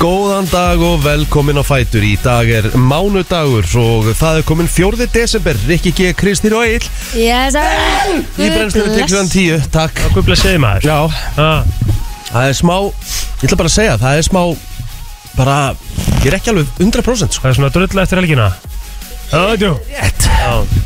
Góðan dag og velkomin á Fætur Í dag er mánudagur og það er komin 4. desember Rikki G, Kristýr og Egil Yes, Í brennslunum tekstan 10, takk Guð blessiði maður Já, Ah, það er smá Ég ætla bara að segja, það er smá Bara, ég er ekki alveg 100% sko. Það er svona drull eftir helgina Já, þú Rétt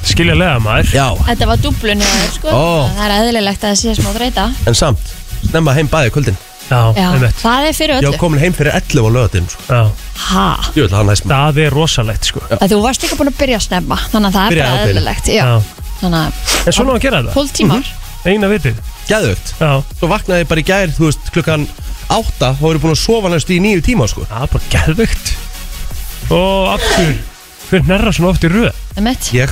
Skilja lega maður Já, Þetta var dublun hjá þér sko Ó. Það er eðlilegt að það sé smá þreita en samt Snemma heim bæði kvöldin Já, Já, einmitt það er fyrir Ég öllu var komin heim fyrir 11 á sko. löðatinn Já, Ha, Jú, það er næst maður það er rosalegt sko Já, að þú varst líka búin að byrja að snemma Þannig að það er Byrjaði bara hádeginu. eðlilegt Já, þannig að En svona á að gera þetta Mhm. 12 tímar Mhm. Eina vitið Gæðvögt Já Svo vaknaði ég bara í gær, þú veist, klukkan 8 Þá erum búin að sofa næstu í nýju tíma, sko Það er bara geðvögt Og aftur Hver nærra svona oft í röð Það er mitt Ég,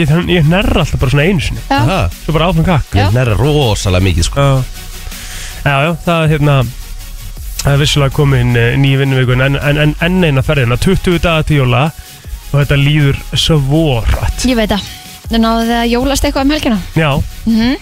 Ég, ég nærra alltaf bara svona einu sinni Já, það, Svo bara áfram kakk Já. ég nærra rosalega mikið, sko Já, já, já það er hérna Það er vissilega komin nýjum vinnuvikun en, en, en, en eina ferðina, 20 daga til jóla Og þetta líður svo rætt ég veit það Þú náðu þið að jólast eitthvað um helgina Já, Mhm.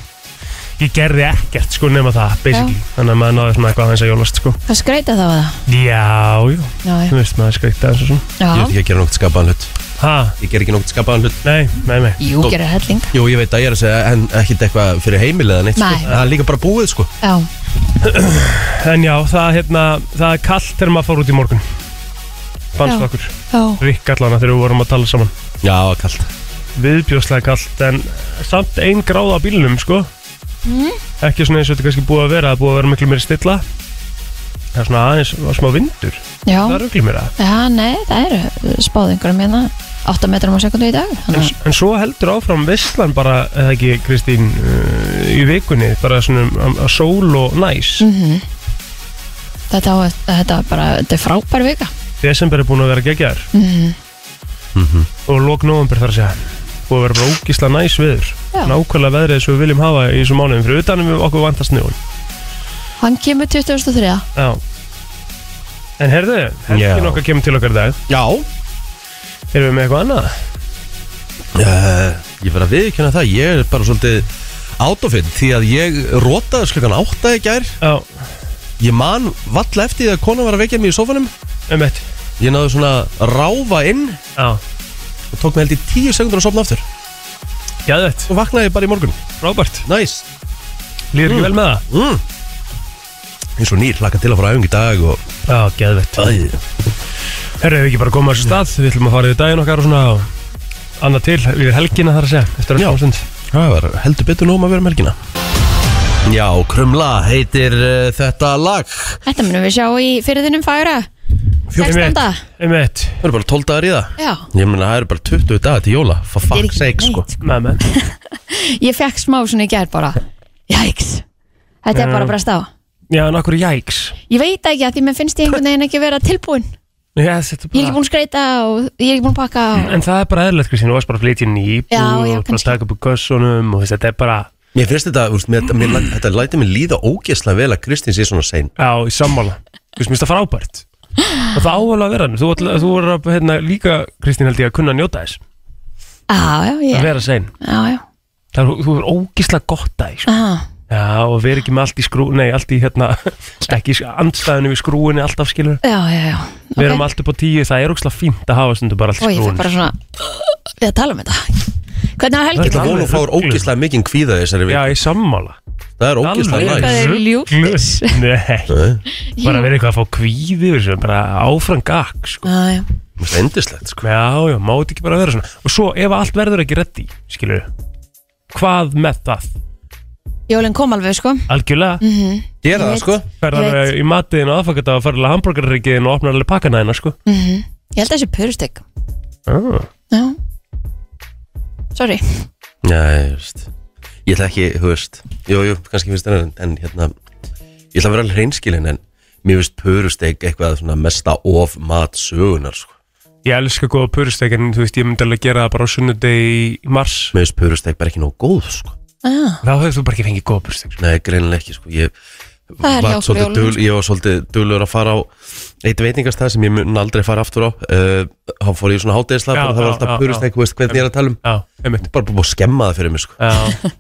ég gerði ekkert sko nema það, basically Þannig að maður náði svona eitthvað aðeins að jólast sko Það skreita þá að það Já, já, Já, þú veist maður skreikt aðeins og svona já, Ég já. veit ekki að gera nokkuð skapaðan hlut Ha, Ég ger ekki nokkuð skapaðan hlut nei, nei, nei Jú, gerir helling Jú, ég veit að ég er að segja, en ekkit eitthvað fyrir heimil eða neitt, sko Nei. Það er líka bara búið, sko Já, En já, það, er, hérna, það er kallt þegar maður fór út í morgun Fannst Já. okkur, já, Rikk allana þegar við vorum að tala saman Já, kallt viðbjóðslega kallt en samt ein gráð á bílunum sko Mm. ekki svona eins og þetta er kannski búið að vera það er búið að vera miklu meiri stilla það er svona aðeins var smá vindur já það er öllum mér það Já, nei, það eru spáðingurum hérna 8 metrum á sekundu í dag en, Þannig að en svo heldur áfram visslan bara eða ekki Kristín uh, í vikunni bara svona um, að sól og næs þetta, á- þetta er bara, þetta er frábær vika desember er búin að vera geggjar og lok november þar að segja búið að vera bara ógísla næs viður Já. nákvæmlega veðrið sem við viljum hafa í þessum mánuðum fyrir utanum við okkur vantast snjóin Hann kemur 2003 Já En herðu, helgin Já. okkar kemur til okkar í dag Já Erum við með eitthvað annað? uh, Ég verð að viðkjöna það, ég er bara svolítið Autofinn, því að ég rótaði slukkan átta í gær Já, Ég man valla eftir því að kona var að vekja mig í sofanum um eitt Ég náðu svona að ráfa inn Já, og tók mig held í tíu sekundur að sofna aftur gæðvett, og vaknaði ég bara í morgun Robert, Næs nice. líður ekki vel með það? mm. Eins og nýr hlakka til að fara á æfingu í dag og Já, gæðvett Æ. Herðu, við ekki bara komið að þessu stað Við ætlum að fara í daginn okkar og svona og Annað til, við helgina þar að segja Eftir að Já. smástund Það var heldur betur nóg um að vera melgina Já, Krumla heitir uh, þetta lag Það Þetta munum við sjá í fyrirðinum fagra 16. Um eitt eru bara 12 dagar í það Já Ég meina það eru bara 20 dagar til jóla For Þetta er fuck's ekki sake sko neitt, Með með Ég fekk smá svona í gerð bara Jæks Þetta er bara að bresta á Já, en okkur jæks Ég veit það ekki að því mér finnst ég einhvern veginn ekki vera tilbúin Já, þetta er Ég er ekki bara búin að skreita og ég er ekki búin að pakka og... En það er bara eðlilegt, Kristín, þú varst bara að flytja inn í íbúð Já, já, og bara að kannski. taka upp úr kössunum og þess að þetta er bara, Mér finnst þetta, úrst, mér, mér, læt- þetta læti mér líða ógeðslega vel að Kristín sé svona sein Já, í sammála Þú veist, mér finnst það frábært Og það ávala að vera hann Þú, ætla- þú er að, hérna, líka, Kristín held ég að kunna að njóta þess Á, Ah, já, Að ég vera sein Já, já Það er, þú er ógislega gott að því sko. Aha. Já, og vera ekki með allt í skrú Nei, allt í hérna Ekki í andstæðinu við skrúinu alltaf skilur Já, já, já Við erum allt upp á tíu Það er ógislega fínt að hafa stundum bara allt Og í ég fekk skrúinu bara svona Við að tala um þetta Hvernig var Ég helgin? ætla að vona að fáur ógeðslega mikinn kvíða þessari Já, vik í sammála Það er ógeðslega Alveg. næs Eitthvað er í ljúftis. Nei, Nei, bara vera eitthvað að fá kvíði yfir þessu, Bara áfram gakk, sko Já, já mér finnst það endislegt sko Já, já, mátt ekki bara vera svona Og svo, ef allt verður ekki reddi, skilur Hvað með það? Jólinn kom alveg, sko Algjörlega, Gera það veit. sko ferðar Ég í matiðin og aðfangata og ferðarlega hambúrgarreikiðin og opnar alveg pakkana hérna sko Mhm. Ég held að þessi purusteg ah. Já Sorry Já, ég veist Ég ætla ekki, þú veist Jú, jú, kannski finnst það en, en hérna Ég ætla að vera alveg hreinskilin en Mér finnst pörusteik eitthvað svona mesta of mat sögunar sko. Ég elska góða purustek en þú veist ég myndi alveg gera það bara á sunnudegi í mars Mér finnst pörusteik bara ekki nóg góð sko. ah, Þá hefur þú bara ekki fengið góða purustek Nei, greinilega ekki sko. Ég Það var er hjá sko. okkur svolítið jólunum, dul, ég var svolítið dulur að fara á eitt veitingastæð sem ég mun aldrei fara aftur á Eh, þá fór ég í svona hádegislega Já, það var já, alltaf já, pörusteik, þú veist hvernig ég er að tala um Já, einmitt bara búið að skemma það fyrir mig sko. Já,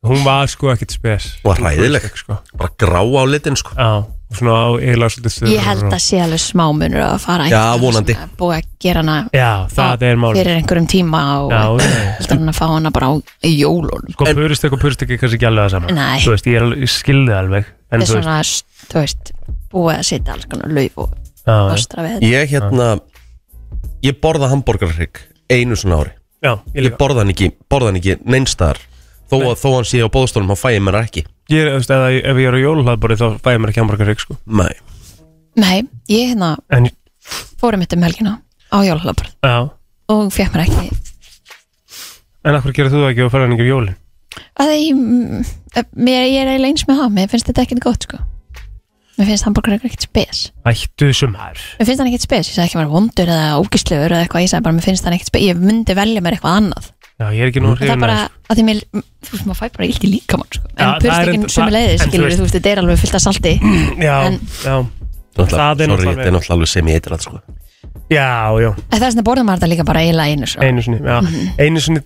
Hún var sko ekkert spes Hún var hræðileg. sko. bara grá á litin sko Já, og svona á eiginlega svolítið þurr Ég held að sé alveg smá munur að fara Já, einhvern veginn vonandi. sem er Búið að gera hana Já, það er málið fyrir einhverjum tíma og Já, heldur já. hann að fá hana bara á jólun Sko purist og purist ekki kannski ekki alveg það saman Nei. Þú veist, ég, er, ég skildi það alveg þetta En er þú veist svona, þú veist, búið að setja alls konar lauf og já, já. ostra við þetta Ég hérna Ég borða hambúrgarhrygg einu svona ári já, ég Ég líka borða hann ekki, borða hann ekki neinstar þó, að, þó hann sé á bóðstólum, hann fæði mér það ekki Ég er, þú veist, ef, ég- ef ég er á jólahlaðborið þá fæ ég mér ekki hamburgar rygg, sko Nei Nei, ég hérna En, fórum mitt um helgina á jólhlaðborð já og fekk mér ekki En af hverju gerir þú það ekki og færðan ekki um jólin? að ég, mm, mér, ég er eiginlega eins með það, mér finnst þetta ekkert gott sko mér finnst hambúrgar ekkert spes Ættu sumar mér finnst hann ekkert spes, ég sagði ekki að vera vondur eða ógislegur eða eitthvað, ég sagði bara mér finnst hann ekkert spes ég myndi velja mér eitthvað annað Já, ég er ekki nú En það er hrifin bara, að að því mér, þú veist, maður fæ bara illt í líkamann sko. en Já, ja, það er purstekinn enda- sem er leiðis, en þú skilur veist- þú veist, þetta er alveg fullt af salti Já, En- já Það Sorry, er náttúrulega- þetta er náttúrulega alveg sem ég eitir allt sko Já, já, en það er svona borðum maður þetta líka bara eiginlega einu sko. svo. einu sinni, já Einu sinni,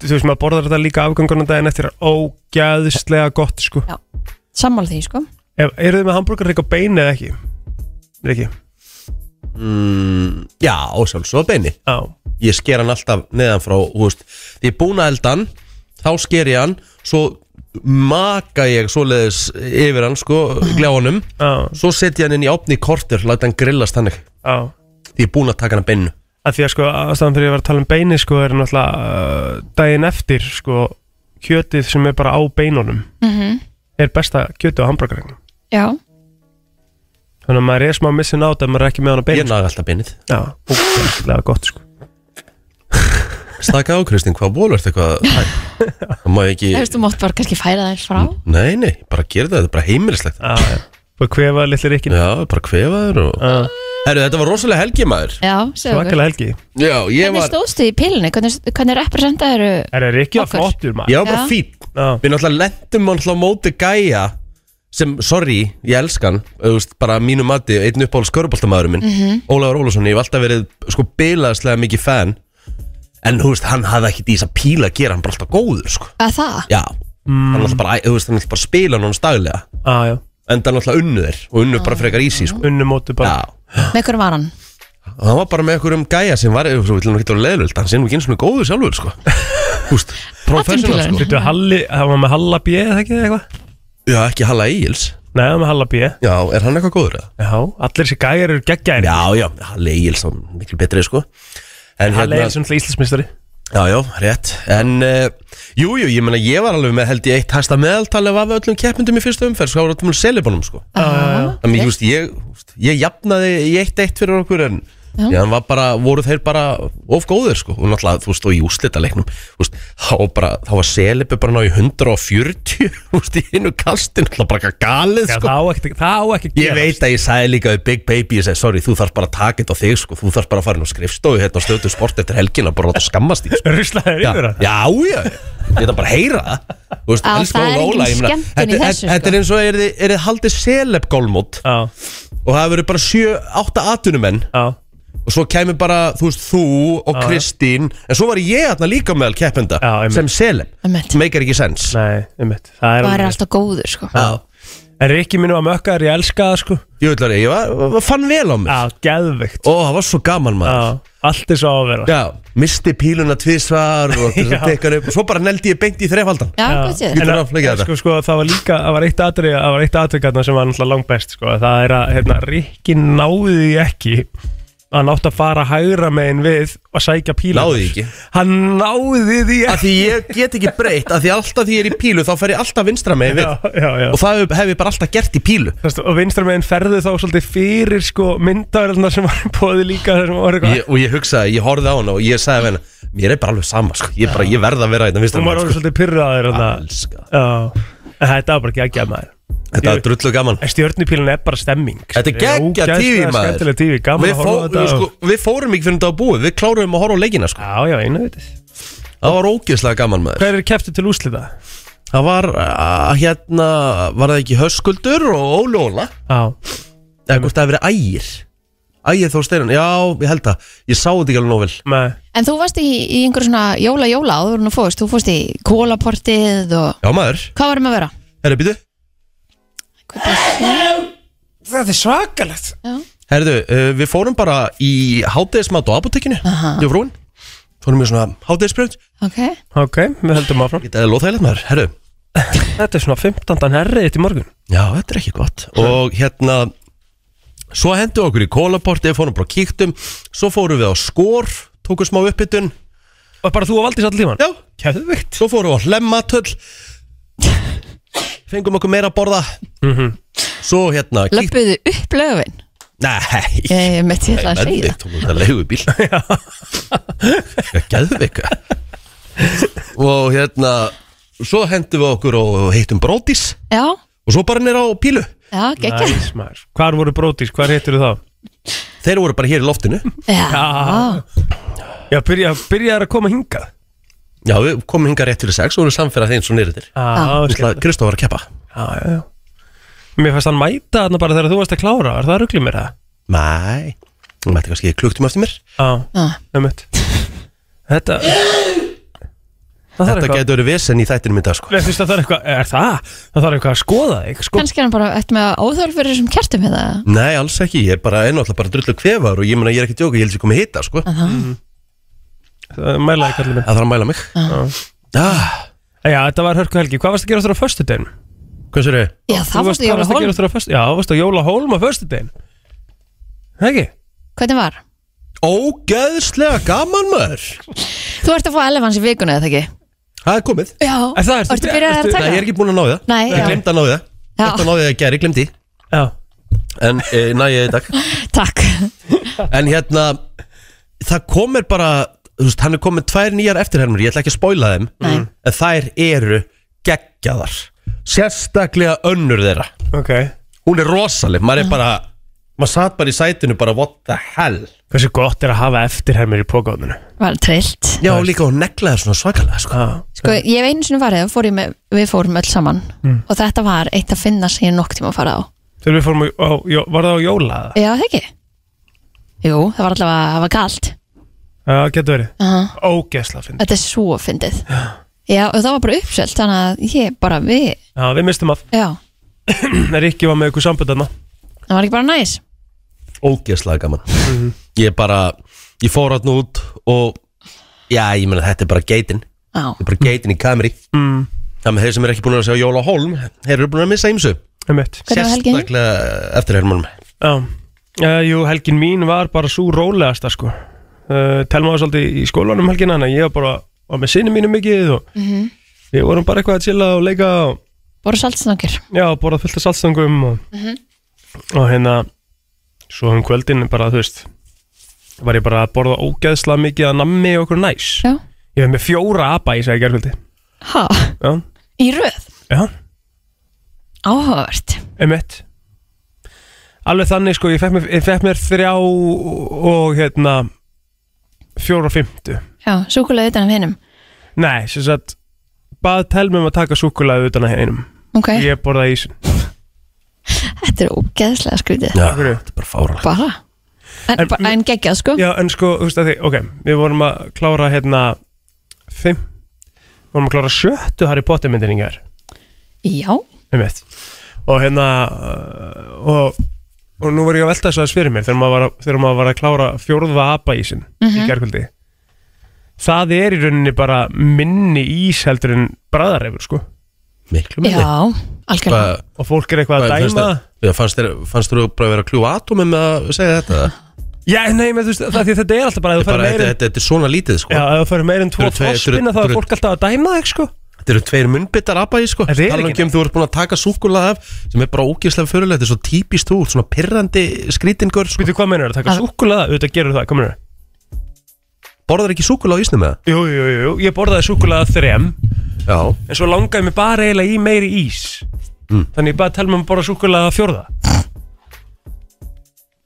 þú veist, maður borðar þetta líka afgangunan daginn eftir er ógæðislega gott, sko sammála því, sko Ef, eru þið með hambúrgarrygg á beini eða ekki? Riki? mm, Já, á sjálfsög á beini Já, Ég sker hann alltaf neðan frá þú veist, Því ég er búin að elda hann Þá sker ég hann Svo maka ég svoleiðis yfir hann sko, gljáanum já, Svo setja ég hann inn í opni kortur Læta hann grillast þannig já Því ég er búin að taka hann að beinu að Því að sko, ástæðan fyrir ég var að tala um beini sko er náttúrulega uh, daginn eftir sko kjötið sem er bara á beinunum Mhm. er besta kjötið á hambúrgarryggnum já, Þannig að maður er smá missin át ef maður er ekki með hann á Ég beinu sko. naga alltaf beinið Já, ógæðislega gott sko Staka á Kristinn, hvað bólvert eitthvað hæ? Það má ég ekki þú veist, þú mátt bara kannski færa það eins frá Mm. Nei, nei, bara gera það, þetta er bara heimilislegt Já, já Og kvefa litli rikkin Já, bara kvefaður og Já, Herru, þetta var rosalega helgi maður já, segðu okkur. svakalega helgi Já, ég hvernig var stóðstu í pilinu, hvernig, hvernig representaður Er það rikki að Okkur. flottur maður? Ég var bara Já. fýtt Já, Við náttúrulega lentum hann hlá móti gæja sem, sorry, ég elskan veist, bara að mínu mati, einn uppáhalds sköruboltamaðurinn minn, Ólafur Ólafsson, ég hef alltaf verið sko bilaðslega mikið fan en, þú veist, hann hafði ekki dýsa píla að gera hann bara alltaf góður, sko að það, Já, hann alltaf bara, þú veist, hann alltaf bara spila hann staglega já, Ah, já en það alltaf unnu þeir og unnu bara frekar ísi, sko Unnumótu bara Já, með hverjum var hann og hann var bara með einhverjum gæja sem var, þú veist, hann getur leðlöld hann sé nú ekki eins og góður sjálfur, sko Húst, professional, sko Atvinnupílarinn. Þetta Halli, það var með Halla B eða ekki eitthvað? Já, ekki Halla Egils Nei, það var með Halla B Já, er hann eitthvað góður eða? Já, allir þessi gæjar eru geggjæri Já, já, Halla Egils, hann er miklu betri, sko En Halla hérna, er sem íslensmistari já, já, rétt En, uh, jú, jú, ég meina, ég var alveg með held ég eitt hæsta meðaltali af öllum keppindum í fyrstu umferð, sko, það var öllum selibunum, sko Já, Þannig, þú veist, ég, þú veist, ég jafnaði í eitt eitt fyrir okkur en Já. Já, hann var bara, voru þeir bara of góðir sko og náttúrulega, þú veist, og í úslitaleiknum þú veist, þá var bara, þá var Selipi bara ná í 140, þú veist, í einu kastin, náttúrulega bara eitthvað galið Já, sko það á ekki, það á ekki að Ég gerast. veit að ég sagði líka við Big Baby, ég segi, sorry, þú þarf bara að taka þetta á þig sko, þú þarf bara að fara inn á skrifstofu hérna og stöðu sport eftir helgina, bara láta skammast í sko Ruslaður Já, yfir já, það já, ég ætla bara að heyra það Þú veist, Já, elsku það er Óla, ég engin meina, skemmtun í Þetta þessu, þetta- þetta er sko. eins og er þið, er þið haldið seleb gólmót Já, og það verður bara 7-8 atunumenn já, og svo kemur bara, þú veist, þú og Kristín en svo var ég aðna líka meðal keppenda Já, einmitt. sem selem, Einmitt. meikar ekki sens nei, um Það er það er alveg alltaf góður, sko Já, En Rikki minn var mökkar, ég elska það sko ég ætlar ég, var, var, fann vel á mig Já, geðvikt Ó, það var svo gaman Já, maður allt er svo á að vera Já, misti píluna tvisvar og til þess Já. að tekja hann upp og svo bara neldi ég beint í þrefaldan já, Já. gott séð Ég- En þarf að- að flækja þetta. Sko, sko, það var líka, það var eitt atrið, það var eitt atrið gætna sem var náttúrulega langbest, sko. Það er að, hérna, Rikki náði því ekki að nátt að fara hægra megin við og sækja píla. Náði því ekki? Hann náði því Af ekki. því ég get ekki breytt, af því alltaf því ég er í pílu þá fer ég alltaf vinstra megin við Já, já, já. og það hef- hef ég bara alltaf gert í pílu Þastu, og vinstra megin ferðu þá svolítið fyrir, sko, myndaverðna sem var bóði líka þessum orðu, ég, og ég hugsaði, ég horfði á hana og ég sagði við hana, mér er bara alveg sama sko. ég, bara, ég verð að vera þetta vinstra Hún var megin orðið sko. svolítið pyrraður, þarna. Elska. Já. En þetta var bara ekki að gefa maður. Þetta er drullu gaman En Stjörnupílan er bara stemming. sko. Þetta er geggja tífi Ógeðslega maður Skemmtileg tífi, gaman við, að fó, horfa á við, þetta. sko, við fórum ekki fyrir þetta að búið Við kláruðum að horfa á leikina sko. Já, já, einu veitis. Það var ógeðslega gaman maður Hver er keftið til úslita? Það var, uh, hérna, var það ekki Höskuldur og Óli Óla Já. Eða hvort það hefur verið ægir Ægir Þór Steinan, já, ég held það Ég sá þetta ekki alveg nóvel Nei. En þú varst í, í einhver svona jóla-jóla áður en þú fórst, þú fórst í kólaportið og Já maður, hvað varum að vera? herru býtu Þetta er svakalegt Herðu, uh, við fórum bara í hátegismat á apotekinu Aha. Ég frúin Fórum í svona hátegisbrönd Ok, Ok, við höldum áfram Þetta er lóþægilegt hérna, maður, herru Þetta er svona 15. herrið þitt í morgun Já, þetta er ekki gott Og hérna Svo hendu okkur í kólaporti, fórum bara og kíktum Svo fórum við á skor, tókum smá uppbytun Og bara þú og Valdís allir tíman Já, Kæðvikt svo fórum við á hlemmatöll Fengum okkur meira að borða Svo hérna kíkt- löpuðu upp löfin Nei, Ég mitt ég ætla að Menni, segja það. tók þetta leigubíl Gæðvika Og hérna Svo hendum við okkur og hittum brótis Já, Og svo bara nýra á pílu já, geggja Hvar voru brótis, hvar hittir þú þá? Þeir voru bara hér í loftinu Já, Já. Já, byrja, byrjaðar að koma hingað Já, við komum hingað rétt fyrir sex og vorum samferða þeim svo nýrið þér Já, já, Kristof var að keppa já, já Mér fannst hann mæta þarna bara þegar þú varst að klára Er það ruggli mér það? Nei, hún mætti kannski klukktum eftir mér Já, já, ömmut Þetta Það þarf Þetta eitthvað getur verið vesen í þættinu mynda sko Ég finnst að það er eitthvað, er það? Það þarf eitthvað að skoða þig sko. kannski er hann bara eftir með óþörf fyrir þessum kertum hérna Nei, alls ekki, ég er bara ennáttúrulega bara drullu kvefar og ég meina ég er ekki að djóka, ég held ég komið hita sko Það Það Mælaði kallið minn þarf að mæla mig ah, Já, þetta var hörku helgi, hvað varst að gera þér á föstudeginu? Hvað sér Já, það fórstu í hvað varst að jólahólm gera þér á föstudeginu? Já, varst að jóla hólm á föstudeginu Það ekki? Hvernig var? Ógeðslega gaman maður Þú ert að fá elefans í vikuna eða ekki? Það er komið Já, En það ertu- ertu byrjað að ertu- Nei, taka? ég er ekki búin að ná í það Nei, Ég já. glemt að ná í það Já. Þetta náði ég að gera, ég glemdi Já, En e, næ ég í dag Takk En hérna, það komir bara Þú veist, hann er komið tvær nýjar eftirhermur Ég ætla ekki að spoila þeim Nei. En þær eru geggjaðar Sérstaklega önnur þeirra ok Hún er rosaleg, maður er bara Maður satt bara í sætinu bara what the hell Hversu gott er að hafa eftirhermir í pókáðinu? Var trillt Já, og líka hún neglaði svona svakalega sko. Sko, ég hef einu sinni farið, þá fór ég með, við fórum öll saman og þetta var eitt að finna sem ég nokk tíma að fara á. Þegar við fórum á, jó, var það á jóla eða? Já, það ekki? Jú, það var allavega, það var galt. Já, getur verið Aha. Ógesla finn Þetta er svo fyndið. Já, og það var bara uppselt, þannig að ég bara við, Já, við mistum af já, Rikki var með ykkur samböndarna það var ekki bara næs. Ógeðslega gaman Ég bara, ég fór hann út Og, já, ég meina þetta er bara geitin Já, Það er bara geitin í kamri mm. Það með þeir sem er ekki búin að sjá Jóla Holm Þeir eru búin að missa ymsu Einmitt hvernig var helgin? Sérstaklega eftir hermónum Já uh, Jú, helgin mín var bara svo rólegasta sko uh, Telma var svolítið í skólanum um helgina Þannig að ég var bara var með sinni mínu mikið og Mhm. Við vorum bara eitthvað að chilla og leika og Bóru saltsnökkur. Já, borðað fullt af saltstangum og, og hérna Svo um kvöldin bara, þú veist Var ég bara að borða ógeðsla mikið að nammi og okkur næs Já. Ég hef með fjóra apa í segi gerkvöldi Ha, Já, í röð. já, Áhugavert. einmitt Alveg þannig sko, ég fekk mér, ég fekk mér þrjá og hérna fjóra og fymtu Já, súkulega utan af hinnum. Nei, sem sagt bað telmum að taka súkulaði utan að hinum Ok, Ég borðaði ísinn þetta er ógeðslega skrítið. Já, hverju? þetta er bara fáralegt Bara. En, En- en, en geggjað, sko. Já, en sko, þú veist að því, ok, við vorum að klára hérna fimm, vorum að klára sjöttu Harry Potter myndin í gær, Já. um veit og hérna uh, og, og nú var ég að velta þessu aðeins fyrir mér þegar maður var að, þegar maður var að klára fjórða apa ísin í gærkvöldi það er í rauninni bara minni ís heldur en bræðarefur sko, Miklu Já, minni algjörlega. Hvað- og fólk er eitthvað hvað að fannst dæma þér- Já, Fannst þér- fannst þú bara að vera að kljúa atómi með að segja þetta? Já, nei, menn, þú veist, það, því þetta er alltaf bara að Þetta þú er bara- færð meir Þetta en þetta- þetta er svona lítið sko Já, ef þú færð meir en tvo Þetta eru tveir- þorspinna þá þetta er eru- fólk alltaf að dæma þig sko Þetta eru tveir munnbyttar abæði sko Þetta er Talan ekki ekki um þú ert búin að taka súkulað af Sem er bara ógeðslega fyrirlegt Þetta er svo típist þú ert Svona pirrandi skrítingur sko. Býtu, hvað meinar það? Taka Að- súkkulaða? Auðvitað gerur það, hvað meinar það? Borðar ekki súkulað á ísnum með Jú, jú, jú, jú, ég borðaði súkkulaða þrem það? Já En svo langaði mig bara eiginlega í meiri ís Mm. Þannig ég bara tel mér að borða súkkulaða fjórða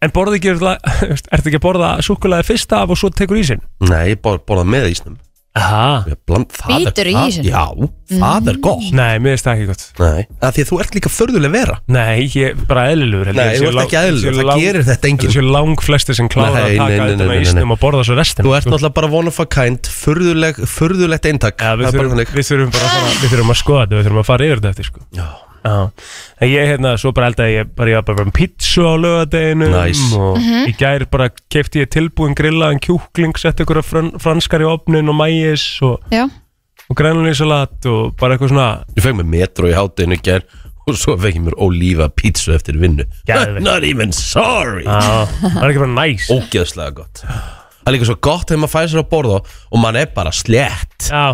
En borði ekki, örugglega- ertu ekki að borða súkkulaði fyrsta af og svo tekur ísinn? Nei, ég bor, borða með ísnum Aha. Ég Bland, það er- Bítur í það- ísinn. Já, það Mm. er gott Nei, mér finnst það ekki gott Nei, að því að þú ert líka förðuleg vera Nei, ég er bara eðlilegur held ég. Nei, þú Ég sé ert lang- ekki eðlilegur, ég sé það lang- gerir þetta enginn. Ég sé lang flesti sem klára Nei, að nei, taka nei, nei, nei, þetta nei, í ísnum og borða svo restin Þú ert náttúrulega bara one of a kind Förðuleg, förðulegt eintak Það Já, við er bara þurfum, þannig. við þurfum bara að fara, við þurfum að skoða þetta, við þurfum að fara yfir þetta eftir sko Já. Já, en ég hérna, svo bara eldaði ég bara, ég var bara með pizza á lögadeginu Nice. og í gær bara kefti ég tilbúin grillaðan kjúkling, setti ykkur fran, franskar í opnin og mæis og, Já, og grænlunlýsalat og bara eitthvað svona Ég fekk mér metro í hátinu ger Og svo fekk ég mér ólífa pítsu eftir vinnu Geðveikt. Not even sorry Já, það er ekki bara næs Ógeðslega gott Það er líka svo gott þegar maður fæði sér að borða Og maður er bara slett Já,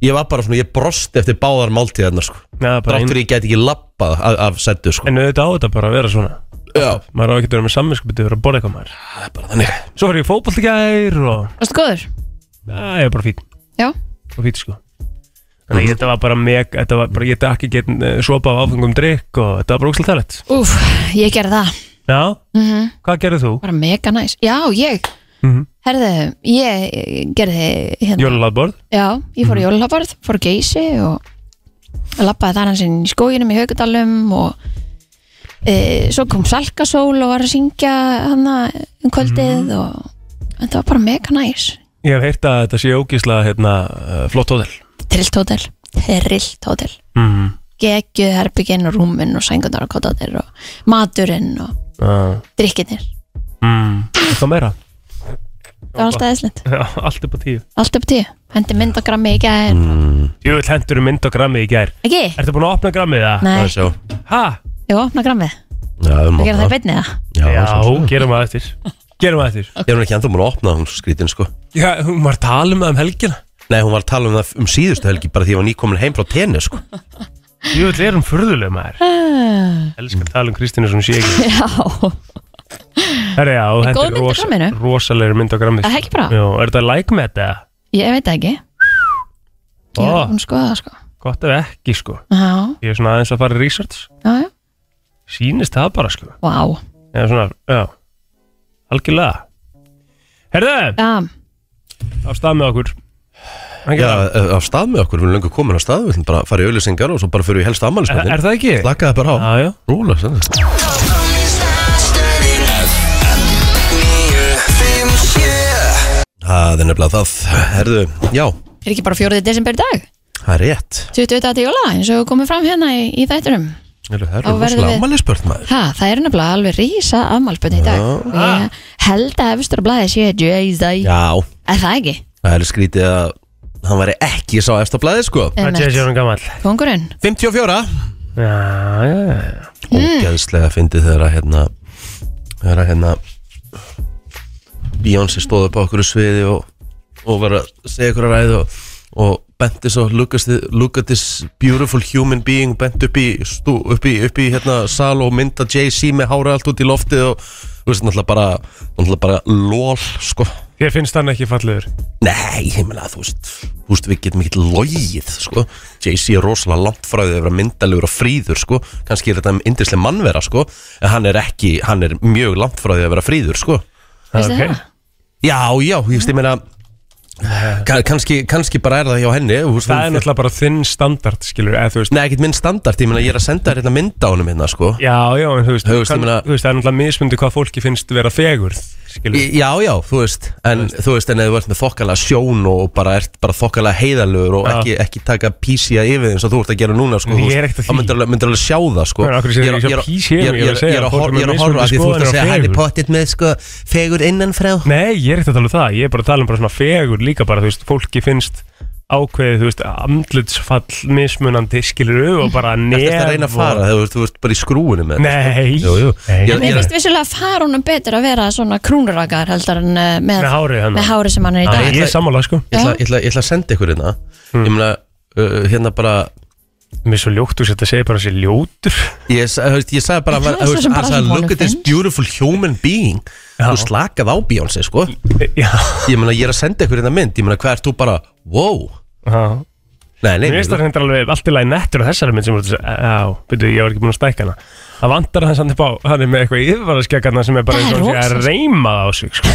Ég var bara svona, ég brosti eftir báðar máltíðarnar sko. já, bara Dráttur ein, ég get ekki lappað af, af sættu sko. en auðvitað á þetta bara að vera svona Já, maður á ekki að vera með samvinskupið fyrir að borða eitthvað maður það er bara þannig Svo fyrir ég fótbolt í gær og varstu góður? Já, ég er bara fín, Já, bara fín sko Þannig að þetta var bara meg, þetta var bara, ég þetta ekki get svopa af áfengum drikk og þetta var bara úkslega tælet úf, ég gerði það Já, mm hvað gerðið þú? Bara mega næs Já, ég, Mhm. herðu, ég gerði hérna Jólalaðborð? Já, ég fór í jólabarð, fór á geysi og lappaði þar hansinn í skóginum í Haugardalum og e, svo kom Salkasól og var að syngja hana um kvöldið og þetta var bara mega næs Ég hef heyrt að þetta sé ógísla hérna, uh, flott hótel Trillt hótel, trillt hótel mm. geggjuð herbygginn og rúminn og sængunar og kottatir og maturinn og uh, drikkinir mm. Hvað meira? það var alltaf eðslint, Já, Allt upp á tíu allt upp á tíu hendi mynd á grammi í gær Mm. Jú, hendur um mynd á grammið í gær ekki, Ertu búin að opna grammið það? Það nei, er sjá Ha? ég opna grammið Já, við og gera mátt það í beinni það Já, Já, svo- gerum það eftir Gerum það eftir Ég er hún ekki ennþá múin að opna hún skrítin sko Já, hún var að tala um það um helgina Nei, hún var að tala um það um síðustu helgi bara því ég var nýkomin heim frá tenni sko Jú, þetta er hún furðuleg maður Elskar að tala um Kristínu sem hún sé ekki já, Herra, já, og þetta góð er mynd á rosa- gramminu. rosalegri mynd á grammið það er ekki bra Jú, er þetta like með þetta? ég veit það ekki ég Ó. er hún skoða það sko Gott ef ekki, sko já, Ég er svona aðeins að fara í research já, já, Sýnist það bara, sko vá eða svona, já algjörlega Herðu, já, á stað með okkur Já, Algjörlega. eh, af stað með okkur, við erum lengur komin á stað Við ætlum bara að fara í auðlýsingar og svo bara fyrir í helsta er, ammælisbæðin er það ekki? Slakaði bara á Já, já Rúla, sannig Það er nefnilega það Herðu, já, er ekki bara fjórið desember í dag það er rétt 20. dagar til jóla eins og við komum fram hérna í, í þættunum Herðu, Það Þá eru verðum rosalega við- ammælisbörn maður Ha, það er nefnilega alveg rísa afmálspönn í dag og ég held að hefstur að blæði sé Jay-Z, Já, er það ekki? það er skrítið að hann væri ekki sá eftir blæði sko Það er Emmett. sjónum gammal 54 Já, já, já Ógeðslega fyndið þegar að hérna þegar að hérna Beyoncé stóð upp á okkur sviði og, og var að segja ykkur að ræðu og, og benti svo look at, thi- look at this beautiful human being bent upp í, stú, upp í, upp í hérna, sal og mynda Jay-Z með hára allt út í loftið og þú veist náttúrulega bara náttúrulega bara lol sko Ég finnst hann ekki fallegur Nei, ég meina þú veist Þú veist, við getum ekki logið, sko Jay-Z er rosalega langt frá því að vera myndalegur og fríður, sko Kannski er þetta yndislega mannvera, sko En hann er ekki, hann er mjög langt frá því að vera fríður, sko Veistu Ok. það? Já, já, ég veist, ég meina ka- Kannski, kannski bara er það hjá henni þú veist, Það er hún- náttúrulega bara þinn standard, skilur eða þú veist Nei, ekkert minn standart, ég meina ég er að senda þér hérna mynda á honum hérna, sko Já, já, en þú veist, Þú veist, ég kann- meina- þú veist það er náttúrulega mismundi hvað fólki finnst vera fegurð skilur Í- Já, já, þú veist En þú veist, en ef þú ert með þokkalega sjón og bara ert bara þokkalega heiðalögur og Já. ekki, ekki taka písja yfir eins og þú ert að gera núna sko, Ég þú veist, er ekkert að þá því. myndir alveg, myndir alveg sjá það sko. Já, af Ég hverju segir er- ég sjá ég er- písja yfir? ég er- Ég er að ég segja er að að fólk hor- er með ég er að mismunandi horfa að því þú ert að skoðanir á segja hann er fegurð." pottitt með sko, fegur innanfrá Nei, ég er ekkert að tala um það, ég er bara að tala um bara svona fegur líka bara, þú veist, fólki finnst ákveðið, þú veist, andlutsfall mismunandi, skilur og bara nef Þetta er að reyna að fara, þú veist, þú veist bara í skrúinu með þetta, Nei, Jú, jú. Nei. Ég- ég- Mér finnst vissulega að fara honum betur að vera svona krúnurakar heldur en eh, með, Með hárið hennar. með hárið sem hann er í Já, dag Ég er sammála, sko Ég ætla- ég ætla ég ætla að senda ykkur hérna Hmm. Ég meina, uh, hérna bara Mér er svo ljótt úr þetta segir bara þessi ljótur Ég, sa- þú veist, ég sagði bara, En að það hann er svo var- sem hann bara sagði, sem look honum at this finnst." beautiful human being Já. Þú slakað á Beyoncé, sko Já, Ég meina, ég er að senda ykkur hérna mynd Ég meina, hvað ert þú bara, wow já. Nei, nei, Mér finnst það hendur alveg allt í lagi nettur á þessari mynd sem voru þess að, já, byrju, ég var ekki búin að stækka hana Það vantar hann samt upp á, hann er með eitthvað yfirvaraskjökkarna sem er bara Það eins er og hann sé að rosalegt. eh, reyma það á sig, sko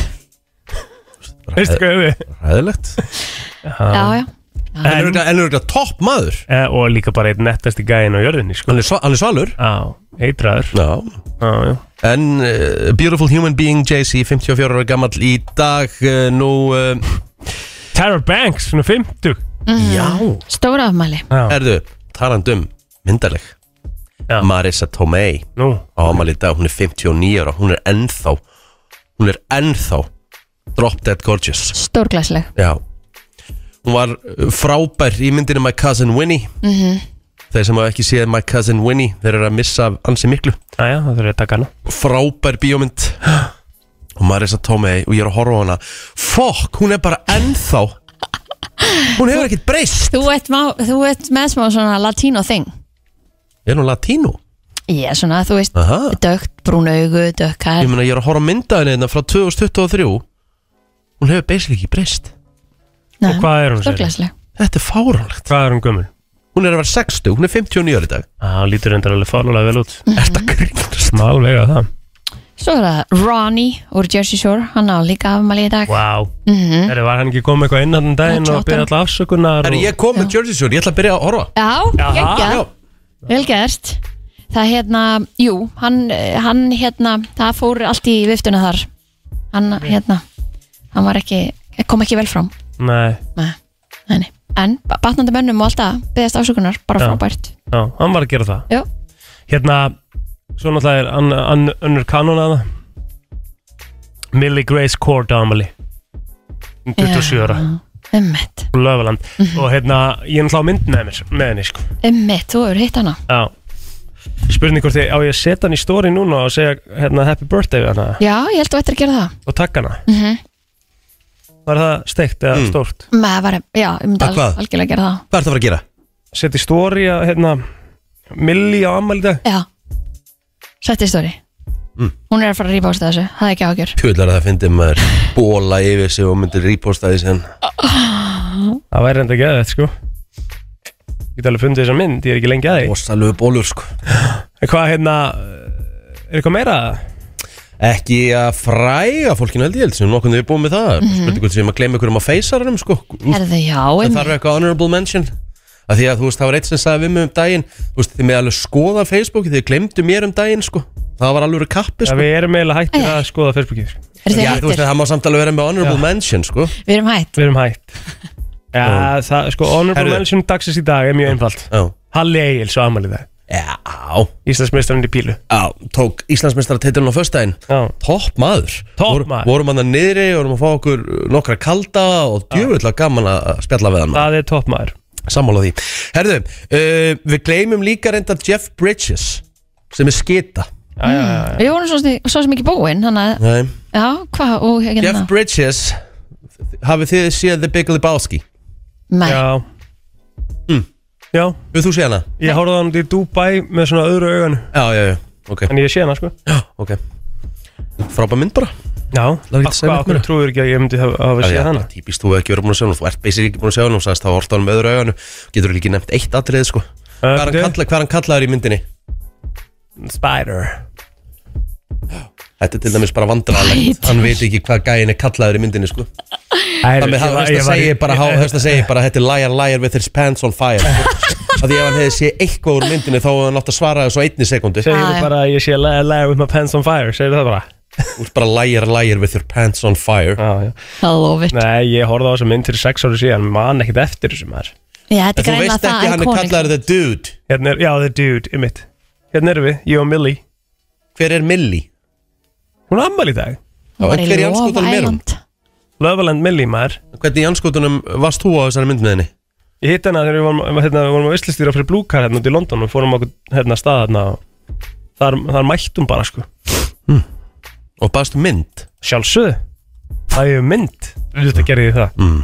Veistu hvað við? Ræðilegt já, já, En er örugglega- en er auðvitað topp maður Eh, og líka bara eitt nettasti gæðin á jörðinni sko. Hann er, sva, hann er svalur á, eitraður Já á, já. En uh, Beautiful Human Being JC 54 ára gammal í dag uh, Nú uh, Tara Banks, svona 50 Já stóra afmæli já, Erðu, talandum myndarleg Já. Marissa Tomei nú, á ámali í dag, hún er 59 ára hún er ennþá hún er ennþá drop dead gorgeous stórglæsleg já hún var uh, frábær í myndinu My Cousin Winnie mm -hmm. þeir sem hafa ekki séð My Cousin Winnie þeir eru að missa af ansi miklu á, já, það þurfum við að taka hana frábær bíómynd og Marissa Tomei og ég er að horfa á hana fokk, hún er bara ennþá hún hefur ekkert breyst þú ert, má, þú ert með smá svona latino þing er hún latínú? ég er svona, þú veist, Aha. dögt brún augu dögt ég hær, meina ég er að horfa á myndaðinu hérna frá 2023 hún hefur basically ekki breyst Nei, og hvað er hún sér? stórglæsleg þetta er fáránlegt hvað er hún gömul? Hún er að vera 60, hún er 59 ári í dag Á, hún lítur reyndar alveg fálulega vel út Er þetta grínast? Má alveg að það svo er það Ronnie úr Jersey Shore hann á líka afmæli í dag Vá, wow. Mhm. var hann ekki komið eitthvað inn hann daginn 28. og byrja alltaf afsökunar Herri, og... ég kom með Jersey Shore, ég ætla að byrja að horfa Já, já. geggjað, vel gert Það hérna, jú, hann, eh, hann hérna, það fór allt í viftuna þar Hann hérna, hann var ekki, kom ekki vel fram Nei, Nei, nei, nei. En ba- batnandi mönnum og alltaf beðast afsökunar, bara Já. frábært já, hann var að gera það Já, Hérna, svo náttúrulega er ann- ann- önnur kanón að það Millie Grace Cord Amelie 27 ára, Ummitt, löfaland Og hérna, ég er náttúrulega á mynd með mér með henni sko. ummitt, þú hefur hitt hana Já Spurning hvort þið á ég að setja hann í stóri núna og segja hérna happy birthday við hana Já, ég held þú ættir að gera það og takk hana mm -hmm. Var það steikt eða stórt? var, Já, ég myndi Að al hvað? algjörlega gera það Hvað ertu að fara að gera? Setja í stóri að hérna Millie á ammæli í dag Já, sætti stóri Mm. Hún er að fara að rípa ástæða þessu, það er ekki ágjör Pjöðlar að það fyndi maður bóla yfir sig og myndir reposta því sem Það væri enda ekki aðeins sko Ég get alveg fundið þessa mynd, ég er ekki lengi að því Bóstalögu bólur sko En hvað hérna, er eitthvað meira? Ekki að fræga fólkinu held ég held sem nokkurnu við búum með það mm -hmm. Spurðu hvort sem að gleyma ykkur um að feysa hannum sko Það Herðu, já, þarf eitthvað honorable mention að Því að þú veist, það var eitt sem sagði við mig um daginn Þú veist, þið með alveg skoða Facebooki, þið glemdu mér um daginn sko Það var alveg kappi Já, sko við erum eiginlega hættir Æ, æ. að skoða Facebookið sko. Er þið Já, þú veist, hættir? það má samt alveg vera með honorable mention sko Við erum hætt. Við erum hætt Já, það, sko, honorable Herðu. mention dagsins í dag er mjög einfalt Já, Halli Egils og ammæli í dag já Íslandsmeistarinn í pílu Já, tók Íslandsmeistara teitilin á föstudaginn Já. Topp maður Topp Vor- maður. Vorum hann að niðri, vorum að fá okkur nokkra kalda og djöfull að gaman að spjalla við hann Það er toppmaður Sammála því Herðu, uh, við gleymum líka reynda Jeff Bridges sem er skita Já, já, já, já. Mm. Við vorum svo, sni- svo sem ekki búin, þannig að, Nei. já, hvað, og hérna, Jeff Bridges hafið þið séð The Big Lebowski nei, Já Mm. Já, Hefur þú séð hana? ég horfði á hann í Dubai með svona öðru augan Já, já, já, ok, En ég sé hana sko ok Frábær mynd bara Já, Lárið að segja neitt hvað meira. okkur trúður ekki að ég myndi hafa hafa séð hana Típist, þú hefur ekki verið búin að sjá hana Þú ert basic ekki búin að sjá hana og sagðist þá orta hann með öðru auganu Getur þú ekki nefnt eitt atrið sko Hvað er hann Öddu. kalla- hvað er hann kallaður í myndinni? Spider Þetta er til dæmis bara vandrarlegt Hann veit ekki hvað gæin er kallaður í myndinni sko Það með það höfst að segja bara há- Höfst að segja bara Þetta er liar liar with his pants on fire Það því ef hann hefði séð eitthvað úr myndinni Þá hefði hann átt að svara þessu á einni sekundu Þú Segðu Æ. bara að ég sé læg læg with my pants on fire Segðu það bara ert bara liar liar with your pants on fire já, já. það lofi. Nei, ég horfði á þessa mynd fyrir sex ári síðan Man ekkert eftir þessu maður Já, þetta En þú er greinlega veist það ekki hann er iconic. kallaður the dude Hérna er, já, the dude, ymmit Hérna erum við, ég og Millie Hver er Millie? Hún er ammali í dag Hún Já, var en í hver sko, í Love andskotanum er hún? Island. Loveland Millie maður Hvernig í anskotunum varst þú á þessari mynd með henni? Ég hitt hana þegar við vorum, hérna, við vorum að vislistýra fyrir Blue Car hérna út í London og fórum okkur hérna stað hérna og þar, þar mættum bara sko Og baðstu mynd? Sjálfsögðu, það er mynd Þetta gerði ég það Mm.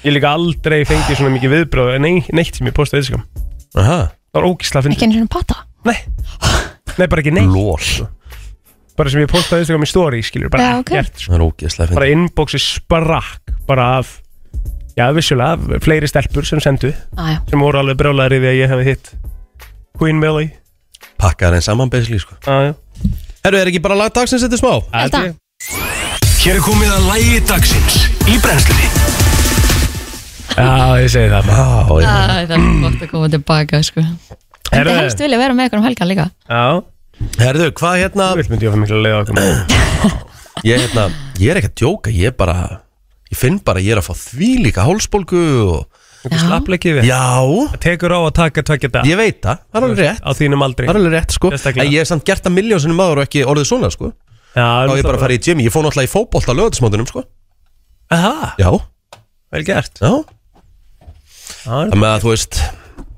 Ég líka aldrei fengið svona mikið viðbröð nei, neitt sem ég postaði Instagram Aha Það var ógísla að finna Ekki einu svona pata. Nei, nei bara ekki neitt Lól Bara sem ég postaði Instagram í story skilur bara Já, ok. ekkert sko. Það er ógeðslega Bara inboxi sprakk bara af Já, vissulega, af fleiri stelpur sem sendu Á, já, sem voru alveg brjólaðir í því að ég hefði hitt Queen Millie fint Pakkaðar en saman basically sko ah, Herru, er ekki bara lag dagsins þetta smá? held að. Hér er komið að lægi dagsins í brennslunni Já, ég segi það maður. Ah. Já, já. Æ, Það er gott að koma tilbaka sko. En Herðu. það helst vilja vera með ykkur um helga líka Já, Herðu, hvað hérna þú vilt myndi ég að fá mikla leið á okkur maður. ég, hérna, ég er ekki að djóka, ég er bara Ég finn bara að ég er að fá því líka hálsbólgu og... Þú slappleikið við Já, Tekur á að taka tvekja dag ég veit það, það er alveg rétt Á þínum aldri Það er alveg rétt sko Sérstaklega. En ég hef samt gert það miljónsinnum áður og ekki orðið svona sko Já, Þá ég bara að fara í Jimmy, ég fór náttúrulega í fótbolta lögatismóndunum sko Aha, Já, vel gert já Já, Þannig að þú veist,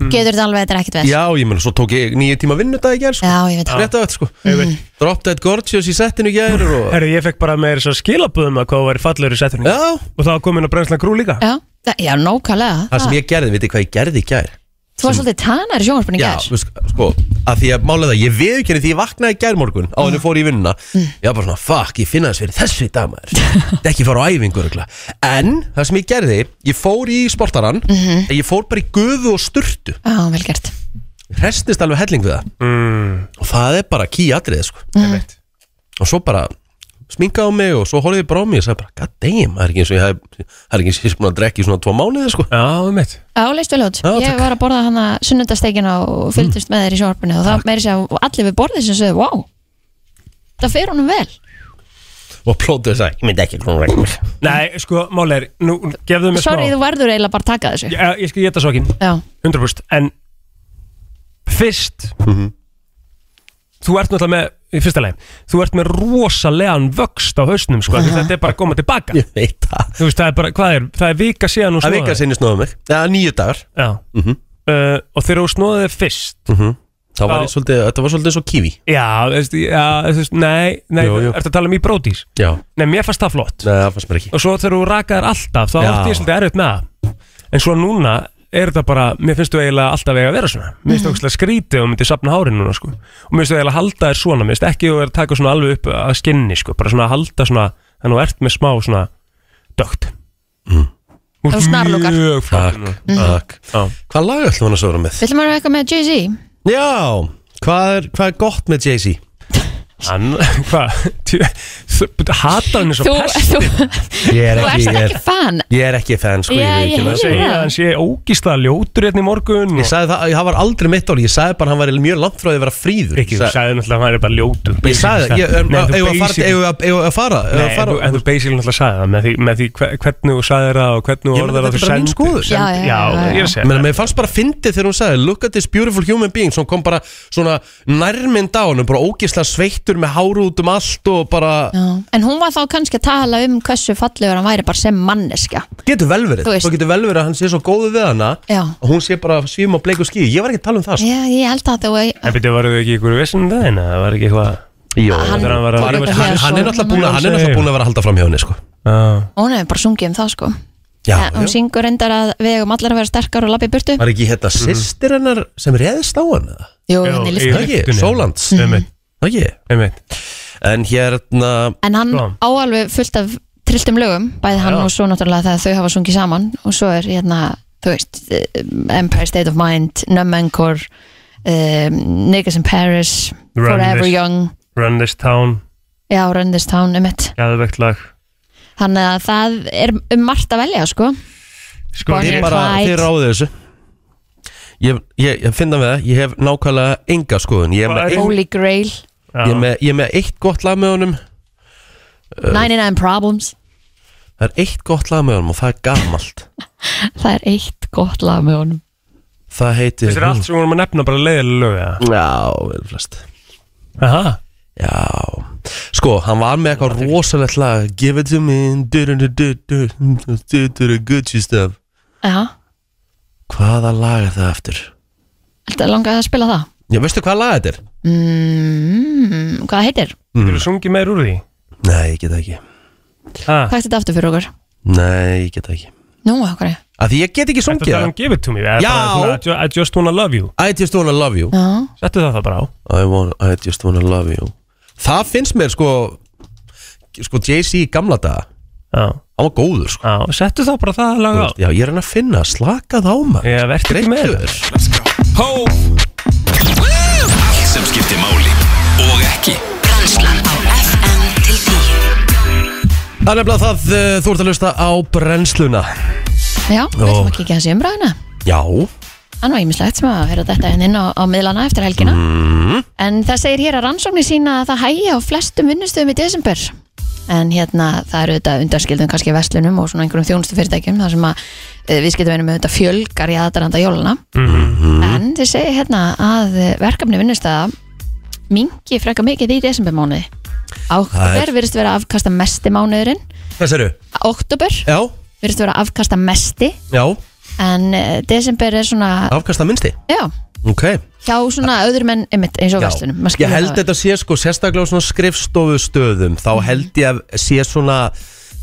Getur þetta alveg að þetta er ekkert verð Mm. já ég meina svo tók ég nýju tíma vinnudag í gerð sko Já, ég veit það Rétt af þetta sko Drop Dead Gorgeous í settinu í gerð og... Herri, ég fekk bara með þess að skilabúðum um að hvað væri fallegur í setjunni Já, Og það kom inn á brennslan grú líka Já, það- já nókvælega það sem ég gerði, veit hvað ég gerði í gerð Þú var svolítið tanar í sjónvarpunni Já, gær veist, sko, að því að málega það, ég veðurkenni því ég vaknaði gær morgun á henni fór í vinnuna Mm. Ég var bara svona, fuck, ég finna þess fyrir þessu í dag maður Þetta ekki fara á æfingu örugglega. En, það sem ég gerði, ég fór í sportaran Mhm. En ég fór bara í guðu og sturtu Já, vel gert Restist alveg helling við það mm. Og það er bara ký atriðið, sko Einmitt. Og svo bara sminkaði á mig og svo horfði ég bara á mig og sagði bara, god damn, það er ekki eins og ég hef- það er ekki eins og ég er búin að drekka í svona tvo mánuði, sko Já, um mitt Já, leist vel út Já, Ég takk. Mm. var að borða hana sunnundasteikina og fylgdist með þér í sjónvarpunni og það meiri sér að allir við borðið sem sögðu Vá, það fer honum vel Og plótið þess að, ég myndi ekki koma vegna mér Nei, sko, máleir, nú gefðu mér Sorry, smá þú verður eiginlega bara að taka þessu Ég, ég skal geta svo ekki Já, 100% En fyrst Mhm. Þú ert náttúrulega með Í fyrsta leið Þú ert með rosalegan vöxt á hausnum sko, af því Þetta er bara að koma tilbaka Ég veit það Þú veist, það er bara, hvað er, það er vika síðan hún Það snóðaði vika sinni snóðum mig, það er nýju dagar Já Mhm. uh, Og þegar hún snóðaði þér fyrst Það var Já. ég svolítið, þetta var svolítið eins og kiwi Já, þú veist, já, þú veist, nei, nei Jú, jú. Ertu að tala um í bródís? Já Nei, mér fannst það flott Nei, það fannst mér ekki Og svo þegar þú rakaðir alltaf, þá Já. átti ég svolítið erfitt með það En svo núna er þetta bara, mér finnst þú eiginlega alltaf eiga að vera svona Mér finnst þú mm. skrítið og myndið sapna hárin núna, sko Og mér finnst þú eiginlega að halda þér svona, mér finnst ekki þú verið að taka svona alveg upp að skinni, sko Bara svona að halda svona, þannig að þú ert með smá svona dögt Þú snarlokar. Mjög flott Takk, núna. takk Mhm. Já. Hvað lag ætlum hann að sögura með? viljum maður eitthvað með Jay-Z? Já, hvað er, hvað er gott með Jay-Z? Hann, hvað, djú- þú- hatar hann eins og Þú, pest þú, Ég er þú ekki, ég ert er, ekki fan ég er ekki fan, sko Já, ég, ég ég, heyri. ég, segja að hann sé ógísla ljótur hérna í morgun ég og sagði það, það var aldrei mitt áli Ég sagði bara að hann var mjög langt frá því að vera fríður ekki, þú sagði náttúrulega að hann er bara ljótur Ég sagði það, ég, en- Nei, þú eigum við að fara- basically- eigum við að- eigum við að fara eigum við að Nei, en fara- þú- en þú basically náttúrulega sagði það með því, með því hve- hvernig þú sagði það og hvernig þú Ég meina, orðar að þetta þú er bara mín skoðun. sendi- Já, já, já, já. já, ég er að Ég segja meina, mér fannst bara fyndið þegar hún sagði Look at this beautiful human being Svo hún kom bara svona nærmynd á hann Bara ógislega sveittur með háru út um allt Og bara, Já. En hún var þá kannski að tala um hversu fallegur hann væri bara sem manneskja getur vel verið Þú veist. Þú getur vel verið að hann sé svo góðu við hana Já, Og hún sé bara svíma á bleiku skíu Ég var ekki að tala um það sko. ég, ég held að þú En byrju, varuð þið ekki í ykkur vissin um daginn? eða var ekki eitthvað Jó, Hann- hann, Þegar hann var tók að um eitthvað hann, hann er svo- náttúrulega búin að Hann er náttúrulega búin að vera að halda fram hjá henni sko. Já. Hún hefur bara sungið um það sko Já, Eh, Hún já. syngur reyndar að við eigum allar að vera sterkar og labbi í burtu Var ekki hérna sýstir hennar sem reðist á hann eða? Jú, Já, hún er Mhm. ég- list Það ekki, lyktunni. Sólands Einmitt, Það ekki, einmitt en hérna En hann Já. á alveg fullt af trilltum lögum Bæði hann Já. og svo náttúrulega þegar þau hafa sungið saman Og svo er hérna, þú veist eh, Empire State of Mind, Numb Encore um, Niggas in Paris Run Forever This. Young Run this town, Já, Run This Town, um mitt gæðvegt lag Þannig að það er um margt að velja sko Sko, Bonnie Þið and bara, Clyde. þið ráðu þessu Ég, ég, ég finna með það, ég hef nákvæmlega enga skoðun Ég er Hvað með, er- ein, Holy Grail, já. ég er með, ég er með eitt gott lag með honum 99 Problems Það er eitt gott lag með honum og það er gamalt Það er eitt gott lag með honum Það heitir Þetta er allt sem við vorum að nefna bara leiðilega lög eða? Já, vel flest Aha. Já, sko, hann var með eitthvað rosalegt lag Give it to me do do do do do do do do do good she stuff Já, Hvaða lag er það eftir? þetta langaði að spila það Já, veistu hvaða lag þetta er? mm, Hvað heitir? Geturðu sungið meir úr því? Nei, ég get það ekki Ha. Hvað er þetta aftur fyrir okkur? Nei, ég get það ekki Nú, okkur Af því ég get ekki Þetta sungið er um það Give It To Me eða Já. bara svona, I ju- I just wanna love you I just wanna love you Já, Settu það það bara á I, want, I just wanna love you Það finnst mér sko Sko Jay-Z í gamla daga Já, Hann var góður sko já, settu það bara það lag á Já, ég er hann að finna, slakað á maður Ég verð ekki með Greittur. Allt sem skiptir máli og ekki Brennslan á FM til 10 eh, Það er nefnilega það, uh, þú ert að lusta á brennsluna Já, við ætlum að kíkja hans í umræðuna Já, Hann var ímislegt sem að vera þetta inn á, á miðlana eftir helgina Mhm. En það segir hér að rannsóknir sína að það hægja á flestum vinnustöðum í desember En hérna það eru þetta undanskildum kannski verslunum og svona einhverjum þjónustu fyrirtækjum þar sem að e, við skiltum einu með þetta fjölgar í aðdaranda jólana Mhm. En þið segir hérna að eh, verkefni vinnustöða mingi freka mikið í desembermánuði Það Oktober er- virðist vera afkasta mesti mánuðurinn hvað sérðu? Oktober Já, virðist vera afkasta mesti já, En eh, desember er svona, afkasta minnsti já Ok, hjá svona öðrum en einmitt, eins og já verslunum Ég held þetta sé sko sérstaklega á svona skrifstofustöðum Þá Mhm. held ég að sé svona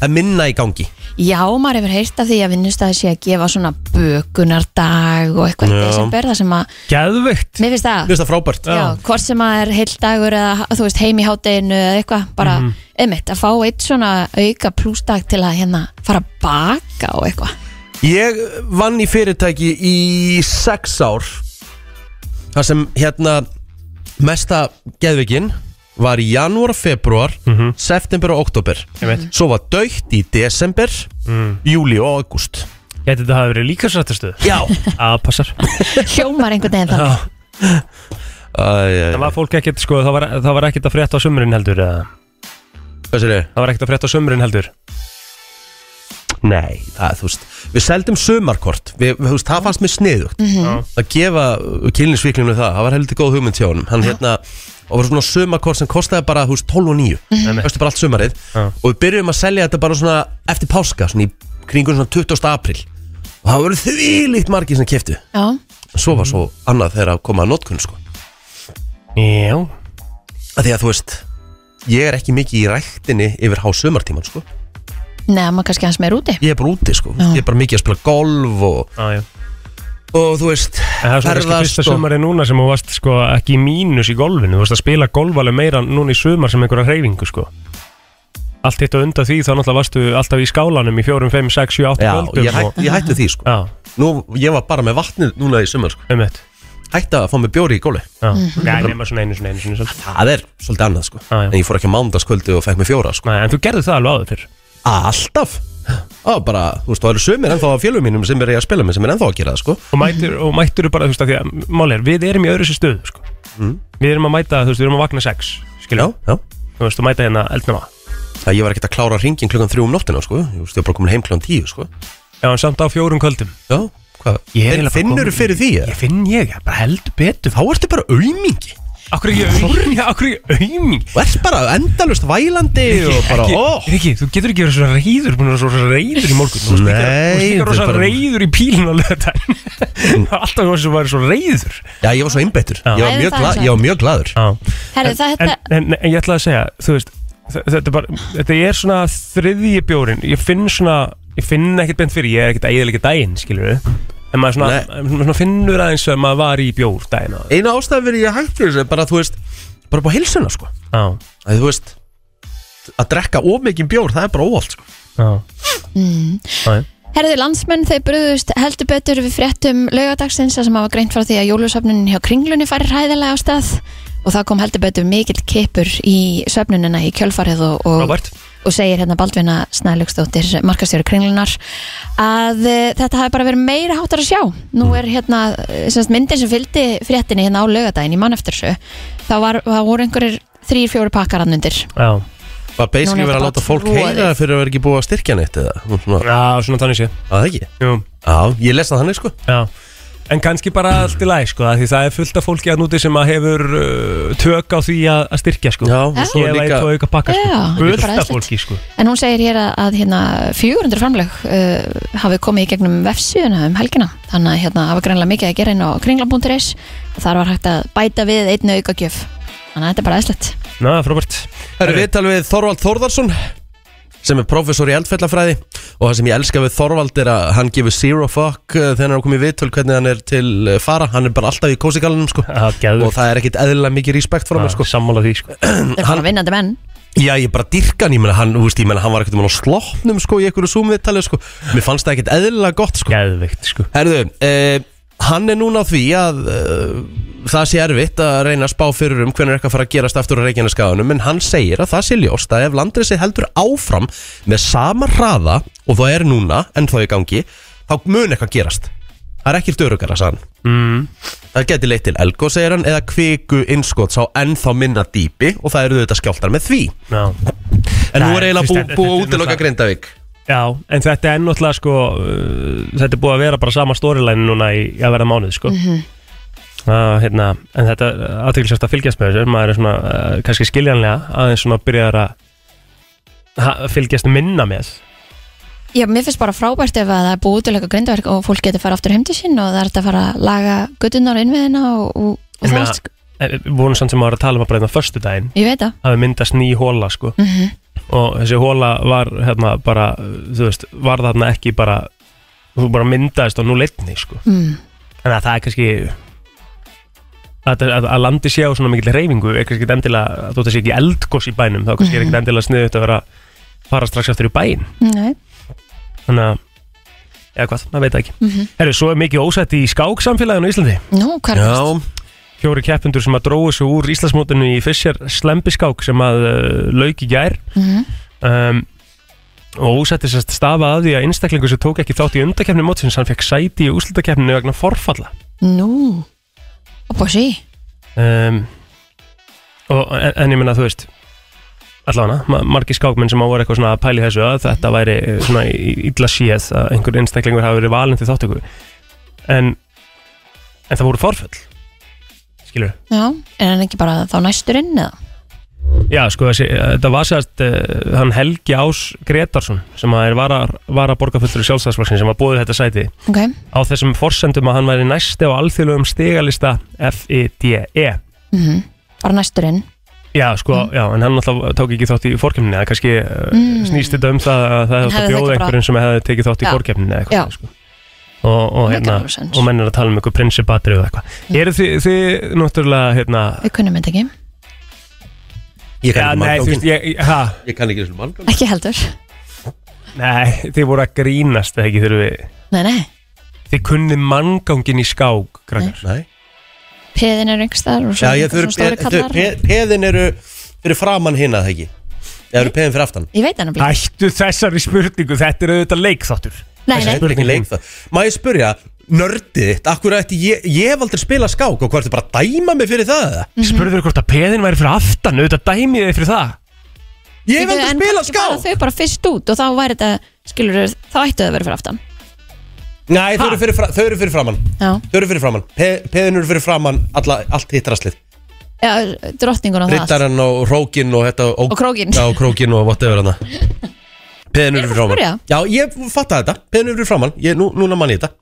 að minna í gangi já, maður hefur heyrt af því að vinnustæði sé að gefa svona bökunardag og eitthvað Já. í desember það sem að, Geðveikt mér finnst Mér það finnst það frábært já, hvort sem að er heil dagur eða þú veist heim í hátteginu eða eitthvað bara, Mhm. einmitt, að fá eitt svona auka plúsdag til að hérna fara að baka og eitthvað Ég vann í fyrirtæki í sex ár þar sem hérna mesta geðvikin var í janúar, februar, september og oktober Mhm, Einmitt. Mm. Svo var dögt í desember, Mm. júli og august Gæti þetta hafa verið líka sattastöð Já Að passar hljómar einhvern veginn þannig Æ, æ, Það var fólk ekkert sko Það var, það var ekkert að frétta á sömurinn heldur eða? Hvað sér ég? Það var ekkert að frétta á sömurinn heldur Nei, það, þú veist Við seldum sömarkort, við, við- þú veist, það fannst mér sniðugt Mhm. Að gefa kynlinsvíklinu það, það var heldur góð hugmynd hjá honum Hann hérna, og var svona sömarkort sem kostaði bara, þú veist, 12 og 9 nei. Östu bara allt sömarið Mhm. Já. Og við byrjum að selja þetta bara svona eftir páska, svona í kringun svona 20. april Og það voru þvílíkt margir sem keftu já, Svo var Mhm. svo annað þegar að koma að notkun, sko Já að Því að þú veist, ég er ekki mikið í ræktinni yfir há sömartíman, sko nema kannski hans meir úti Ég er bara úti, sko, Já. ég er bara mikið að spila golf og ah, já. og þú veist En það er svona kannski fyrsta ferðast sko. og sömari núna sem þú varst sko ekki í mínus í golfinu Þú varst að spila golf alveg meira núna í sömar sem einhverja hreyfingu sko Allt hitt og undan því þá náttúrulega varstu alltaf í skálanum í 4, 5, 6, 7, 8 Já, kvöldum ég, hætt, ég hætti því sko Já, Nú, ég var bara með vatnið núna í sumar sko. um eitt Hætti að fá mig bjóri í góli Já, Mhm. Nei, nema svona einu svona einu svona svolítið. Það er svolítið annað sko Já, já. En ég fór ekki á mándaskvöldu og fekk mig fjóra sko Nei, en þú gerði það alveg áður fyrr Alltaf Og bara, þú veist, það eru sumir ennþá á fjölum mínum sem er ég að spila með sem er ennþá að gera það sko og mætir, og mætir bara, þú veist, að því að mál er, við erum í öðru sér stöðu, sko við erum að mæta, þú veist, við erum að vakna sex Mm. Já, skiljum, já þú veist, og mæta hérna eldnama Það ég var ekkert að klára ringin klukkan þrjú um nóttina sko Ég veist, ég var bara komin heim klukkan tíu sko já, en samt á fjórum kvöldum Já, hvað Finn- Finnurðu fyrir því Ég eða? finn ég, ég bara heldur betur Þá ertu bara aumingi Akkur er ég auðmík, akkur er ég auðmík Og ert bara endalust vælandi og bara, oh. ekki, ó Riki, þú getur ekki verið svona reyður Búin að vera svona reyður í morgun Þú varst líka- Nei, Þú varst líka þetta er rosa bara- reyður í pílun á löðdæn Alltaf þú varst svo bara svona reyður Já, ég var svo einbeittur Ég var Nei, mjög það er gla- svo. ég var mjög glaður Já Herri, það, en, þetta, en, en ég ætla að segja, þú veist þe- þetta er, bara, þetta er svona þriðji bjórin ég finn svona, ég finn ekkert beint fyrir ég er ekkert æðilega daginn, skilur við en maður svona, maður svona finnur aðeins að maður var í bjór daginn á eina ástæðan fyrir ég hætti þessu er bara þú veist bara upp á hilsuna sko á, að þú veist að drekka of mikið bjór það er bara óvald sko á, Mm. á, Herðu landsmenn, þau brúðust heldur betur við fréttum laugadagsins þar sem hafa greint frá því að jólusöfnunin hjá kringlunni fari hræðilega á stað og það kom heldur betur mikill kipur í söfnunina í kjölfarið og, og, Robert og segir hérna Baldvina Snælugstóttir, markastjóri kringlunar að e, þetta hafi bara verið meira háttar að sjá. Nú er hérna eh, sem sagt, myndin sem fylgdi fréttinni hérna á laugadaginn í mann eftir þessu þá var, það voru einhverjir þrýr, fjóri pakkar annundir. á, var basically Núna verið er að þetta láta bara fólk troðið. heyra fyrir að vera ekki búið að styrkja neitt eða Nú, svona, á, svona þannig sé að það ekki jú, já ég lesa þannig sko já En kannski bara allt í læg sko, af því það er fullt af fólki að núti sem að hefur uh, tök á því að, að styrkja sko. já og svo Ég líka læt og auka pakka sko. Já, þetta er fullt bara af æðislegt. fólki sko. En hún segir hér að, að hérna, 400 framlög uh, hafi komið í gegnum vefsíðuna um helgina þannig að hérna, hafa greinlega mikið að gera inn á kringla.is og þar var hægt að bæta við einu aukagjöf þannig að þetta er bara eðslegt Ná, frábært Það er viðtal við Þorvald Þórðarsson sem er professor í eldfellafræði og það sem ég elska við Þorvald er að hann gefur zero fuck uh, þegar hann er að koma í viðtöl hvernig hann er til uh, fara hann er bara alltaf í kósikalunum sko Já, geðveikt. og það er ekkit eðlilega mikið respekt frá mér sko Sammála því sko. þetta er bara vinnandi menn Já, ég bara dyrka hann, ég meina hann, þú veist, ég meina hann var ekkert um hann á sloppnum, sko, í einhverju súmviðtalið, sko Mér fannst það ekkert eðlilega gott, sko Geðvikt sko. Herðu, eh, hann er núna á því að eh, það sé erfitt að reyna að spá fyrir um hvernig er eitthvað að fara að gerast aftur á Reykjaneskaðanum en hann segir að það sé ljóst að ef landrið sé heldur áfram með sama hraða og það er núna en þá í gangi þá mun eitthvað gerast það er ekkert örugara, sagði hann mm. það geti leitt til elgo, segir hann eða kviku innskots á ennþá minna dýpi og það eru þetta skjáltar með því Já. en nú Nei, er eiginlega þú veist, bú, búið að þetta er útiloka náttúrulega- Grindavík Já, en þetta er náttúrulega sko uh, Þetta er búið að vera bara sama storyline núna í í að verða mánuð sko mm Mhm. hérna, En þetta aðtökulsast að fylgjast með þessu maður er svona, uh, kannski skiljanlega aðeins svona byrjar að ha- fylgjast minna með Já, mér finnst bara frábært ef að það er búið útilega grindaverk og fólk getur fara aftur heim til sín og það er þetta að fara að laga guttunar inn við hérna og, og, og Ég það meina- allt, sko. Eh, Við vorum samt sem að vera að tala um að breyna förstu daginn ég veit það að við myndast ný hóla sko Mhm. og þessi hóla var hérna bara, þú veist, var þarna ekki bara, þú bara myndaðist á núleitni sko mm. Þannig að það er kannski að, að, að landi sé á svona mikill reyfingu er kannski ekki endilega, að þú þetta sé ekki eldgoss í bænum þá kannski er ekki endilega sniðut að vera að fara strax aftur í bæin Nei, þannig að, eða hvað, maður veit það ekki Mhm. Herru, svo er mikið ósætt í skáksamfélaginu í Íslandi nú, hvað er það? fjóri keppendur sem að dróðu sig úr Íslandsmótinu í Fischer slembiskák sem að uh, lauk í gær Mhm. um, og ósætti sérst stafa að því að einstaklingur sem tók ekki þátt í undakefni mótsins hann fekk sæti í úslutakefninu vegna forfalla Nú, og bósi um, og, en, en ég minna þú veist allavega, ma- margir skákmenn sem á voru eitthvað svona að pæli þessu að þetta væri eh, svona í- illa séð að einhver einstaklingur hafi verið valin til þáttöku en, en það voru forföll skilur Já, er hann ekki bara þá næsturinn eða? já sko þessi, eh, þetta var sérst uh, hann Helgi Ás Gretarsson sem að er vara, vara borgarfullur sjálfstæðsflokksins sem var búið þetta sæti Ok, á þessum forsendum að hann væri næsti á alþjóðlegum stigalista FIDE mhm. bara næsturinn Já, sko, já, en hann náttúrulega tók ekki þátt í fórkjöfninni eða kannski mm. Mm. snýst þetta um það að En það hefði átt hefði að það bjóða ekki bara- einhverjum sem hefði tekið þátt í Já. fórkjöfninni Já. eða eitthvað, sko. Og, og, Make hérna, a lot of sense. og menn er að tala um einhver prinsipatrið eða eitthvað. Mm. Eru þið, þið náttúrulega, hérna, Við kunnum þetta ekki, ég já, kann ekki nei, þú veist, málgangin ég, ég- ha, ég kann ekki þessum málgangin ekki heldur nei, þið voru að grínast eða ekki þegar við, Nei, nei, þið kunni manngangin í skák, krakkar. nei peðin er yngstar og svo, Já, ég svo stóri kallar þurfi, peðin eru fyrir framann hinna það ekki Það eru peðin fyrir aftan Ég veit hann að bíl Hættu þessari spurningu, þetta er auðvitað leikþáttur. Nei, Þessi nei, spurning leik það Má ég spurja, nördið þitt, akkur ætti ég, ég hef aldrei spilað skák og hvað ertu bara að dæma mig fyrir það? eða? Mhm. Spurður hvort að peðin væri fyrir aftan, auðvitað dæmið þið fyrir það. Ég hef aldrei En spilað kannski fara skák Þau bara fyrst út og þá væri þetta, skilur þá ættu þau að vera fyrir aftan Nei, þau Ha? eru fyrir, fra- þau eru fyrir framann Já, Þau eru fyrir framann, Pe, peðin eru fyrir framann alla, allt hitt rastlið Já drottningun og það allt. Rittarinn og rókin og þetta Og, Og krókinn. Já, og krókin og whatever hana Peðin eru Ég er fyrir að framann Já, ég fatta þetta, peðin eru fyrir framann ég, nú, Núna mann ég þetta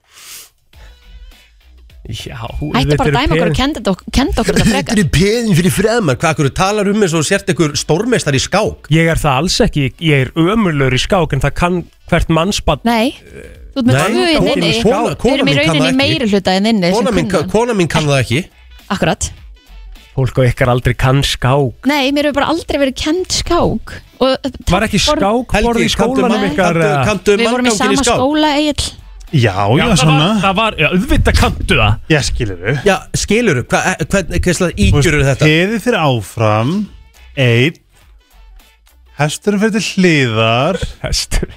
Já, Hættu auðvitað bara að eru dæma okkur peðin- og kenda þetta ok- kenda okkur þetta frekar Þetta eru peðin fyrir fremar Hvað akkur talar um eins og þú sért einhver stórmeistar í skák Ég er það alls ekki, ég er ömurlur í skák en það kann hvert mannspann Nei, þú ert með Nei, tvö inn kona- inni kona- Við kona mín kann það erum í rauninni ekki. meiri hluta en inni Kona sem mín, kunna hann. kona mín kann það ekki Akkurat Fólk á ykkar aldrei kann skák Nei, mér hefur bara aldrei verið kend skák og, Var ekki skákborð í Helgi, kanntu skólanum mann- ykkar kanntu- eða? Kanntu Við vorum í manngangin sama í skák skóla Egil Já, Já, já, það var, svona það var, já, auðvitað kanntu það Ég skilur þau Já, skilur, hvað hva, eh, hva, hva, ígjur eru þetta? Heiði fyrir áfram Einn Hesturinn fyrir til hliðar Hestur.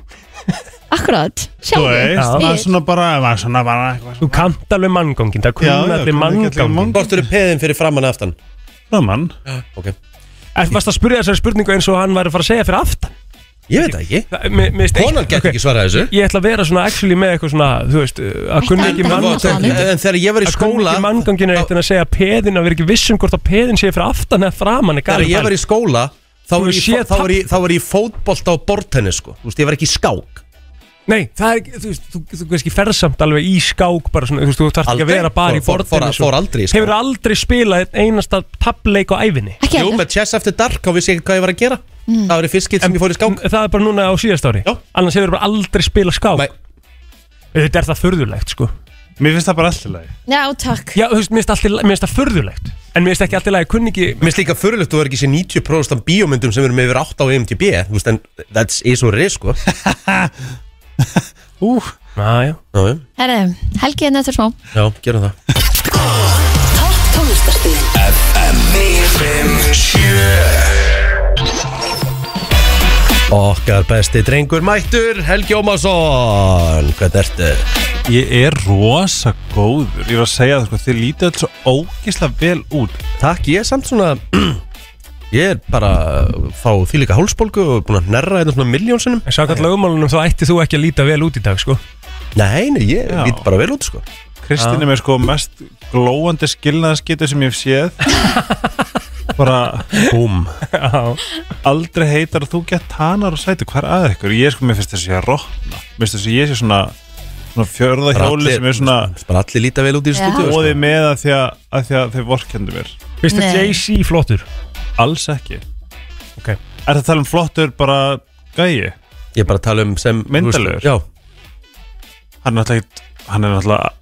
Akkurat, Þú sjáðu veist, Já. það var svona bara Það var svona bara Þú eitthvað svona hérna kannt alveg manngangin, það Já, kunna já, allir kunna ekki allir manngangin manngangin. Hvort eru peðin fyrir framan eða aftan? Framan Ok, Eftir varst að spyrja þessari spurningu eins og hann væri að fara að segja fyrir aftan ég veit það ekki Það- mér- mér finnst Konan eitt- gett ok, ekki svarað þessu Ég ætla að vera svona actually með eitthvað svona, þú veist, uh, að kunna Ætti ekki að En mann- það- manngangin manngangin. En þegar ég var í Að kunna skóla ekki manngangin er eitt en að segja að peðin að vera ekki vissum hvort að peðin sé fyrir aftan eða framan er Þegar galið ég var í skóla Þá Þú var ég, séð þá var ég, þá var ég fótbolta og bortennis sko Þú veist, ég var ekki í skák Nei, það er ekki, þú veist, þú, þú veist ekki ferðsamt alveg í skák bara svona, þú veist, þú þarf ekki að Aldrei. vera bara í Fór- fór- fór- borðinu fór aldrei í skák. Hefur aldrei spilað einn einasta tableik á æfinni Ekki Jú, heldur með Chess After Dark þá vissi ég ekki hvað ég var að gera Mm. Það var í fiskit sem ég fór í skák Það er bara núna á síðast ári Já. Annars hefur bara aldrei spilað skák Nei. Þetta er það furðulegt, sko Mér finnst það bara alltaf leið Já, takk Já, þú veist, mér finnst allt í lagi- mér finnst það furðulegt En mér finnst ekki alltaf lagi kunningi Mér finnst líka fyrirlegt að þú er ekki sé 90% af bíómyndum sem eru með yfir 8 á E IMDb Þú veist, en that's is or is, sko Já, Ú, Já, já já, Herre, helgið hérna, er nöttur smá já, gerum það Topp tónlistarspilin Okkar besti drengur mættur, Helgi Ómarsson Hvernig ertu? Ég er rosa góður Ég var að segja það sko, þið lítið alls svo ógislega vel út Takk, ég er samt svona Ég er bara að fá því líka hálsbólgu og búin að nerra einhvern svona miljónsinnum En samkvæmt lögumálunum þá ætti þú ekki að líta vel út í dag sko Nei, nei, ég Já. vít bara vel út sko Kristinn er með sko mest glóandi skilnaðaskitu sem ég hef séð Bara Búm Já, aldrei heitar að þú gett hanar og sæti Hvað er að ykkur? Ég sko, mér finnst þessi að rotna Mér finnst þessi ég sé svona, svona fjörða hjóli sem er svona Bara allir líta vel út í Já. stúdíu sko. Óði með að því að, að, því að þau vorkendu mér finnst Nei. þið Jay-Z flottur? Alls ekki Ok. Er það að tala um flottur bara gæi? Ég er bara að tala um sem Myndarlegur? Já, Hann er náttúrulega, ekkit- hann er náttúrulega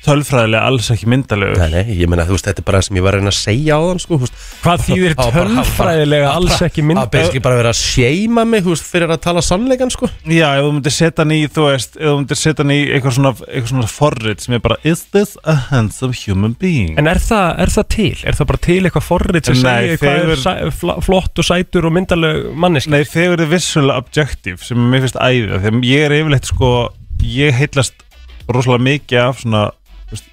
tölfræðilega alls ekki myndalegur nei, nei, ég meina þú veist, þetta er bara sem ég var að reyna að segja á þann sko, þú veist. Hvað þýðir Á, bara- tölfræðilega alls ekki Að mynda? basically bara vera að seima mig, þú veist, fyrir að tala sannleikan sko Já, ef þú myndir setja hann í, þú veist, ef þú myndir setja hann í eitthvað svona, eitthvað svona forrit sem er bara Is this a handsome human being? En er það, er það til? Er það bara til eitthvað forrið sem Nei, segir hvað þegar- er sæ, fla- flott og sætur og myndaleg manneski? Nei, þeir verður vissulega objective sem mér finnst æðið, þegar ég er yfirleitt sko, ég heillast rosalega mikið af svona, þú veist,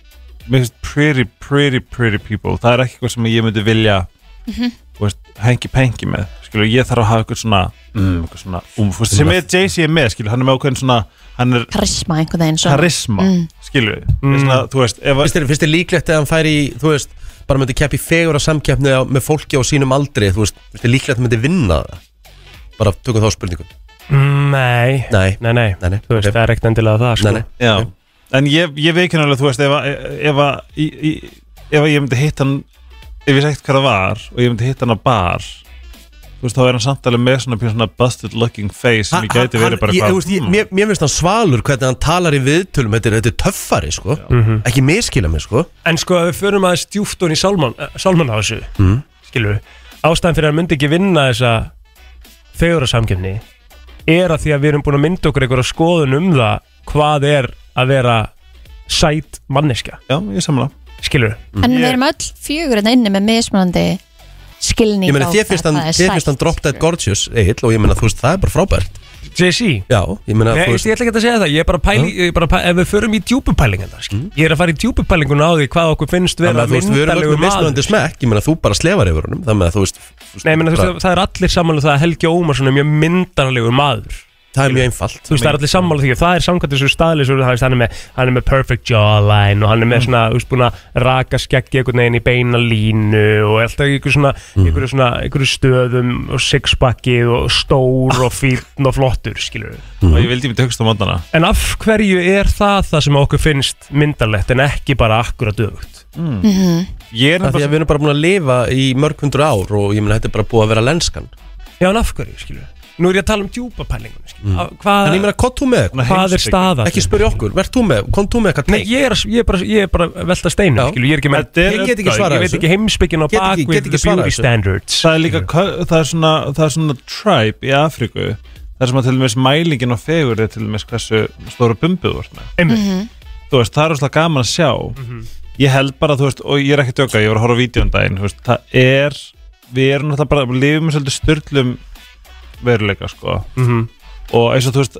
mér finnst pretty, pretty, pretty people, það er ekki eitthvað sem ég myndi vilja, þú veist, hengi-pengi með, skilur, ég þarf að hafa eitthvað svona, mm, eitthvað svona, um, þú veist, sem er Jay-Z er með, skilur, hann er með ákveðin svona, hann er karisma einhvern veginn svo. karisma, Mm. skilur, mm. svona, þú veist, ef að, Fyrst er, fyrst er líklegt að hann færi í, þú veist, bara myndi keppi fegur á samkeppni á, með fólki á sínum aldri, þú veist, fyrst er líklegt að hann myndi vinna það Bara tökum þá spurningu Nei, Nei. nei, nei. Nei, nei, Þú veist, ok. það er ekkert endilega það sko. Nei, nei, Já, en ég, ég veikin alveg, þú veist, ef, að- ef, að- í- í- ef að ég myndi hitt hann, ef ég sagt hvað það var og ég myndi hitt hann á bar, þú veist, þá er hann samt alveg með svona pínu svona busted looking face sem ég gæti verið bara ég, þú veist, hvað, ég, Mm. mér, mér finnst hann svalur hvernig hann talar í viðtölum Þetta er, þetta er töffari, sko Ekki miskila mig, sko Mhm. En sko, ef við förum aðeins djúft ofan í eh, sálman, sálman á þessu, mm. skilur ástæðan fyrir að hann myndi ekki vinna þessa fegurarsamkjöfni er að því að við erum búin að mynda okkur einhverja skoðun um það hvað er að vera sæt manneskja, já, ég samla. skilur En við Ég- erum öll fjögur en inni með mismunandi skilning Ég meina, á þér hvað finnst hann, það er þér sætt, sko. finnst hann drop dead skilur. gorgeous, Egil Og ég meina, þú veist, það er bara frábært JC, Já, ég meina, Nei, þú veist, veist ég ætla ekki að segja það, ég er bara að pæli, ég er bara að pæli ef við förum í djúpupælingan það, skil ég er að fara í djúpupælingun á því hvað okkur finnst Mm. Þannig vera að þú veist, við erum öll myndalegu með mismunandi maður smekk Ég meina, þú bara slefar yfir honum Þannig að þú veist, þú veist, Nei, menn, þú bara- veist, það er allir sammála um það að Helgi Ómarsson er mjög myndalegur maður það er mjög einfalt þú veist, það er allir sammála um því og það er samkvæmt þessu staðlis og það veist, hann er með, hann er með perfect jawline og hann Mm. er með svona, þú veist, búin að raka skeggi einhvern veginn í beina línu og alltaf í einhverju svona, Mm. einhverju svona einhverju stöðum og sixpacki og stór og fýrn og flottur skilur Mhm. Og ég vildi ég myndi um högst á mótana. en af hverju er það það sem okkur finnst myndalegt en ekki bara akkurat dögt Ég er Af Því að nefnilega, við erum bara búin að lifa í mörg hundru ár Og ég meina, þetta er bara búið að vera lenskan já, en af hverju, skilur nú er ég að tala um djúpa pælingun mm. En hvað, ég meina, hvað þú með? hvað er heimspeki. staða Ekki spyrja okkur, verð þú með? Kom þú með eitthvað Nei, take? ég er, að- ég er bara, ég er bara að velta steinu, Já. skilur, ég er ekki með Þetta er- Ég get ekki Ég svarað Ég veit ekki heimsbyggin á Get ekki- bakvið get ekki the svarað beauty þessu. standards það er líka, kö- það er svona, það er svona tribe í Afríku, það er sem að til dæmis mælingin á fegur er til dæmis hversu stóru bumbuð vart með. Einmitt. þú veist, það er rosalega gaman að sjá ég held bara, þú veist, og ég er ekki að djóka ég var að horfa á vídeo um daginn, þú veist, það er við erum náttúrulega bara, við lifum í svolítið styrlum veruleika, sko Mhm. og eins og þú veist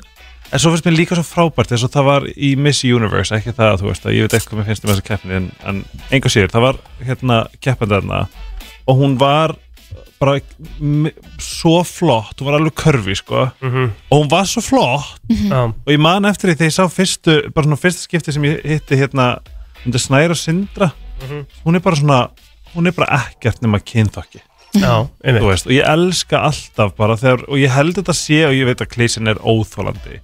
en svo finnst mér líka svo frábært, eins og það var í Miss Universe, ekki það að þú veist að ég veit ekki hvað mér finnst um þessa keppni, en, en enga sér, það var hérna keppandi þarna og hún var bara m- svo flott, hún var alveg körfi, sko Mhm. og hún var svo flott Já. og ég man eftir því þegar ég sá fyrstu bara svona fyrsta skipti sem ég hitti hérna undir Snæra Sindra hún er bara svona, hún er bara ekkert nema kynþokki, Já, þú einmitt veist, og ég elska alltaf bara þegar, og ég held þetta sé og ég veit að klísin er óþólandi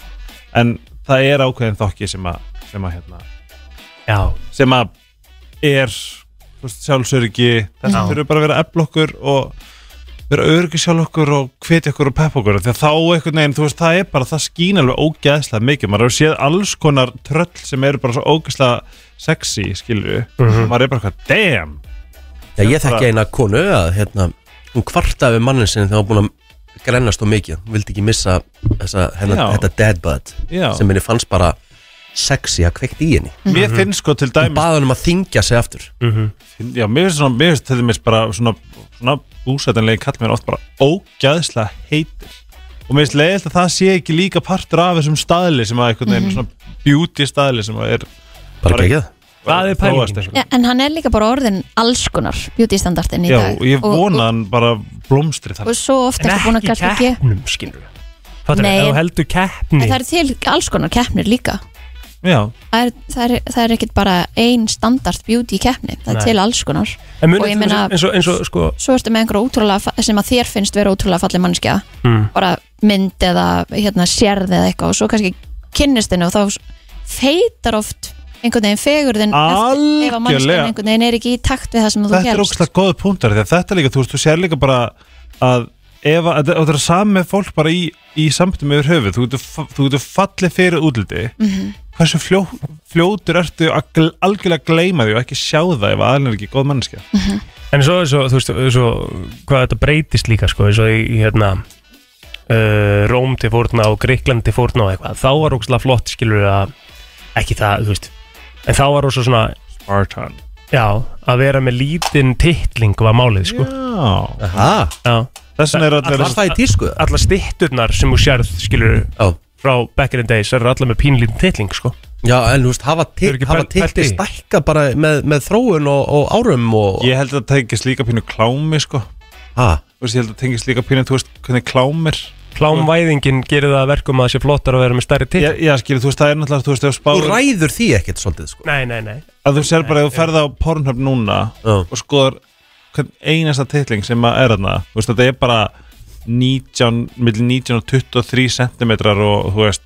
en það er ákveðin þokki sem að sem að hérna, Já, sem að er þú veist, sjálfsöryggi, þess að þurfum bara að vera að efla okkur og vera öryggi sjálf okkur og hvetja okkur og peppa okkur því að þá einhvern veginn, þú veist, það er bara það skýn alveg ógeðslega mikið, maður hefur séð alls konar tröll sem eru bara svo ógeðslega sexy, skilju, maður er bara eitthvað damn, Já, ég Bara- þekki eina konu að hérna, hún kvartaði við mannin sinni þegar hún var búin að grennast á mikið, hún vildi ekki missa þessa, hennar, Já. þetta dead bud Já. sem henni fannst bara sexy að kveikt í henni mér finnst sko til hún dæmis baði hann um að þingja sig aftur Mm. já, mér finnst svona, mér finnst til dæmis bara svona, svona úsætanlegi kall mér oft bara ógeðslega heitir og og mér finnst leiðilt að það sé ekki líka partur af þessum staðli sem að einhvern veginn svona beauty staðli sem að er Bara ekki það Það er þróast sko. pælingin eitthvað. Já, en hann er líka bara orðin alls konar beauty standardin í Já, dag og ég vona hann bara blómstri og, og þannig svo ofta En ekki búin að ekki kannski ekki keppnum, skilur Fattur, Nei, ef þú en- heldur en keppni það er til alls konar keppnir líka Já, það er, það er, það er ekkit bara ein standard beauty keppni, það er Nei. til alls konar En munið og ég til dæmis meina- eins og, eins og sko svo ertu með einhverja ótrúlega fa- sem að þér finnst vera ótrúlega falleg mannskja Mm. bara mynd eða hérna, sérð eða eitthvað og svo kannski kynnist henni og þá s- feitar oft einhvern veginn fegurðin eftir- ef að Algjörlega. mannskjan einhvern veginn er ekki í takt við það sem þú þetta er helst ógæslega góð punktar því að þetta líka, þú veist, þú sér líka bara að ef að þetta- þetta er sami með fólk bara í, í samtum yfir höfuð þú getur, fa- þú getur fallið fyrir útliti hversu fljó, fljótur ertu að gl- algjörlega gleyma því og ekki sjá það ef aðalinn er ekki góð manneskja En svo, svo, þú veist, svo, hvað þetta breytist líka, sko, eins og í, í, hérna, uh, Róm til fórna og Greiklandi fórna og eitthvað, þá var ógstlega flott, skilur að, ekki það, þú veist, en þá var ógstlega svona, Spartan já, að vera með lítinn titling var málið, sko, Já, Aha, já. þess vegna er allir var það í tísku það? Alla stitturnar sem þú sérð, skilur, Já, frá back in the days, er alla með pínlítinn titling, sko. já en þú veist, hafa til- Hefur ekki hafa pælt- pælt tilti í því? stækka bara með, með þróun og, og árum og Ég held að það tengist líka pínu klámi sko Ha, Þú veist, ég held að það tengist líka pínu, þú veist, hvernig klámir Klámvæðingin gerir það að verkum að það sé flottar að vera með stærri titling. Já, já skilur, þú veist, það er náttúrulega, þú veist, ef Þú spáður ræður því ekkert svolítið sko Nei, nei, nei. að þú sér bara að þú ferða á Pornhub núna Já. og skoðar hvern einasta titling sem að er þarna þú veist þetta er bara 19, millir 19 og 23 cm og þú veist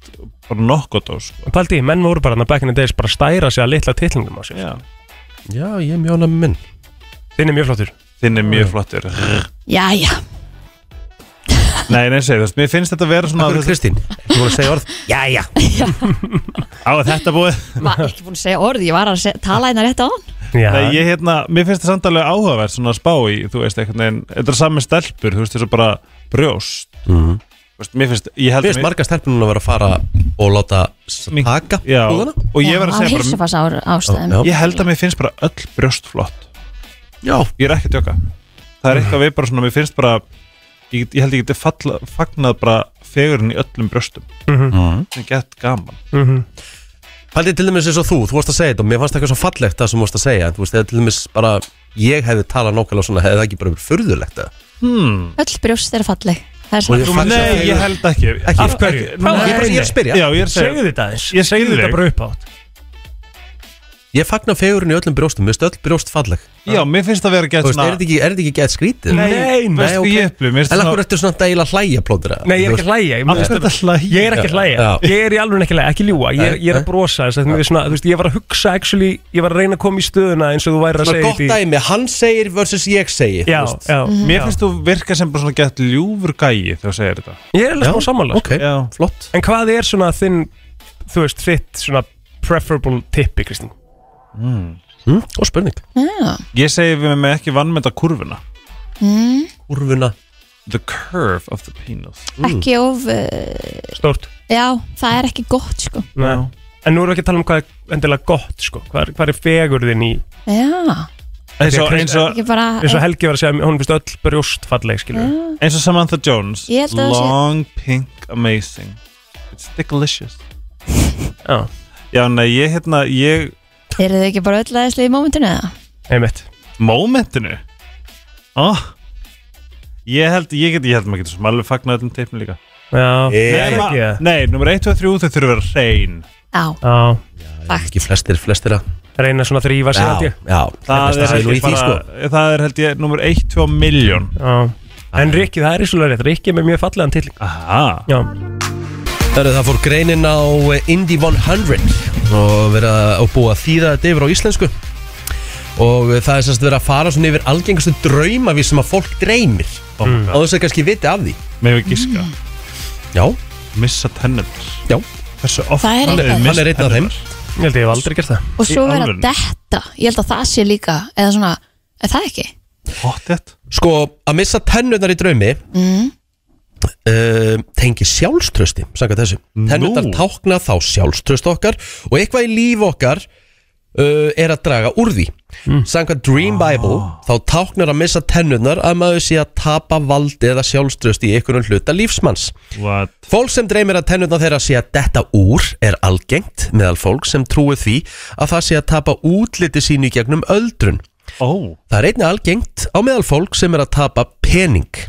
bara nokkodós sko. Paldi, menn voru bara þarna back in the days bara að stæra sig að litla titlingum á sér. Já. Já, ég er mjóna með minn Þinn er mjög flottur. þinn er mjög flottur Jæja, nei, nei, segi, þú veist, mér finnst þetta vera svona Hvað er Kristín? Þú voru að segja orð jæja á þetta búið maður er ekki búin að segja orð ég var að se- tala hérna rétt á hann Já, Nei, ég hérna, mér finnst það samt alveg áhugavert svona að spá í, þú veist, einhvern veginn þetta er sami stelpur, þú veist, þessu bara brjóst Mhm. Þú veist, mér finnst, ég held Mér finnst marga stelpur núna að vera að fara og láta s- Mink- taka já, húðina. og ég var að segja bara, bara ástæðum Já. Ég held að mér finnst bara öll brjóst flott Já, Ég er ekki að tjóka Það er eitthvað við bara svona, mér finnst bara Ég, get- ég held ég geti falla, fagnað bara fegurinn í öllum brjóstum Mhm. Það er gett gaman Mhm. Paldið til dæmis eins og þú, þú varst að segja þetta og mér fannst eitthvað svo fallegt það sem þú varst að segja en þú veist, eða til dæmis bara ég hefði talað nákvæmlega svona, hefði það ekki bara verið furðulegt eða? öll brjóst er falleg það er Og svona ég fann Nei, ég held ekki Ekki? Af hverju? Ekki. Hvað? Ég er bara- ég er að spyrja. Já, ég er að segja segðu þetta eins. Ég segi Segðu þig. þetta bara upp átt. Ég fagna fegurinn í öllum brjóstum, mér finnst öll brjóst falleg Já, mér finnst það vera Þú gett veist, er svona þetta ekki, er þetta ekki gett skrítið? Nei, Nei, veist ok. ég upplif Mér En finnst akkur svona ertu svona deila hlæja plótur eða? Nei, ég Þú er ekki veist, að hlæja Ég, Af mér- hverju ertu að hlæja? ég er ekki að hlæja Já. Ég er í alveg ekki að hlæja, ekki ljúa Ég, er- ég er að brosa þess að mér er svona, þú veist, Ég var að hugsa, actually, ég var að reyna að koma í stöðuna eins og þú væri að Svona segja gott dæmi, hann segir versus ég segi þú Já, veist. Mhm. já Mhm. Mér finnst þú virka sem bara svona gett ljúfur gæi þegar þú segir þetta Ég er alveg Já, smá sammála Ok, Já. flott En hvað er svona þinn, þú veist, þitt svona preferable tippi, Kristín? mm, Og spurning Ég segi við með ekki vannmeta kurvuna Mm. Úrfuna The curve of the penis Hm. ekki of uh, Stort já, það er ekki gott sko En nú erum við ekki að tala um hvað er endilega gott, sko Hvað er, hvað er fegurðin í já, Eins og, Ég- eins og ekki bara eins og Helgi var að segja, hún finnst öll brjóst falleg, skilur eins og Samantha Jones Ég held að það sé- long, pink, amazing it's delicious Já, Ah. já, nei, ég hérna, ég eru þau ekki bara öll aðeinslega í mómentinu eða? einmitt momentinu oh. ég held, ég get, ég held maður getur sem alveg fagnað öllum teipnum líka Já, Ég- Nei, Nema- ekki það. nei, nummer 1, 2, 3, þau þurfum að vera hrein já, Já, Ekki flestir, flestir að reyna svona að þrýfa sig held Já, ég. já það er, flestir nú held í ég því, bara, sko. það er held ég nummer 1, 2 miljón Já. En Rikki, það er í svolítið rétt Rikki er með mjög fallegan til aha, Já, Herru, Það fór greinin á Indy 100 og verið að búa að þýða þetta yfir á íslensku og það er semst verið að fara svona yfir algengastu draumavís sem að fólk dreymir á þess að kannski viti af því með við giska Já, missa tennunar já, hversu oft Það er hann eitthvað. misst Hann er einn af þeim. tennurnar? ég held að ég hef aldrei gert það og svo Í vera alvöru? detta ég held að það sé líka, eða svona er það ekki? Pottþétt. sko að missa tennurnar í draumi uh, mm. tengi sjálfströsti sagði þessu, tennurnar tákna þá sjálfströst okkar og eitthvað í líf okkar uh, er að draga úr því Samkvæmt Dream Bible þá táknar að missa tennurnar að maður sé að tapa valdi eða sjálfströst í einhvern hluta lífsmanns What? Fólk sem dreymir að tennurnar þeirra sé að detta úr er algengt meðal fólk sem trúið því að það sé að tapa útliti sínu í gegnum öldrun Ó, Það er einnig algengt á meðal fólk sem er að tapa pening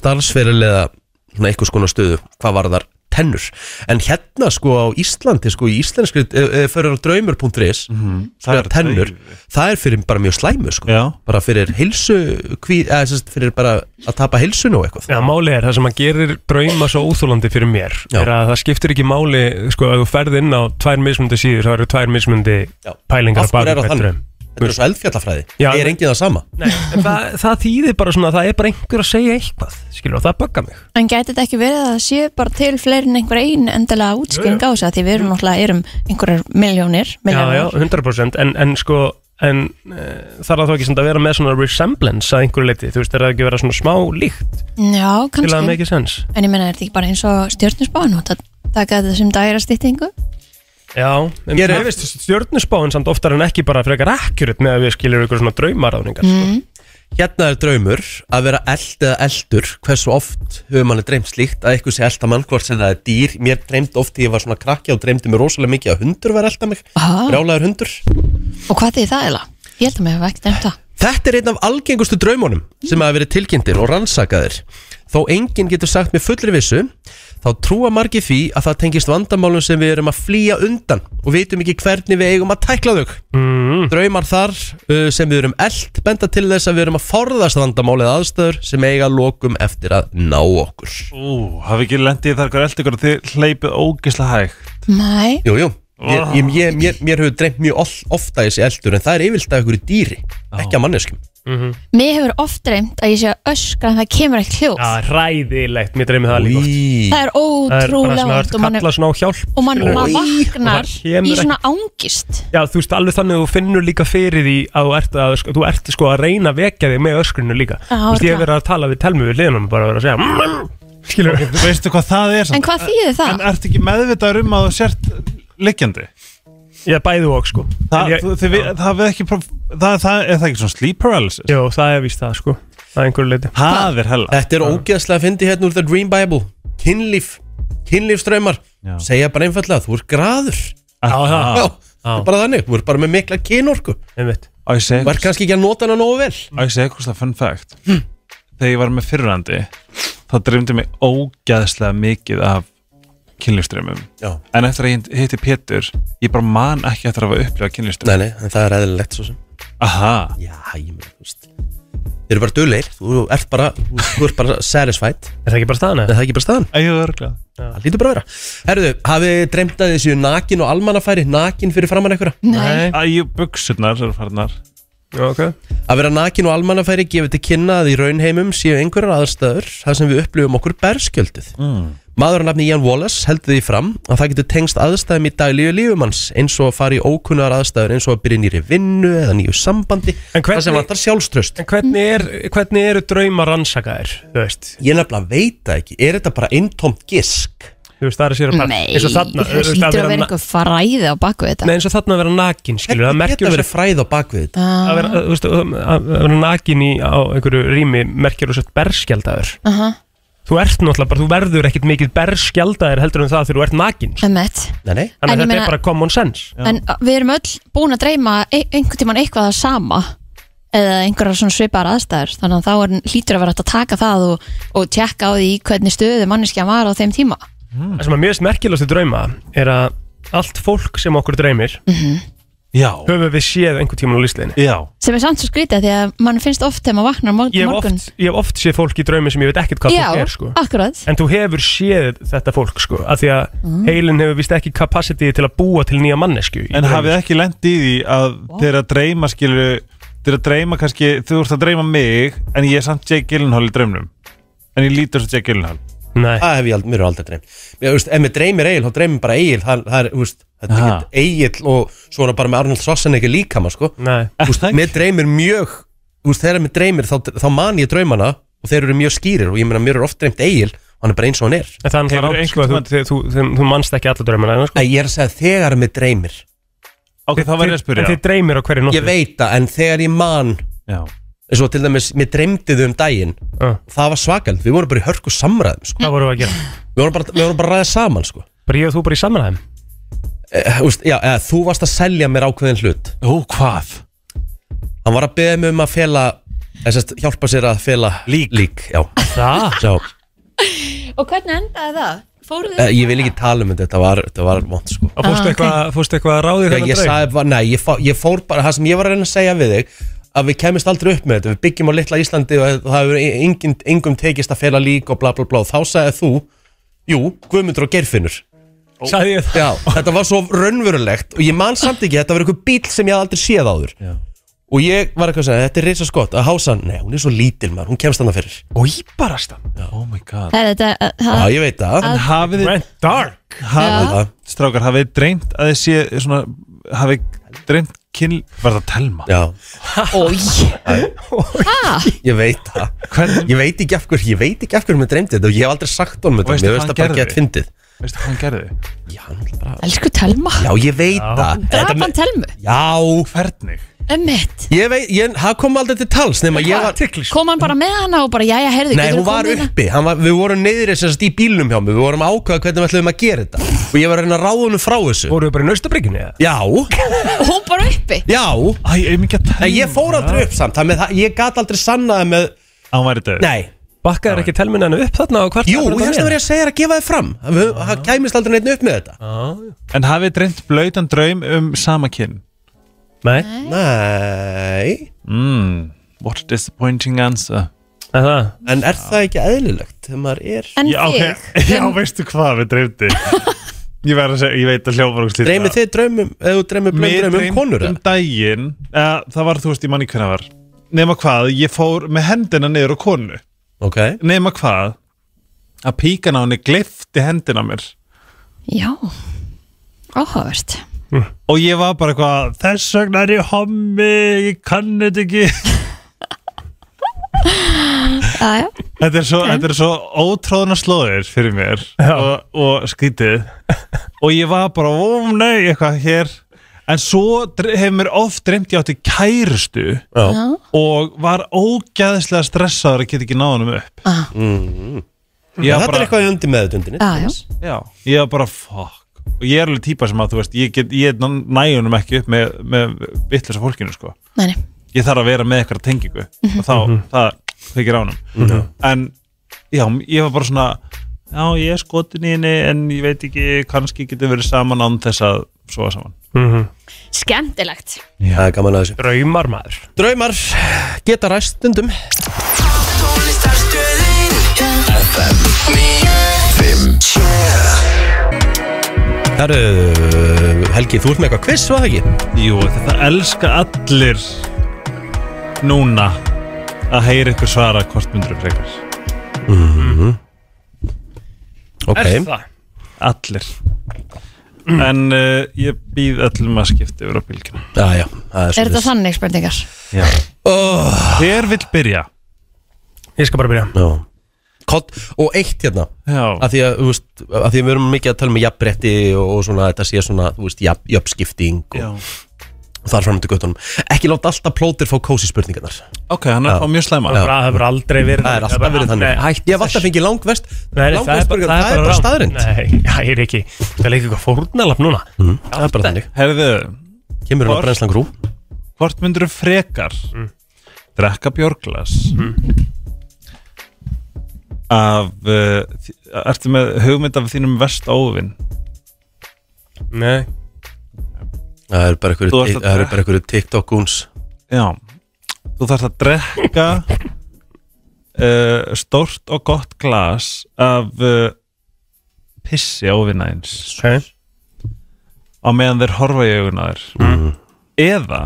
starfsferilega svona einhvers konar stöðu hvað var þar tennur en hérna sko á Íslandi sko í íslenskri e, e, fyrir á draumur.is Mhm, það það er er tennur, draumur. það er fyrir bara mjög slæmu sko, Já. bara fyrir hilsu hví, eða, sem sagt, fyrir bara að tapa hilsun og eitthvað Já, máli er það sem að gerir drauma svo óþólandi fyrir mér Já. er að það skiptir ekki máli sko, ef þú ferð inn á tvær mismundi síður þá eru tvær mismundi Já. pælingar af hverju er hvern það draum. þannig? Þetta er svo eldfjallafræði, Já, er en- engin það sama Nei, en það, það þýðir bara svona að það er bara einhver að segja eitthvað skilur, og það bugga mig En gæti þetta ekki verið að það sé bara til fleiri en einhver ein endilega útskýring á þess að því við erum náttúrulega erum einhverjar miljónir, Já, já, miljónir. 100% en, en sko, en e, þarf það þá ekki samt að vera með svona resemblance að einhverju leiti, þú veist, er það ekki að vera svona smá líkt já, til að það kannski. make sense En ég meina, er þetta ekki bara eins og stjórnusbáin og það taka þetta sem dagira styttingu? Já, en Ég er- mér veist stjórnusbáin samt oftar en ekki bara frekar akkurat með að við skiljum ykkur svona draumaráningar mm. Hérna er draumur að vera eld eða eldur Hversu oft hefur manni dreymt slíkt að eitthvað sé elda mann hvort sem það er dýr Mér dreymt oft því ég var svona krakki og dreymdi mér rosalega mikið að hundur var elda mig Aha. Brjálaður hundur Og hvað þýðir það eiginlega? Ég held að mér hef ekki nefnt það. Þetta er einn af algengustu draumunum sem hafa verið tilkynntir og rannsakaðir Þó enginn getur sagt með fullri vissu Þá trúa margir því að það tengist vandamálum sem við erum að flýja undan Og vitum ekki hvernig við eigum að tækla þau Draumar þar uh, sem við erum eld benda til þess að við erum að forðast vandamál eða aðstöður sem eiga að lokum eftir að ná okkur. ú, hafi ekki lendið þar hver eldi ykkur að þið hleypið ógislega hægt Nei, Jú, jú. Ég, ég, ég, mér, mér hefur dreymt mjög of, ofta þessi eldur en það er yfirlt af einhverju dýri, ekki að manneskum. mér hefur oft dreymt að ég sé að öskra en það kemur ekkert hljóð. Já, ræðilegt, mér dreymið það líka oft. Í, Það er Það er bara ótrúlega svona vant að og mann kalla svona á hjálp og mann man vaknar Og það í kemur svona ángist. Já, þú veist alveg þannig að þú finnur líka fyrir því að þú ert, að, ösk- þú ert sko að reyna að vekja þig með öskrinu líka Já, Þú veist, örugglega. ég hef verið að tala við telmu við liðunum bara að vera að segja "Mm", Skilur Þú veistu hvað það er En hvað þýðir En það? ertu ekki meðvitaður um að þú sért liggjandi? Ég bæði og sko Þa, En ég, þú, þið, við, það, við ekki, próf- það, það er það ekki svona sleep paralysis? Jó, það er víst það sko Það er einhverju leiti Það er hella Þetta er ógeðslega að fyndi hérna úr The Dream Bible. Kynlíf, kynlífströymar, Já. segja bara einfallega að þú er graður. Já, Aha. það er bara þannig, þú er bara með mikla kynorku. Einmitt Á ég segi Þú er kannski ekki að nota hana nógu vel. Á ég segi eitthvað fun fact Þegar ég var með fyrrandi þá dreymdi mig ógæðslega mikið af kynlífströmmum Já. en eftir að ég hitti Pétur ég bara man ekki eftir að hafa upplifað Nei, kynlífströmm nei, en það er eðlilegt svo sem. Aha, Já, ég meina, þú veist. Þeir eru bara dölir, þú ert bara, þú, þú ert bara satisfied. Er það ekki bara staðan Er eða? það ekki bara staðan? ægðu örglega Það lítur bara að vera. Herðu, hafið þið dreymt að þið séu nakin og almannafæri, nakin fyrir framann einhverja? Nei. Ægðu buksurnar eru farnar Já, ok Að vera nakin og almannafæri gefur til kynna að í raunheimum séu einhverjar aðstæður þar sem við upplifum okkur berskjöldið. Mm. Maður að nafni Ian Wallace heldur því fram að það getur tengst aðstæðum í daglíu lífumanns eins og að fara í ókunnar aðstæður eins og að byrja í nýri vinnu eða nýju sambandi En hvernig- þar sem vantar sjálfströst. En hvernig, er, hvernig eru drauma rannsakaðir? Þú veist, Ég nefnilega veit það ekki, er þetta bara eintómt gisk? þú veist, það er sér að Nei, eins og þarna það þú veist, hlýtur að vera vera na- einhver fræði á baku þetta Nei, eins og þarna að vera nakin, skilur Það Hvernig merkjum geta verið þessi fræð á bakvið þetta? að vera, þú veist, um, að vera nakin í á einhverju rými merkir þú sett berskjaldaður Aha. þú ert náttúrulega bara, þú verður ekkit mikið berskjaldaður heldur en það þegar þú ert nakin sko. Emmett Nei, nei. En þannig ég að þetta meina- er bara common sense En uh, við erum öll búin að dreyma e- einhvern tímann eitthvað að sama eða einhverja svona svipar aðstæður þannig að þá er, hlýtur að vera hægt að taka það og, og tjekka á því í hvernig stöðu manneskja var á þeim tíma það sem er mjög merkilegast í drauma er að allt fólk sem okkur dreymir Mhm. Já, höfum við séð einhvern tíman á lístleginni já sem er samt svo skrítið því að mann finnst oft þegar maður vaknar á morgun ég hef oft, ég hef oft séð fólk í draumi sem ég veit ekkit hvað Já, fólk er sko. akkurat en þú hefur séð þetta fólk sko, af því að Mm. heilin hefur vist ekki capacity til að búa til nýja mannesku í En draumi. hafið ekki lent í því að þeir að dreyma skilur þeir að dreyma kannski, þú ert að dreyma mig en ég er samt Jake Gyllenhaal í draumnum en ég lítur svo Jake Gyllenhaal Nei. Það hef ég aldrei, mér er aldrei dreym Mér, veist, Ef mér dreymir Egil, þá dreymir bara Egil Það, það er, þú veist, þetta er Ha. ekkert Egil og svona bara með Arnold Schwarzenegger líka maður, sko. Nei. Þú veist, Mér dreymir mjög þú veist, Þegar mér dreymir, þá, þá man ég draumana og þeir eru mjög skýrir og ég meina mér er oft dreymt Egil og hann er bara eins og hann er En það er náttúrulega Hefur rátt sko, einhvern þú, þú, þú, þú, þú manst ekki alla draumina sko. Nei, Ég er að segja þegar mér dreymir Ó, ok, það var ég að spyrja En þið dreymir á hverju nóttu Ég veit það, en þegar ég man Já, eins og til dæmis, mér dreymdi þau um daginn Já. það var svakald, við vorum bara í hörku samræðum sko. Ah. Hvað vorum við að gera? við, vorum bara, við vorum bara að ræða saman sko. Bara ég og þú bara í samræðum uh, úst, já, eða, þú varst að selja mér ákveðin hlut ó hvað hann var að beða mig um að fela eða, sest, hjálpa sér að fela Lík. lík já, Það? já. Og hvernig endaði það? Fóruðu Eh, ég vil ekki tala um þetta, þetta var, þetta var vond sko. Og fórstu eitthvað fórstu eitthvað að ráði Já, þennan ég draug? sagði bara, nei, ég, fó, ég fór bara það sem ég var að reyna að segja við þig að við kemist aldrei upp með þetta, við byggjum á litla Íslandi og það hefur engin, engum tekist að fela lík og bla bla bla, og þá sagði þú jú, Guðmundur og Geirfinnur Sagði ég það Já, þetta var svo raunverulegt og ég man samt ekki, þetta var einhver bíl sem ég hafði aldrei séð áður Já. og ég var eitthvað að segja, þetta er reysa skott að hása, nei, hún er svo lítil maður, hún kemst hann fyrir Og íbarast það Oh my god Það er þetta uh, Já, það- ég veit það En hafið þið, Went dark hafið, Já, strákar, hafið þið dreymt að þið sé svona, hafið þið dreymt kynl, var það telma? já, Ói Ha? ég veit það Hvernig, Ég veit ekki af hverju, ég veit ekki af hverju mér dreymdi þetta og ég hef aldrei sagt honum þetta, Veistu mér hvað veist hann það bara gerði? gett fyndið veistu hvað hann gerði? Já, hann er bara Elsku Telma Já, ég veit það Þetta Draf hann með- Telmu Já, Hvernig? Ömmit ég veit, ég, það kom aldrei til tals nema ég var Kom hann bara með hana og bara Jæja, heyrðu Nei, geturðu hún var komið hérna? uppi, hann var, við vorum neyðri sem sagt í bílnum hjá mig, við vorum að ákveða hvernig við ætlum að gera þetta og ég var að reyna að ráða hennu frá þessu Voruðu bara í naustabrygginu eða? Já, Og hún bara uppi já, Æ, eigum ekki að telma? en ég fór aldrei upp samt, þannig að það- ég gat aldrei sannaði með, Hann væri döð nei, Bakkaður ekki telminanu upp þarna og hvart jú, þess að verið að segja þér að gefa þið fram, Við- það kæmist aldrei neitt upp með þetta En hafið þið dreymt blöytan draum um sama kynn? Nei, Nei, Mm, what a disappointing answer Um en það en er það ekki eðlilegt, þegar maður er En Já, ok. þig Já, veistu hvað við dreymdi? ég, verð að segja, ég veit að hljófar og slíta Dreymið þið draumum, eða þú dreymið Mér blöndrum um dreymdi konur um eða? daginn eða, það var þú veist í manni hvernig var nema hvað, ég fór með hendina niður á konu Ok, nema hvað að píkan á henni glifti hendina á mér Já Áhugavert og ég var bara eitthvað þess vegna er ég hommi, ég kann þetta ekki Jæja þetta er svo, þetta er svo ótráðna slóðir fyrir mér og, og skrítið og ég var bara, ó nei, eitthvað hér en svo dre- hefur mér oft dreymt ég átti kærustu já, og var ógæðislega stressaður að geta ekki náðunum upp Ah. ég, Mhm. þetta var er bara, eitthvað í undir meðutundinni Já, já já, ég var bara fuck og ég er alveg típa sem að þú veist ég, get, ég næjunum ekki upp með, með vittlösa fólkinu sko Nei, nei ég þarf að vera með eitthvað tengingu og þá, það þykir ánum mm en já, ég var bara svona já, ég er skotin í henni en ég veit ekki, kannski getum verið saman án þess að sofa saman Skemmtilegt Það er gaman að þessu Draumar maður Draumar geta ræst stundum Það eru Helgi, þú ert með eitthvað quiz, var það ekki? Jú, þetta elska allir núna að heyra ykkur svara hvort myndur ykkur ykkur Ok, Er það? allir en uh, ég býð öllum að skipta yfir á bylginu já, já, það er Er þetta svolítið þannig spurningar? Hver vill byrja? Ég skal bara byrja Kott, og eitt hérna Já, að því að, þú veist, að því að við erum mikið að tala um jafnbretti og, og svona, þetta sé svona, þú veist, jafn, jafnskipting og, já. og þar fram til göttunum Ekki láta alltaf plótir fá kósi spurningarnar ok, hann er Já. á mjög slæma Það bara- það hefur aldrei verið Það er alltaf bara- verið Nei, þannig hætt Ég hef alltaf þessu. fengið langvest Nei, nei, langvest spurningar, það er bara rangt. staðrind Nei, það er ekki Það er eitthvað fórnalap núna Það er bara þannig Herðu, Kemur hún á Hvort- brennslan grú hvort myndur þú frekar drekka björglas af uh, þi- ertu með hugmynd af þínum verst óvin Nei Það eru bara Þú ert að drekka. einhverju TikTok-gúns já, þú þarft að drekka uh, stórt og gott glas af uh, pissi óvinna eins okay. á meðan þeir horfa í augun að þér Mm. eða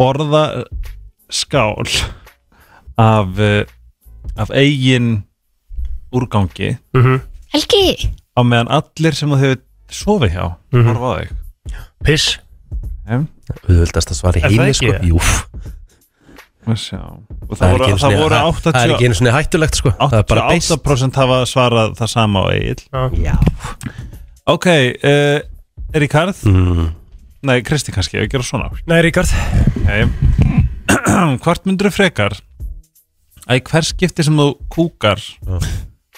borða eh, skál af eh, af eigin úrgangi Mhm. Helgi á meðan allir sem þú hefur sofið hjá Mhm. horfa á þig Piss Em, Við vildast að svara í Er það heimi ekki? sko Jú, við sjá. og það, ekki voru, einu það sinni- voru það- Það er ekki 88 einu svona hættulegt sko Það er bara beist 88% hafa svarað það sama á eigin Já. ok uh, Ríkard Mm. eh, nei, Kristi kannski, ef ég gera svona Nei, Ríkard Nei. Hvort myndur frekar að í hvers skipti sem þú kúkar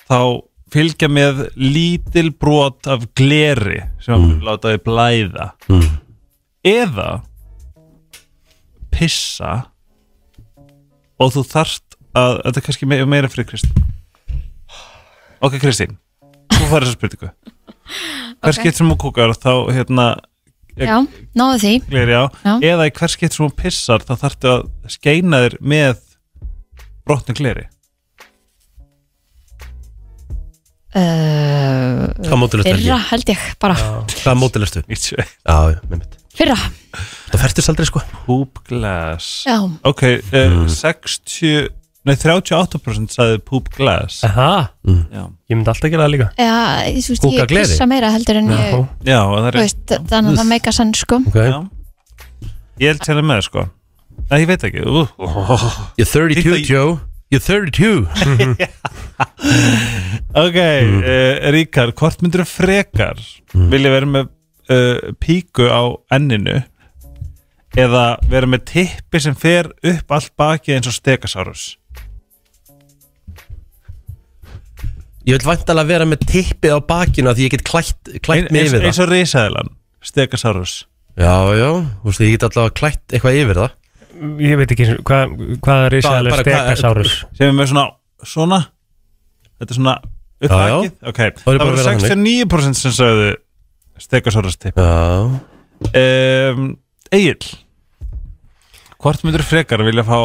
þá fylgja með lítil brot af gleri sem mm. látaði blæða eða pissa og þú þarft að þetta er kannski me- meira fyrir Kristín ok Kristín þú fara þessa spurningu hvers Ok. skipti sem þú kúkar þá hérna Ég- Já, náðu því gleri á Já. eða í hvers skipt sem hún pissar þá þarftu að skeina þér með brotnu gleri uh, Hvað mótilust er Fyrra ég? held ég bara Hvað mótilustu? Já, já, með mitt Fyrra, Það færtist aldrei sko poop glass já, ok, uh, 60 nei 38% sagði poop glass Aha, Mhm. já, ég myndi alltaf gera það líka já ég, þú veist, Kúka ég gleri? kissa meira heldur en ég Já. já og það er þú veist, Þannig að það meika sann sko Ok já. ég held til að með sko nei, ég veit ekki uh, uh. You're 32 Þetta- Joe You're 32 ok, mm. Ríkar hvort myndur frekar vilja vera með uh, píku á enninu eða vera með tippi sem fer upp allt bakið eins og stegasárus Ég vil vantalega vera með tippið á bakinu af Því ég get klætt, klætt mig eins, yfir eins það og risaðilan stegasárus Já, já, þú veist, ég get allavega klætt eitthvað yfir það Ég veit ekki hvað, hvað er Bara- risaðilega bara hvað- stekasárus sem er með svona svona þetta er svona upp Já, já. bakið ok, Það er það bara voru að vera þannig. 69% sem sagði stegasárus tipp Já um, Egil hvort myndur frekar vilja fá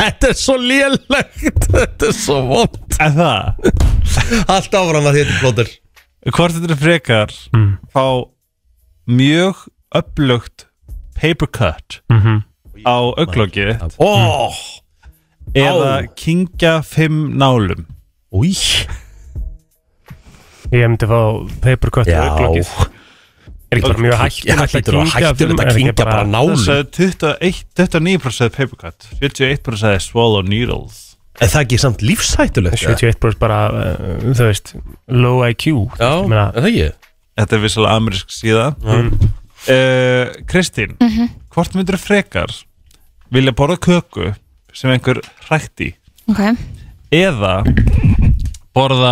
Þetta er svo lélegt Þetta er svo vond en það Allt áfram að því þetta er plótur Hvort þetta er frekar Mm. fá mjög upplugt paper cut Mhm. á auglokki Ó, eða kingja fimm nálum új Ég myndi fá papercut Já, augnlokkið. Er ekki bara mjög hægt það hlýtur að hættur þetta kringja bara Það nálum sagði 21 29% paper cut 71% sagði swallow needles Er það ekki samt lífshættulegt? eða? 71 brúst bara, uh, þú veist, low IQ Já, Ég er meina, það ekki? Þetta er vissalega amerísk síða Mm. Eh, Kristín hvort myndur frekar vilja borða köku sem einhver hrækt í Ok, eða borða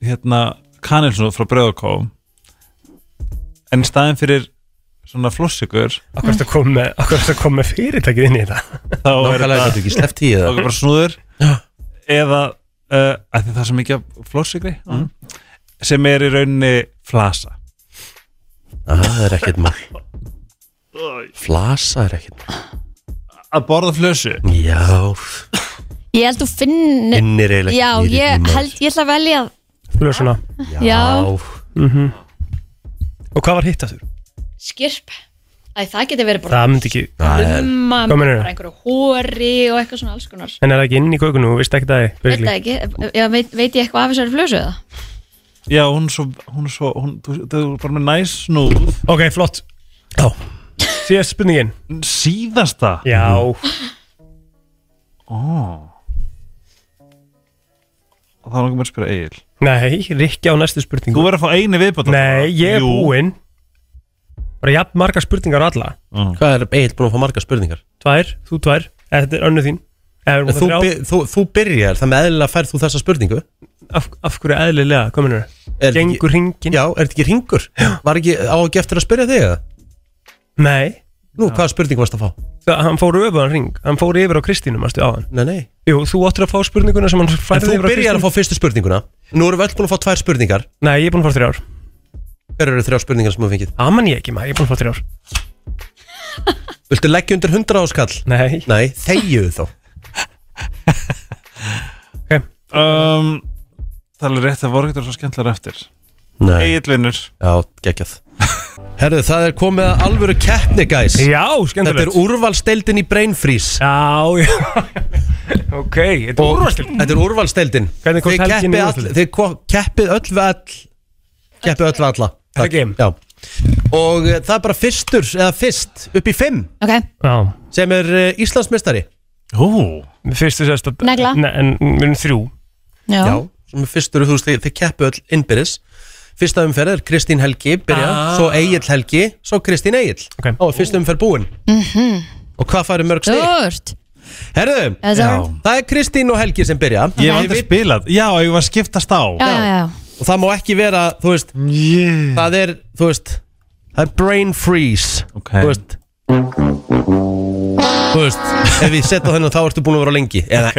hérna kanilsnúð frá bröðakó en í staðin fyrir svona flossikur akkur ertu að koma með, akkur ertu að koma með fyrirtækið inn í þetta þá er Nákvæmlega þetta þetta ekki sleppt í þá er það bara snúður eða uh, að því það er svo mikið af flossikri mm. sem er í rauninni flasa Það er ekkert mál Flasa er ekkert mál að borða flösu Já, ég held þú finn innir eiginlega Já, ekki í ég ritmál. held, ég ætla að velja Flösuna Já. Og hvað var hitt aftur? skirp Æ, það geti verið bara Það myndi ekki, lumma Hvað meinarðu? bara einhverju hóri og eitthvað svona alls konar en er það ekki inn í kökunum, þú veist ekki það Veit það basically? ekki, já, veit, veit ég eitthvað af þessari flösu eða? já, hún er svo, hún er svo hún, þú, þú er bara með næs snúð Ok, flott Já. Síðast spurningin síðasta Já og þá langar mér að spyrja Egil Nei, Rikki á næstu spurningu þú verður að fá einu viðbót Nei, ég er búinn Bara jafn margar spurningar á alla Hvað er eiginlega búin að fá marga spurningar? Tvær, þú tvær, eða þetta er önnu þín Eh, Eða erum En við Þú, þrjá? by- þú, þú byrjar, þannig að eðlilega færð þú þessa spurningu af, af hverju eðlilega, hvað minnur Er þetta Gengur hringin? Já, er þetta ekki ringur? Var ekki á ekki eftir að spyrja þig eða? Nei, Nú, hvaða spurning varst að fá? það, hann fór öfugan hring Hann fór yfir á Kristínum, ástu, á hann Nei, nei Jú, þú áttir að fá spurninguna sem hann En færði þú yfir á byrjar að Kristínu fá fyrstu spurninguna Nú erum við öll búin að fá tvær spurningar Nei, ég er búinn að fá þrjár Hver eru þrjá spurningar sem við fengið? Það man ég ekki maður, ég er búinn að fá þrjár Viltu leggja undir 100 áskall? Nei, Nei, þegjuðu þá um, það er alveg rétt að voru ekkert svo skemmtlar eftir Nei, Egil vinnur já, geggjað Herðu, það er komið að alvöru keppni, guys Já, Þetta er skemmtilegt úrvalsteildin í Brain Freeze Já, já Ok, þetta er úrvastil Þetta er úrvalsteildin Hvernig komst Þið Helgi inn í keppið all- úrvalsdeildina? Þið ko- keppið öll við all Keppið öll við alla Takk. Ekki. Já Og eh, það er bara fyrstur, eða fyrst, upp í fimm Ok, Já, sem er eh, Íslandsmeistari Ó, fyrstu sérst að Negla. Ne, En við erum þrjú já, Já, sem er fyrstur, þú veist, þið, þið keppu öll innbyrðis Fyrsta umferð er Kristín Helgi byrja, Svo Egil Helgi, svo Kristín Egil Ok. Og fyrsta umferð búin Og hvað færi mörg stig? Stort Herðu, Já, það er Kristín og Helgi sem byrja Ég hef aldrei spilað Já, ég var að skiptast á já, já, já. Og það má ekki vera, þú veist yeah. Það er, þú veist Það er brain freeze Ok. Þú veist Þú veist, ef ég setja þennan þá ertu búin að vera lengi Eða,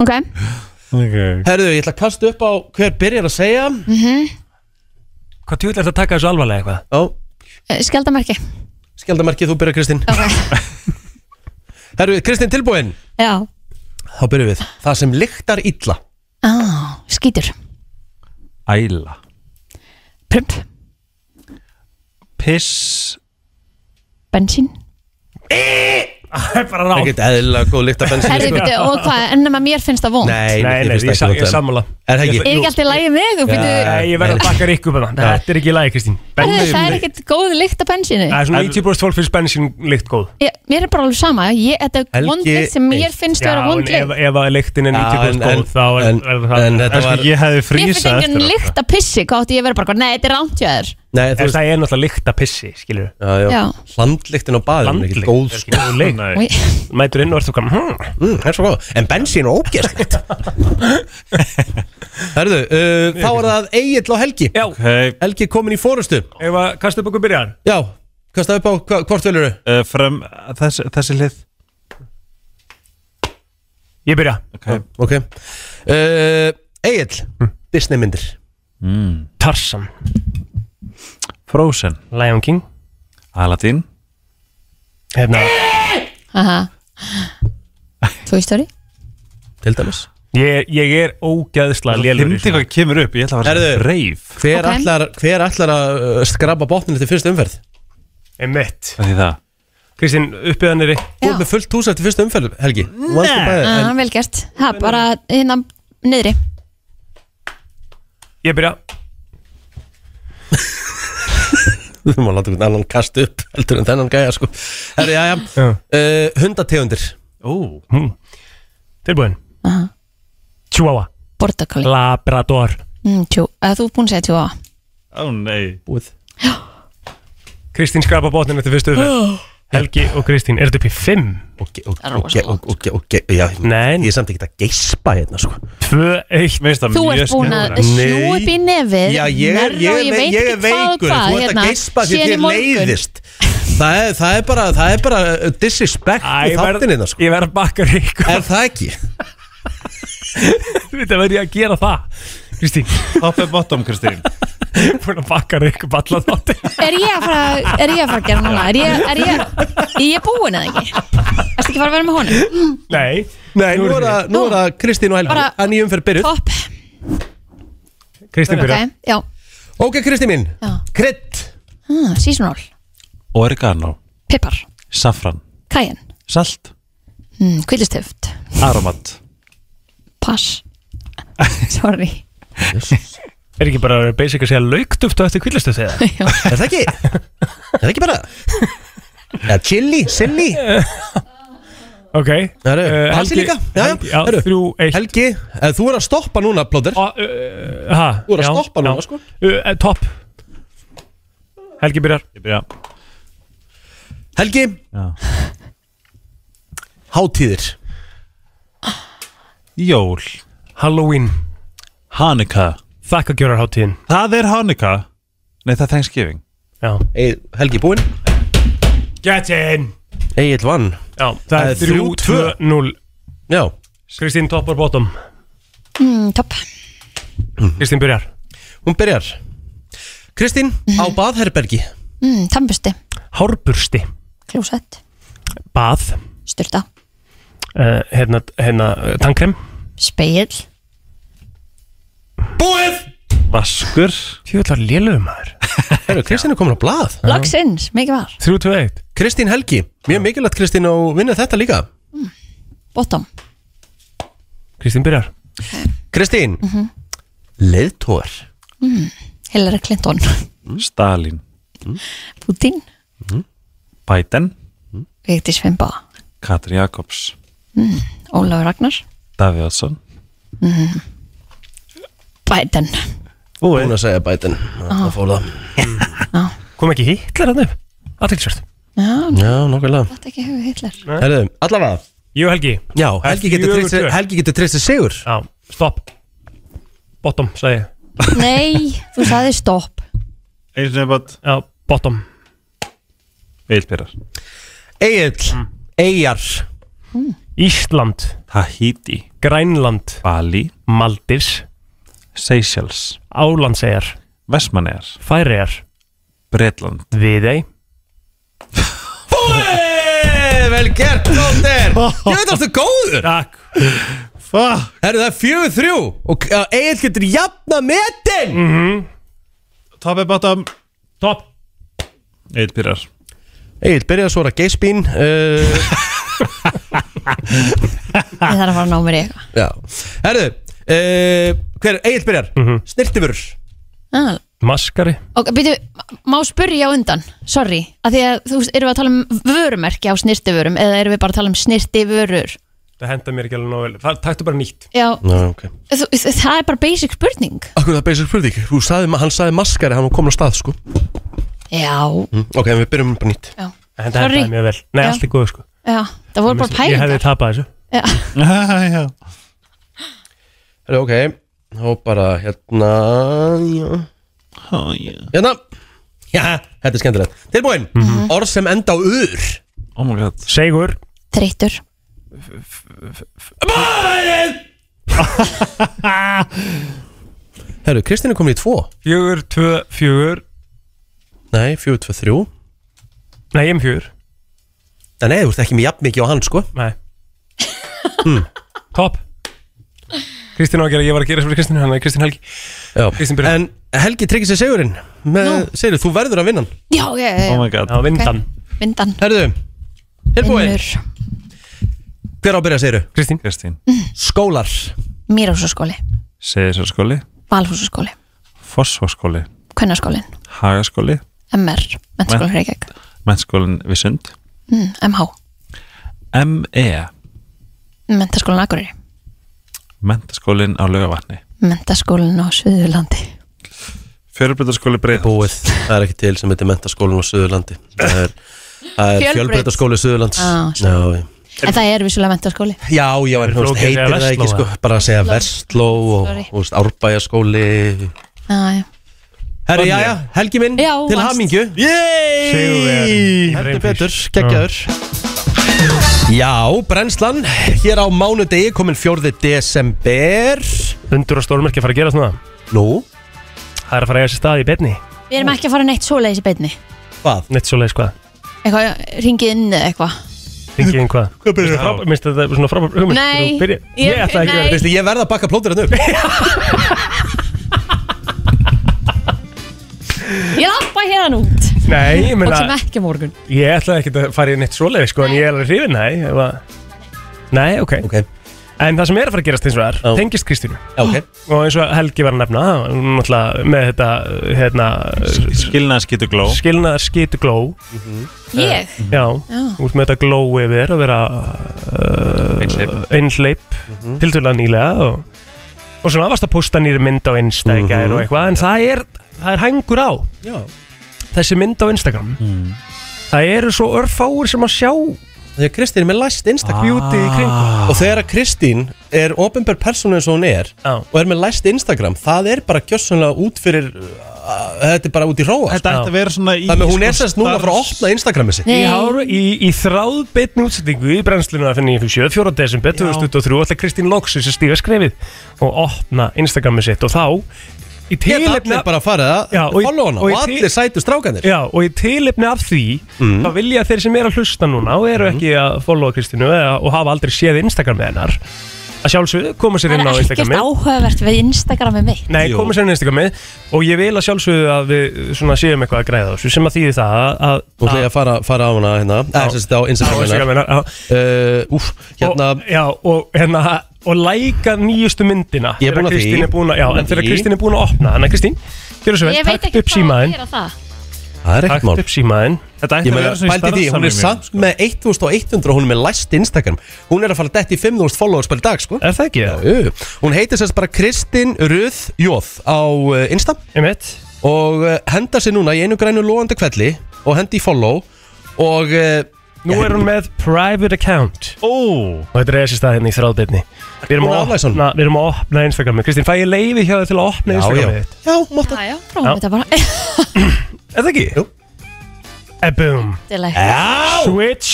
Ok, okay. herðu, ég ætla að kasta upp á hver byrjar að segja Hvað tjóðlega er þetta að taka þessu alvarlega eitthvað? Ó, Eh, skjaldamerki skjaldamarkið, þú byrjar Kristín Ok, Herðu, Kristín tilbúin, já þá byrjum við Það sem lyktar illa ah, Skítur, Æla prump, Piss bensín Ah, Það er bara rátt Ekkert eðlilega góð lykt af bensin Herðu, byrju, og hvað, ennum að mér finnst það vond Sko. Nei, Nei, nei, mér ég finnst það sa- ég er ekki vont. sammála Er það ekki? Er ekki alltaf lægi með þú byrju Nei, ég verð að bakka Rikku með það Þetta er ekki í lagi, Kristín um- Herðu, Bensín það er lykt. ekkert góð lykt af bensínu Það er svona 90% fólk finnst bensín lykt góð ég, Mér er bara alveg sama ég, Þetta er Helgi vond lykt sem mér eitt. finnst Já, vera en vond ef, lykt ef að lyktin er Já, 90% en- góð þá er, en- er það en þetta Það var- var Ég hefði Mér finnst frísað eftir sko. engin þetta. lykt af pissi Hvað átti ég að vera bara, eitthvað, nei, þetta er rámt hjá þér Nei, þú En veist það er náttúrulega lykt að pissi, skilur við já, já. Já. Landlyktin á baðinu er ekki Landlykt góð er sko. ekki góð lykt. Nei. Oj, Mætur inn og ert þú kam hmm. mm, er svo góð En bensín er ógeðslegt Herðu, uh, þá er það Egil og Helgi Já, Ok, uh, Helgi er komin í fórustu ef að kastu upp okkur byrjar Já, hvað staði upp á, hva, hvort viljuru? uh, frem, þessi, þessi hlið Ég byrja okay. Ok uh, Egil, Disney myndir Tarzan, Frozen Lion King Aladdin Hérna, aha. Toy Story Til dæmis ég, ég er ógæðslega lélur Hindi hvað kemur upp, ég ætla að fara Herðu. að reif Hver Ok. ætlar, hver ætlar að uh, skrapa botninu til fyrstu umferð? Emmett Það er það Kristín, uppið hann er Þú Já, ert með fullt hús eftir fyrstu umferð, Helgi Ah, Nei vel gert ha, Bara hérna niðri Ég byrja Þú má láta einhvern annan kast upp heldur en þennan gæja sko Herri, já, já Já. uh, Hundategundir Ó, hmm. Tilbúin Aha. Chihuahua Bortakali Labrador mm, tjú, að Þú er búin að segja tjóa ó nei Búið Kristín skrapa botnin eftir fyrstu umferð Helgi og Kristín, er þetta upp í 5? Ok, ok, er ok, rosa ok, ok, ok já, Nei. Ég er samt ekki að geispa hérna sko 2, 1 Mér finnst það Þú mjög ert búin að sjú skemmtilegt. upp í nefið Já, ég er, hnerra ég og er, vei- ég er veit ekki hvað og veikur hvað, Þú ert hérna, að geispa því síðan í þér morgun. leiðist það er, það er bara, það er bara uh, disrespect Æ, í ég verð- þáttinni það sko Ég verð að bakka Rikku Er það ekki? Þetta verður ég að gera það Kristín, Top and bottom, Kristín búin að bakka Rikku balla þátti Er ég að fara, er ég að fara að gera núna? Er ég, er ég, er ég búin eða ekki? Erstu ekki að fara að vera með honum? Nei, Nei, nú er það, nú er það Kristín og Helgi Bara- að nýjum fyrir byrjuð Topp, Kristín ok, byrja já, Ok, Kristín mín já Krydd ah, Seasonal, Oregano, pipar, safran, kajen, salt, mm, kvillistöft, aromat pass Sorry Er ekki bara basic að segja laukduft og eftir kvillistu þegar? Já. Er það ekki? er það ekki bara? Ja, chili, silly Ok Eh, Það eru, Halsi líka Já, já, Já, það eru. þrjú, eitt Helgi, eh, þú er að stoppa núna, Plóter Ó, uh, ha, Þú er að já, stoppa núna, já. sko. Uh, Topp Helgi byrjar Ég byrja Helgi, Já. hátíðir Jól, Halloween Hanukkah Þakka gjörar Það er Hanukkah Nei, það er Thanksgiving Já Ey, Helgi búinn Get in Egil vann Já, það er er þrjú, 3, 2, 0 Já, Kristín topp og bottom mm, Topp, Kristín byrjar hún byrjar Kristín, á baðherbergi mm, tannbusti, Hárbursti klósett, Bað styrta, uh, Hérna, hérna eh, Tannkrem spegil Búið! Vaskur Tjóðlar lélögum maður Heru, Kristín er komin á blað Lagsins, mikið var, 3, 2, 1 Kristín Helgi, mjög mikilvægt Kristín og vinna þetta líka bottom Kristín byrjar Kristín, leiðtóar Hillary Clinton, Mm. Stalin Putin Biden Vigdís Fimba, Katrin Jakobs Ólafur Ragnar Davíðsson Biden Búin að segja Biden Það fór það Kom ekki Hitler hann upp? Aðtilsvörð Já, Já, nokkulega þetta ekki hefur hitlar Herðu, allavega Jú Helgi Já, Helgi getur fjögur treyst sér- tvö. Helgi getur treyst sér sigur Já, stopp Bottom, sagði ég Nei, þú sagði stopp Einu sinni bara Já, bottom Eilperar Egil Eyjar Ísland Tahiti Grænland Bali Maldís Seychelles Álandseyjar Vestmannegar Færeyjar Bretland Viðey Búið, vel gert, Dóttir Ég veit að þú góður Takk Fuck Herðu, það er fjögur þrjú Og Egil getur jafna metin Top and bottom Topp Eilperar Egil, byrjaði að svara geispín uh, Ég þarf að fara að ná mér í eitthvað Já Herðu, uh, hver er Egil byrjar? Mm -hmm. Snirtifur Ah, Maskari Ok, býtu, má spyrja á undan Sorry, að því að þú veist, erum við að tala um vörumerki á snirtivörum eða erum við bara að tala um snirtivörur Það henda mér ekki alveg nóg vel Það- Taktu bara nýtt Já, Já, ok þú, það er bara basic spurning Akkur það er basic spurning Þú sagði, hann sagði maskari, hann var komin á stað, sko Já, mm. Ok, en við byrjum bara nýtt já, Það henda Sorry. hendaði mér vel Nei, Já. allt er góð sko já Það voru bara Ég hefði pælingar tapað þessu Já, Já Herðu, ok Þá bara, hérna Já Oh, yeah. Hérna Já, þetta er skemmtilegt Tilbúin Mhm. Orð sem enda á ur oh my god Segur þreytur Herru, Kristín er komin í tvo Fjögur, tvö, fjögur Nei, fjögur, tvö, þrjú Nei, ég er með fjögur En nei, þú ert ekki með jafn mikið á hann, sko Nei Hmm. Topp Kristín á að gera, ég var að gera sem fyrir Kristín Þannig að Kristín Helgi Já Kristín byrjar. En Helgi tryggir sér segurinn með, Segir, þú verður að vinna hann Já, já, já, Oh já. my god Já, vindan vindan Herru, tilbúin Vinnur, Hver á að byrja, segiru? Kristín Kristín Skólar Mýrásaskóli, Seyðisarskóli Valhúsaskóli Fossvarskóli Kvennaskólin, Hagaskóli MR Mennskóli Reykjavík, Mennskólin við sund E, mm, MH ME Menntaskólin Akureyri, Menntaskólin á Laugavatni Menntaskólin á Suðurlandi Fjörubrytarskóli Breiðholt Búið Það er ekki til sem heitir mentaskólinn á Suðurlandi Það er, það er Fjölbraut. Ah, fjölbreytaskóli Suðurlands Á, Já, já. En það er vissulega mentaskóli já, já, en þú flókið veist, að segja heitir það ekki Vestló, sko, Bara að segja Vestló og Sorry. þú veist, Árbæjaskóli Já, já. Herri, já, já, Helgi minn Já, Til vannst. hamingju Yey Heldur Reynfís. betur, geggjaður Ah. Já, brennslan Hér á mánudegi komin 4. desember Undur og stórmerki fara að gera svona Nú, Það er að fara að eiga sér stað í betni Við erum ekki að fara neitt svoleiðis í beinni hvað? Neitt svoleiðis hvað Eitthvað, ringið inn eða eitthvað Þingið inn hvað Hvað byrjar það? Minnst þetta er svona frábær hugmynd Nei, Þú byrja- ég- Ég ætla ekki nei. að Veistu, ég verða að bakka plótur hann upp Ég lappa hérna út Nei, ég Og sem meina ekki á morgun Ég ætla ekki að fara í neitt svoleiðis sko En ég er alveg hrifin, nei ef að- Nei, ok Ok, já, En það sem er að fara að gerast eins og það Já. er Tengist Kristínu ok Og eins og Helgi var að nefna hún er Náttúrulega með þetta hérna, Skilnaðskittu gló Skilnaðar skitu gló Eh, Ég? Já, Já. út með þetta gló yfir Að vera Einhleyp. uh, einsleip Mhm. Tiltölulega nýlega og, og svona varst að posta nýri mynd á Instagram Mhm. og eitthvað En það er, það er hængur á Já. Þessi mynd á Instagram Mm. Það eru svo örfáir sem að sjá Þegar Kristín er með læst Instagram Beauty í kringum Og þegar að Kristín er ofinbær persónu eins og hún er Já. Og er með læst Instagram Það er bara gjössanlega út fyrir uh, Þetta er bara út í róa sko. Þetta ætti að vera svona í Þannig að hún sko, er sérst núna að fara að opna Instagrami sig Í, háru, í, í þráðbeitni útsettingu í brennslinu að finna í 74. desember 2023 ætla Kristín Lóksins að stíga skrefið og opna Instagramið sitt og þá í Geta tilefni allir af, bara að fara að Já, og í- followa hana og í Og til- allir sætu strákanir já, og í tilefni af því Mm. þá vilja þeir sem eru að hlusta núna og eru ekki að followa Kristínu eða, og hafa aldrei séð Instagramið hennar að sjálfsögðu koma sér Það inn er á ekkert Instagramið áhugavert við Instagramið mitt Nei, Jú. komið sér inn á Instagramið og ég vil að sjálfsögðu að við svona séum eitthvað að græða á þessu sem að þýði það að, að, Þú ætla ég að fara, fara á hana hérna Það er sérst á á Instagram hennar Instagramið hennar, já. uh, Úf, hérna og, já, og, hérna, og læka nýjustu myndina Ég er búin að Þegar Kristín því. er búin að, já, Búin en að þegar því. Kristín er búin að opna þannig að Kristín, gjörðu svo Ég vel, veit takt ekki upp hvað að símaðin gera það Það er ekkert takt mál upp símaðin Þetta ætti Ég að meina, vera svona í pældi því, hún er starfssamvinnu, samt sko. með 1100 hún er með læst Instagram Hún er að fara dætt í 5000 followers bara í dag, sko Er það ekki? Já, Jú, Hún heitir sérst bara Kristin Röð Jóð á uh, Insta ég mitt og uh, henda sér núna í einu grænu lóandi kvelli og hendi í follow og uh, Nú er hún með private account Ó, og þetta er þessi stað hérna í þráðbyrni Við erum Hún að aflæs hann. opna, við erum að opna Instagramið Kristín, fæ ég leiði hjá þér til að opna já, já, Instagramið þitt? já, mátt að Já, já, prófum Já. þetta bara Er það ekki? Jú. Eh, boom Til að- Já, Switch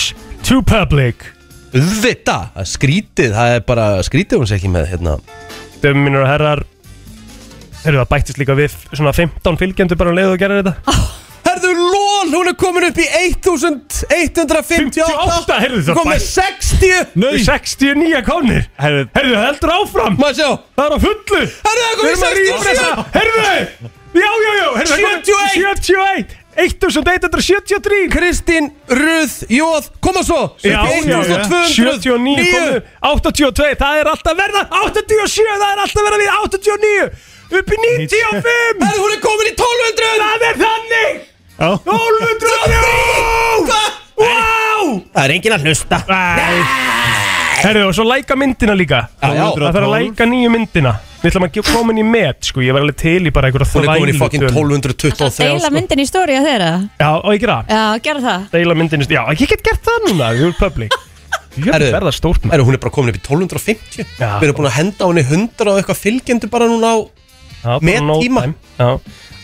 to public þetta, skrítið, það er bara skrítið hún sé ekki með hérna Dömi mínur og herrar Þeir það bættist líka við svona 15 fylgjendur bara um leiðu og gerir þetta Herðu lól, hún er komin upp í 1158 58, heyrðu, það Komin með bæ- 60 Í 69 konir herri, Heyrðu, það heldur áfram Má sjá Það er á fullu Herðu, það komin Við erum í að rýpressa 60 Heyrðu, já, já, já heyrðu, það kom- 78. 78 1173 Kristín, Ruð, Jóð, koma svo Já, Upp í já, já. 1209 79 komu 82, það er alltaf verða 87, það er alltaf verða við 89 upp í 95 Herðu, hún er komin í 1200 það er þannig já 1203 wow Það er enginn að hlusta herru og svo læka myndina líka Já, já. það þarf að læka nýju myndina við ætlum að ge- koma inn í met sko, ég var alveg til í bara einhverja Hún er komin í fokkin þvælutölu. 1223 Deila sko. myndin í stóri að þeirra já, og ég gera Já, gera það deila myndinu, já, ég get gert það núna við erum public ég er Herru. verða stórt maður Herru, hún er bara komin upp í 1250 Já. sko. Við erum búin að henda henni 100 og eitthvað fylgjendur bara núna á Já, bara Met no tíma. time. Já.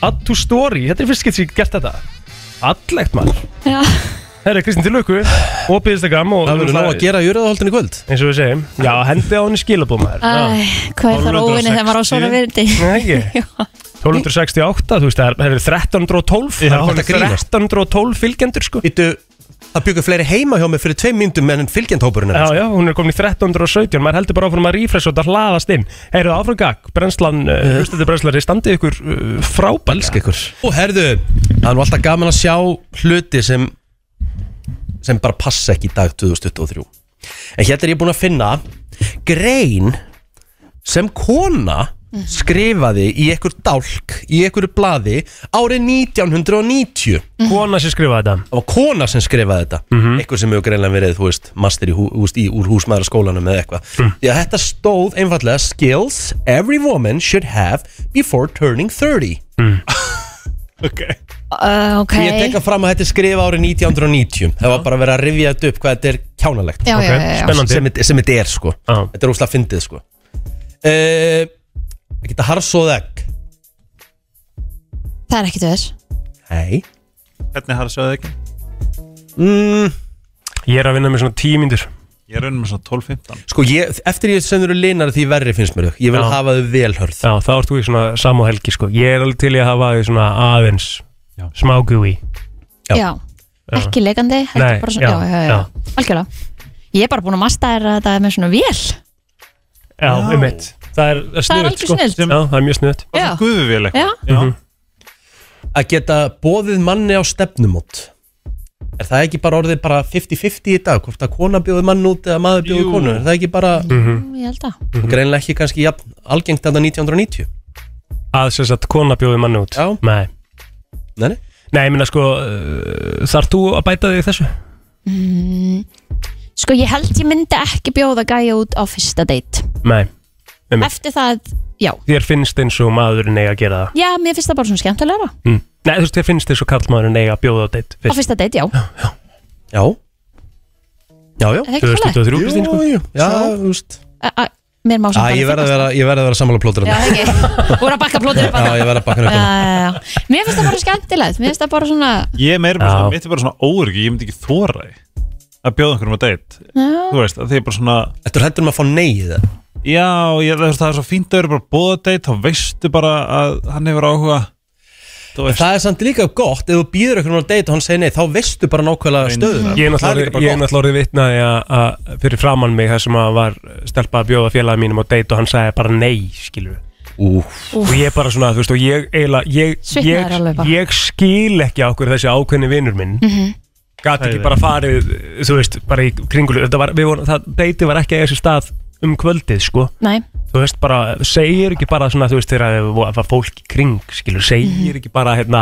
Add to story, þetta er fyrst skipt sem ég hef gert þetta Allegt maður Já, Herra Kristín til lukku og byrðistakam og um Það verður ná að gera í jöruðahaldinu kvöld eins og við segjum Já, hendi á henni skilabóð maður Æ, hvað er það 1260. óvinni þegar maður á svona virði Nei, ekki. 1268, þú veist, það er- það eru 1312 Já, það eru þetta komin grínast. 1312 fylgjendur sko Vittu, það byggur fleiri heima hjá mig fyrir tveim myndum en fylgjendhópurinn Já, er já, hún er komin í 1317, maður heldur bara áfram að rífresa og það hlaðast inn Heyrðu áfram gag, brennslan, uh, hlustandi brennslari, standið ykkur uh, frábæl Uh-huh. ykkur Og herðu, það er nú alltaf gaman að sjá hluti sem sem bara passa ekki í dag 2023 En hérna er ég búin að finna grein sem kona skrifaði í einhver dálk í einhverju blaði árið 1990 Kona sem skrifaði þetta það var kona sem skrifaði þetta eitthvað sem hefur greinlega verið, þú veist, master í, hú, þú veist, í úr húsmaðuraskólanum eða eitthvað því að þetta stóð einfallega skills every woman should have before turning 30 ok uh, Ok, ég tek að fram að þetta er skrifa árið 1990 það var bara verið að rifja þetta upp hvað þetta er kjánalegt já, já, Ok, já, já. spennandi. sem, þetta- sem þetta er sko Já. þetta er úslega fyndið sko uh, að geta harsóð egg Það er ekki þess nei Hvernig har það sjáðu ekki? mm, Ég er að vinna með svona tímindur Ég er raunin með svona 12-15 sko ég, eftir ég sendur linar því verri finnst mér þau ég vil Já. hafa þau velhörð Já, þá ert þú í svona samú helgi sko Ég er alveg til í að hafa því svona aðeins Já. Smá gúi Já. já. Ekki leikandi, heldur Nei, bara svona já, já, já, já. Algjörlega Ég er bara búin að masta þér að það er með svona vél Já, um eitt Það er, er Það er sniðut algjör sko snilld. Já, það er mjög sniðut Já, Guðuvél já, eitthvað Já, að geta bóðið manni á stefnumót er það ekki bara orðið bara 50-50 í dag hvort að kona bjóði mann út eða maður bjóði Jú. konu er það ekki bara, ég held að greinlega ekki kannski jafn, algengt þetta 1990 Að sem sagt kona bjóði manni út Já. Nei, nei, nei. Nei, ég minna sko uh, Þarf þú að bæta þig í þessu? Sko, ég held ég myndi ekki bjóða gæja út á fyrsta date Nei Einmitt. Eftir það, já Þér finnst eins og maðurinn eiga að gera það Já, mér finnst það bara svona skemmtilegra Á mm. Nei, þú veist, þér finnst eins og karlmaðurinn eiga að bjóða á deitt fyrsta date, já Er já já, já, Það er ekki svolítið 2003, Kristín sko já, já þú veist. Mér má Æ, sem ég verð að vera, ég verð að vera sammála plótur Já, já. það er ekki Úr að bakka plótur upp já, að ég verð að bakka Já, nökkum já, já. Mér finnst það bara skemmtilegt Mér finnst það bara svona Ég er meira bara Já. svona, mitt er bara svona óryggi, ég myndi ekki þóra því að bjóða einhverjum að deitt já, Þú veist, að því er bara svona Þetta er hættur um að fá nei í það Já, ég, það, er, það er svo fínt að vera bara bóða deitt þá veistu bara að hann hefur áhuga Þú veist, Það er samt líka gott, ef þú býður einhvern veginn að deyta og hann segir nei, þá veistu bara nákvæmlega Nei, stöðu nei. Ég er Það náttúrulega líka bara orðið- ég er gott náttúrulega orðið vitnaði að fyrir framann mig þar sem að var stelpa að bjóða félagi mínum á date og hann sagði bara nei, skilur Úf, og ég er bara svona, þú veist, og ég eiginlega, ég, Svitnaðir alveg ég, bara. Mhm. ég skil ekki ákveður þessi ákveðni vinnur minn mm gat ekki Æði. bara farið, þú veist, bara í kringulu þetta var, við vorum, það deiti var ekki að eiga sér stað um kvöldið, sko, nei þú veist, bara Mhm. segir ekki bara svona, þú veist, þegar að- að fólk í kring, skilur, segir ekki bara, hérna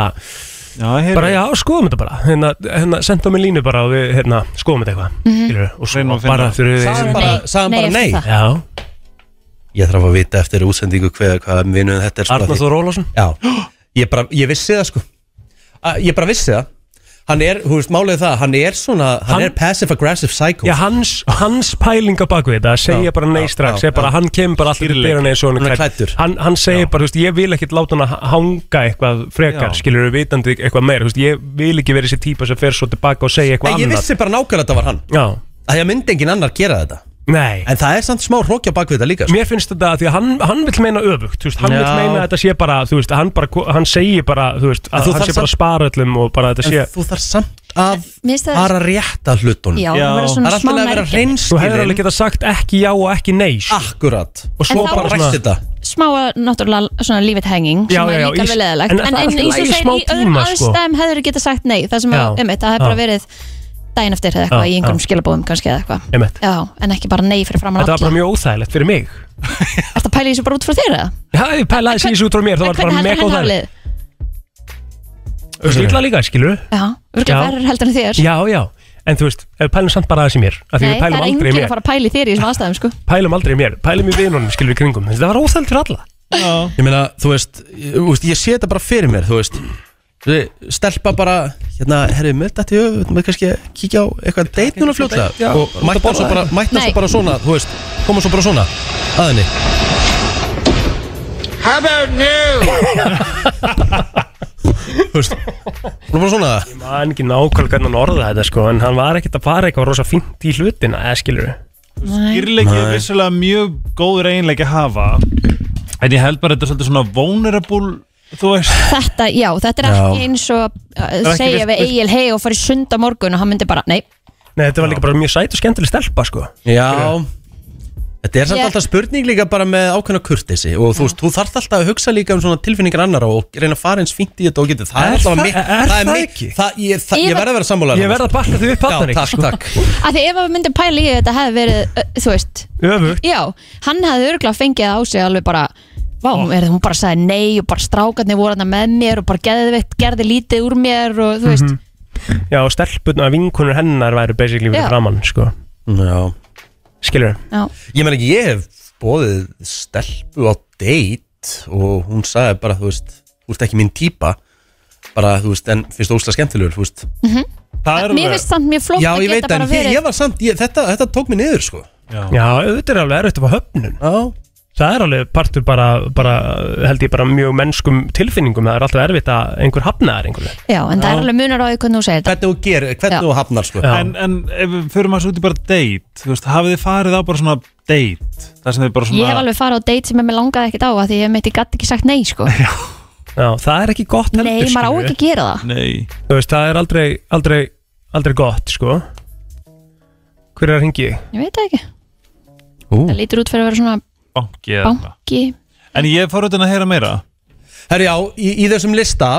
Já, heyrðu. bara já, skoðum þetta bara hérna, hérna, senda mig línu bara og við, hérna, skoðum þetta eitthvað mm og Reynum svo að finna. bara fyrir Sagðan bara Nei, sagði hann nei, bara eftir nei það. já, Ég þarf að vita eftir útsendingu hvað, hvað vinuð þetta er sko Arnar því- Þór Ólásson Já, ég, bara, ég vissi það sko A, Ég bara vissi það Hann er, hú veist, málið er það, hann er svona Hann, Hann- er passive-aggressive psycho já, hans, hans pælinga baku þetta að segja bara nei já, strax já, er bara, já. hann kemur bara alltaf til Skýrleik. dyrana eins og hann Hann er er klæddur. klæddur. hann, hann segir bara, þú veist, ég vil ekkit láta hann að hanga eitthvað frekar, Já. skilur við vitandi eitthvað meir, þú veist, ég vil ekki vera þessi típa sem fer svo tilbaka og segja eitthvað En ég annað vissi bara nákvæmlega að þetta var hann já, Það ég myndi engin annar gera þetta nei En það er samt smá hrókja bak við þetta líka sko. Mér finnst þetta að því að hann, hann vil meina öfugt þú veist, Hann Já. vil meina að þetta sé bara, þú veist, hann, bara, hann segir bara þú veist, En að þú hann þarft sé bara samt- sparöllum og bara þetta En sé þú þarf samt að Mér finnst það- fara rétta hlutunum Já, Já. það verður Það er svona alltaf smá að vera nærgætni. Þú hefur alveg reynskilin geta sagt ekki já og ekki nei sko. Akkurat Og svo Og þá- bara bara ræst þetta smá að- náttúrulega svona lífið henging Já, sem já, er já, líka í- alveg leðilegt en, en það en, er en allt í eins og lagi í segir, smá í öðrum tíma, sko. aðstæðum hefur þið getað sagt nei það sem Já. að, einmitt, það hefur bara Já. verið daginn eftir eða Já, eitthvað í einhverjum já. skilabóðum kannski eða eitthvað Einmitt. já, en ekki bara nei fyrir framann Þetta var alla bara mjög óþægilegt fyrir mig Er þetta pæla í þessu bara út frá þér eða? Já, ég pælaði þessi í þessu út frá mér Það En var bara hvernig mega heldur hann óþægilegt haflið? Þú slítla líka, Já, skilur Já. örgulega verður heldur en þér Já, já En þú veist, ef við pælum samt bara aðeins í mér af Því Nei, við það pælum er aldrei í enginn að mér fara að pæla í þér í þessum aðstæðum sko Pælum aldrei í mér Pælum í vinunum, skilur við kringum Þetta var óþægilegt fyrir alla Ég meina, þú veist, ég, þú veist, ég sé þetta bara fyrir mér, þú veist Þú- Stelpa bara, hérna, herri, með þetta í höfum Við kannski kíkja á eitthvað date núna fljótlega Og mættan svo bara, mættan svo Nei. bara svona, þú veist Koma svo bara svona, að henni How about new? Þú veist, hún er bara svona Það er ekki nákvæmlega hvernig hann orðaði þetta sko En hann var ekkert að fara eitthvað rosa fínt í hlutina eða skilur Skýrleiki er vissulega mjög góður eiginleiki að hafa En ég held bara þetta er svolítið svona vulnerable Þú veist Þetta, já, þetta er Já. ekki eins og að ekki segja vilt- við Egil hei og fara í sund á morgun og hann myndi bara, nei, Nei, þetta var líka bara mjög sæt og skemmtileg stelpa sko Já Þetta er samt Ég- alltaf spurning líka bara með ákveðna kurtesi og þú veist, þú þarft alltaf að hugsa líka um svona tilfinningar annara og reyna að fara eins fínt í þetta og geta það Er er alltaf það- mikið- er það mikið- ekki? það, ég, það, ég Yfir- verð að vera sammálaður Ég verð að bakka því upp sko. Já, hattan takk, takk Af því ef að við myndum pæla í því að þetta hefði verið, ö, þú veist, Öfugt já, hann hefði örgulega fengið það á sig alveg bara, vá, hún, er, hún bara sagði nei og bara strákarnir voru hann með mér og bara geðveitt, gerði lítið úr mér og þú Mhm. veist, Já, og stelpurna vinkunur hennar væru basically fyrir Já. framann sko Já. Skilur já, Ég meina ekki, ég hef bóðið stelpu á date og hún sagði bara, þú veist þú ert ekki mín típa bara, þú veist, en finnst þú óslega skemmtilegur, þú veist Það er mér finnst samt mjög flott Já, að ég geta veit, en bara ég, verið, ég var samt ég, þetta, þetta tók mér niður, sko Já, auðvitað er alveg erfitt að fá höfnun Já, Það er alveg partur bara, bara held ég bara mjög mennskum tilfinningum Það er alltaf erfitt að einhver hafnaðar einhverju já, en það er alveg munar á því hvernig þú segir þetta, hvernig þú gerir, hvernig Já. þú hafnar, sko Já. En, en ef við förum að svo út í bara date Þú veist, hafið þið farið á bara svona date Það sem þið bara svona ég hef alveg farið á date sem ég með langaði ekkert á að því ég mitt ég gatt ekki sagt nei, sko, Já, það er ekki gott heldur nei, maður á skilurðu. ekki að gera það, Nei Þú veist, það er aldrei, aldrei, aldrei gott sko Hver er að ringi? ég veit það ekki, Ú. það lítur út fyrir að vera svona Banki eða Hérna. eitthvað. banki, En ég fór auðvitað að heyra meira Herri já, í, í þessum lista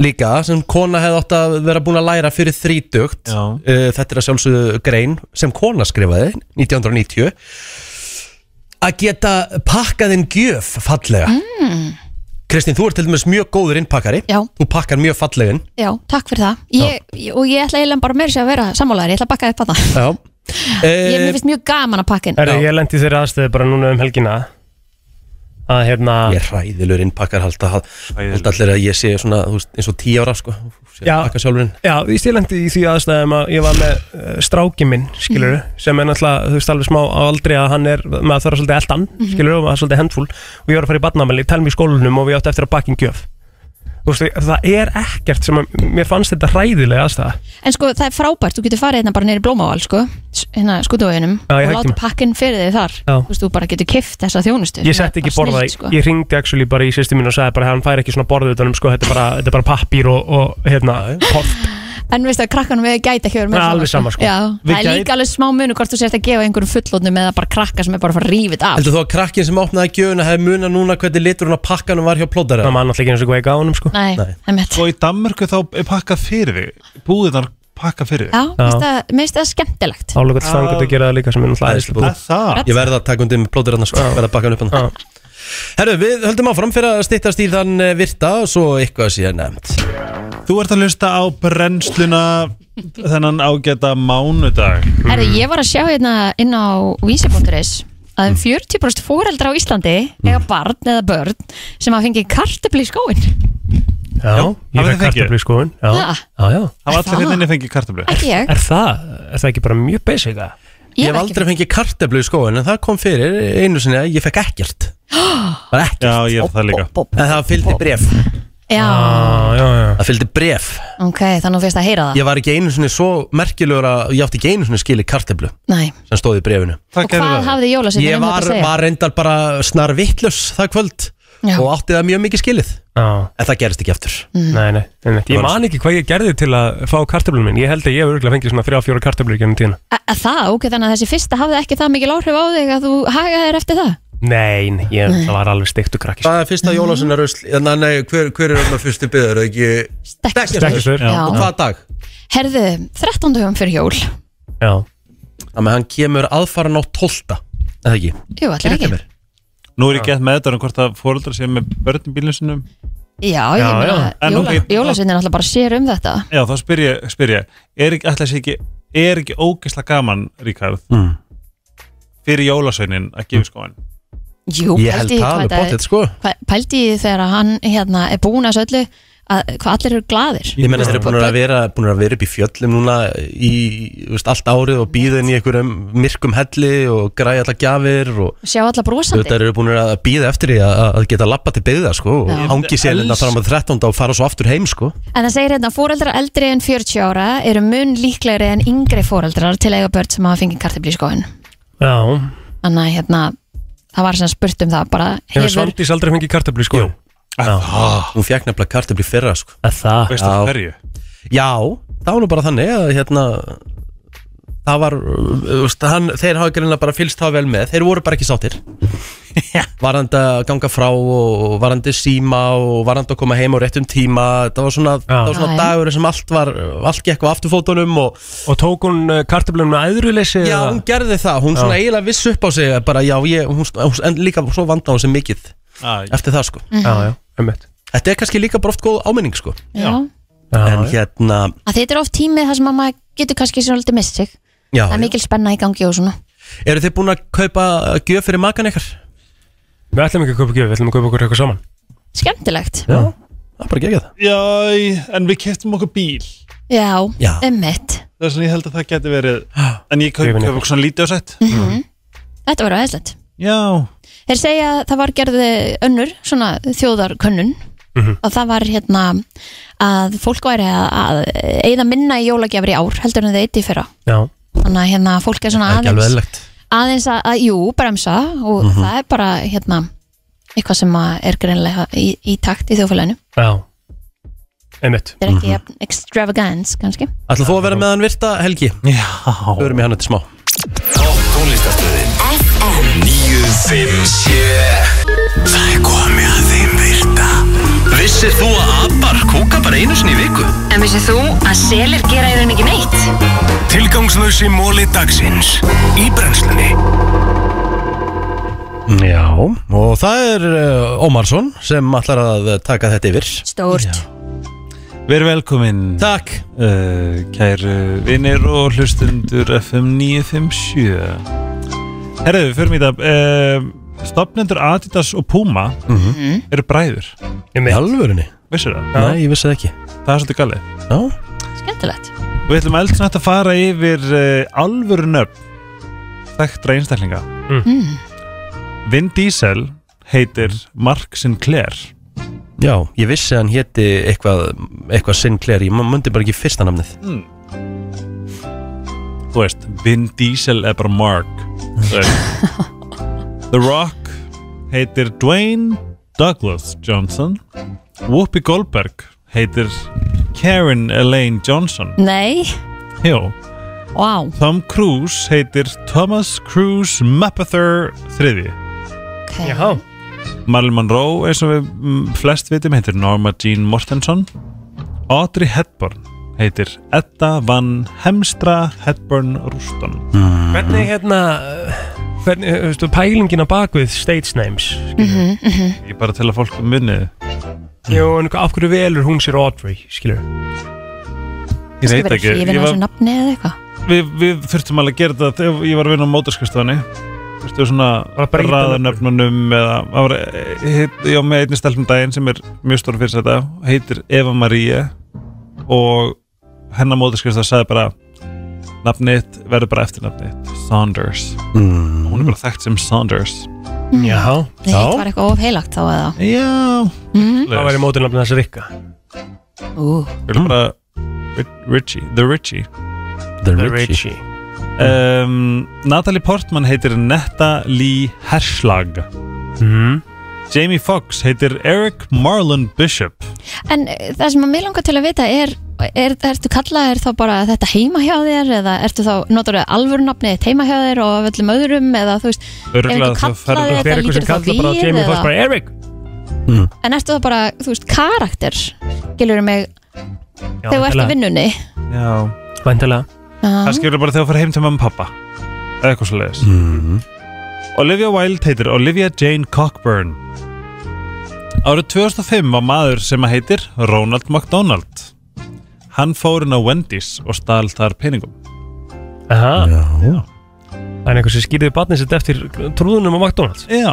líka sem kona hefði átt að vera búin að læra fyrir þrítugt uh, Já. þetta er að sjálfsögðu grein sem kona skrifaði 1990 að geta pakkað inn gjöf fallega mm. Kristín, þú ert til dæmis mjög góður innpakkari Já. þú pakkar mjög fallega inn já, takk fyrir það, ég, ég- og ég ætla eiginlega bara meira sér að vera sammálaður, ég ætla að bakka upp að það, Já ég, mér uh, finnst mjög gaman að pakka inn, Eh, Er, Já. ég lendi þeirri aðstöðu bara núna um helgina að hérna Ég er hræðilur innpakkar hald að hald allir að ég sé svona þú veist, eins og tí ára sko, sé Já. að pakka sjálfurinn Já, ég stilendi í því aðstæðum að ég var með uh, stráki minn, skilur Mhm. sem er náttúrulega, þú veist, alveg smá á aldri að hann er, maður þarf svolítið eldan, mm Mhm. skilur og maður er svolítið hendfúl og ég var að fara í barnamæli, telmi í skólanum og við átti eftir að bakkin gjöf Þú veist, það er ekkert sem að mér fannst þetta hræðilega aðstæða En sko það er frábært, þú getur farið hérna bara neyri blómavál sko, s- hérna skutuvöginum Já, og ég láta hætti mig. pakkinn fyrir þig þar Já. þú veist, þú bara getur kift þessa þjónustu Ég sem setti er ekki bara borða, snillt, sko. ég ringdi actually bara í sýsti mín og sagði bara hann fær ekki svona borðið utanum, sko, þetta er bara, þetta er bara pappír og, og hérna, port En veist að krakkanum við gæti ekki verið Það er svona, alveg sama, sko. Já, Við Það er gæti- líka alveg smá munu hvort þú sért að gefa einhverjum fullotnum eða bara krakka sem er bara að fara að rífið af Heldur þú að krakkin sem opnaði gjöfuna hefði muna núna hvernig liturinn á pakkanum var hjá plóðara? þannig að maður náttúrulega ekki eins og hvað ég gaf honum, sko Nei, Nei. einmitt. Og í Danmörku þá er pakkað fyrir þig Búðirnar pakkað fyrir Já, veist það- mér finnst það skemmtilegt Álega stangat að gera það líka sem er náttúrulega Æðislega æðislega búð. þig Það Ég verða að taka undir með plóðir hann sko, verða að bakka hann upp hann Herru, við höldum áfram fyrir að styttast í þann eh, virta og svo eitthvað sé nefnt Þú ert að hlusta á brennsluna þennan ágæta mánudag Herri, Mm. ég var að sjá hérna inn á vísi.is Mm. að um 40% fóreldra á Íslandi eiga barn eða börn sem að fengi kartabli í skóin Já, ég hafið fæk þið fengið? kartabli skoðun Já, Ha? já, já Það var Er það? allir hérna fengið kartablu Ekki ég, Er það, er það ekki bara mjög basic að? Ég ég hef aldrei fengið karteflu í skóin En það kom fyrir einu sinni að ég fekk ekkert Bara ekkert Já, ég er það líka En það fylgdi bref Já, Ah. Ah, Já, já, já Það fylgdi bref ok, þannig að fyrst að heyra það Ég var ekki einu sinni svo merkilegur að Ég átti ekki einu sinni skili karteflu Nei, Sem stóði í brefinu Það og gerði hvað það. hafði jólasveitin Ég um var, þetta að segja? var reyndar bara snar vittlus það kvöld Já. Og átti það mjög mikið skilið Já, En það gerist ekki aftur nei, nei, nei, nei. Ég man ekki hvað ég gerði til að fá kartablunum minn Ég held að ég hef örgulega fengið svona 3-4 kartablur gennum tíðina Að að það, ok, þannig að þessi fyrsta hafði ekki það mikil áhrif á þig að þú hagaði þér eftir það Nei, nei, ég það var alveg steiktu krakki sko. Það er fyrsta jólásinna rusl Nei, nei, hver, hver er hérna öllum fyrstu byður ekki... Stekkjast Stekkjustur Já. Og Já, hvaða dag? herðu, 13 dögum fyrir jól Jú, Já, Það með hann kemur aðfaran á 12 Eða ekki? allir ekki mér. Nú er ég gett með þetta um hvort að fóreldrar séu með börn í bílnum sinum Já, ég Já, já. En meina, ok, jólasveitin alltaf bara sér um þetta Já, þá spyr ég, spyr ég Er ekki, ætla sé ekki, er ekki ógisla gaman, Ríkard Mm. Fyrir jólasveinin að Hmm. gefa skóin Jú, Ég held pældi það í hvað alveg þetta bóttið sko Hva- pældi ég þegar að hann hérna, er búin að þessu öllu að hvað allir eru gladir Ég meina þeir eru búin að vera búin að vera upp í fjöllum núna í þú veist, allt árið og býða inn í einhverjum myrkum helli og græja allar gjafir og sjá alla brosandi þetta eru búin að býða eftir því að að geta lappa til byggða sko og Já. hangi sér hérna fram að 13. og fara svo aftur heim sko en það segir hérna fóreldrar eldri en 40 ára eru mun líklegri en yngri fóreldrar til að eiga börn sem hafa fengið kartibli í skóin já þannig að hérna það var sem spurt um það bara Hefur hefur, Svandís aldrei fengið kartablu sko? Jú Hún fekk nefnilega kartabli fyrra sko Það Veistu Já. af hverju? Já, það var nú bara þannig að hérna það var, uh, veist, hann, þeir hafa greinlega bara fylst það vel með, þeir voru bara ekki sáttir varandi að ganga frá og varandi síma og varandi að koma heim á réttum tíma það var svona, það var Já, svona já. dagur sem allt var allt gekk á afturfótunum og Og tók hún kartablunum með æðruleysi já, eða? hún gerði það, hún svona eiginlega viss upp á sig bara já, ég, hún, hún, en líka svo vanda hún sem mikið Æ, eftir það Mm. sko Já, já, einmitt þetta er kannski líka bara oft góð áminning sko já, Já, en já. hérna, að þetta er oft tími þar sem að maður getur kannski svolítið mist sig já, það er já. mikil spenna í gangi og svona eru þið búin að kaupa gjöf fyrir makan ykkar? Við ætlum ekki að kaupa gjöf, við ætlum að kaupa okkur eitthvað saman skemmtilegt Já, það er bara gegja það Já, en við keftum okkur bíl já, Já. emmitt Það er svona, ég held að það geti verið En ég kaup Gjöfin ykkur. kaup okkur svona lítið og sett Mm. Mhm. þetta var aðeinslegt Já, Þeir segja að það var gerði önnur svona þjóðarkönnun Mhm. og það var hérna að fólk væri að, að eigða minna í jólagjafir í ár heldur en þau eitt í fyrra Já, þannig að hérna fólk er svona aðeins eðlegt aðeins að, að jú, bremsa og Mhm. það er bara hérna eitthvað sem að er greinlega í, í takt í þjóðfélaginu já Einmitt þetta er Mhm. ekki mm extravagance kannski Ætla þú að vera með hann virta, Helgi? já Örum í hann eftir smá Topp tónlistarstöðin FM 957 Það er komið að þeim virta Vissir þú að abar kúka bara einu sinni í viku? En vissið þú að selir gera í raun ekki neitt? Tilgangslösi móli dagsins Í brennslunni Já Og það er uh, Ómarsson sem ætlar að taka þetta yfir stórt Verið velkomin Takk uh, Kæru vinnir og hlustundur FM 957 Herðu, við förum í það uh, Stopnendur Adidas og Puma eru bræður Í alvörunni? Vissir það? Nei, ég vissi það ekki Það er svolítið galið Já skemmtilegt Við ætlum eldsnætt að fara yfir uh, alvöru nöfn þekktra einstaklinga Vin Diesel heitir Mark Sinclair Já, ég vissi að hann héti eitthvað, eitthvað Sinclair, ég mundi bara ekki fyrsta namnið þú veist, Vin Diesel er bara Mark Þú veist. The Rock heitir Dwayne Douglas Johnson Whoopi Goldberg heitir Karen Elaine Johnson nei, Jó. wow, Tom Cruise heitir Thomas Cruise Mapother III ok Já, Marilyn Monroe eins og við mm, flest vitum heitir Norma Jean Mortenson Audrey Hepburn heitir Edda Van Hemstra Hepburn Rúston hvernig hérna hvernig, eh, þú Mhm, veistu, pælingina bak við stage names Ég bara til að fólk munið Jú, en hvað- af hverju velur hún sér Audrey, skilur Ég Skal veit vera ekki hrifin Ég af var, þessu nafni eða eitthvað við, við þurftum alveg að gera þetta þegar ég var að vinna á mótorskristofanni Vistu svona Bara breyta raðanöfnunum eða það var, eh, hitt- ég var með einni stelpum daginn sem er mjög stór fyrir þetta heitir Eva Marie og hennar mótorskristofa sagði bara nafnið verður bara eftirnafnið Saunders Mm. hún er bara þekkt sem Saunders Já, Þetta var eitthvað of heilagt þá eða Já mm. Það væri mótinafnið þessi Rikka Ú, Við erum bara Ri- Richie, The Richie The The Richie Richie Mm. um, Natalie Portman heitir Netta Lee Herslag mm. Jamie Foxx heitir Eric Marlon Bishop En eh, það sem að mig langar til að vita er, er ertu kallað er þá bara þetta heima hjá þér eða ertu þá, notar þú alvöru nafni þitt heima hjá þér og af öllum öðrum eða þú veist, Örugglega ef þá einhver kallaði Það ferðu- þetta er eitthvað lítur sem þá kalla við bara Jamie eða, Foxx bara Eric en ertu þá bara, þú veist, karakter gilur mig Já, þegar þú ert væntanlega. á vinnunni Já Væntanlega Já, Kannski eru bara þegar þú fyrir heim til mamma og pappa Eða eitthvað svo leiðis mm. Olivia Wilde heitir Olivia Jane Cockburn Árið 2005 var maður sem að heitir Ronald McDonald Hann fór inn á Wendy's og stal þar peningum Aha, Já það er eitthvað sem skýrði barnið sitt eftir trúðunum á McDonalds Já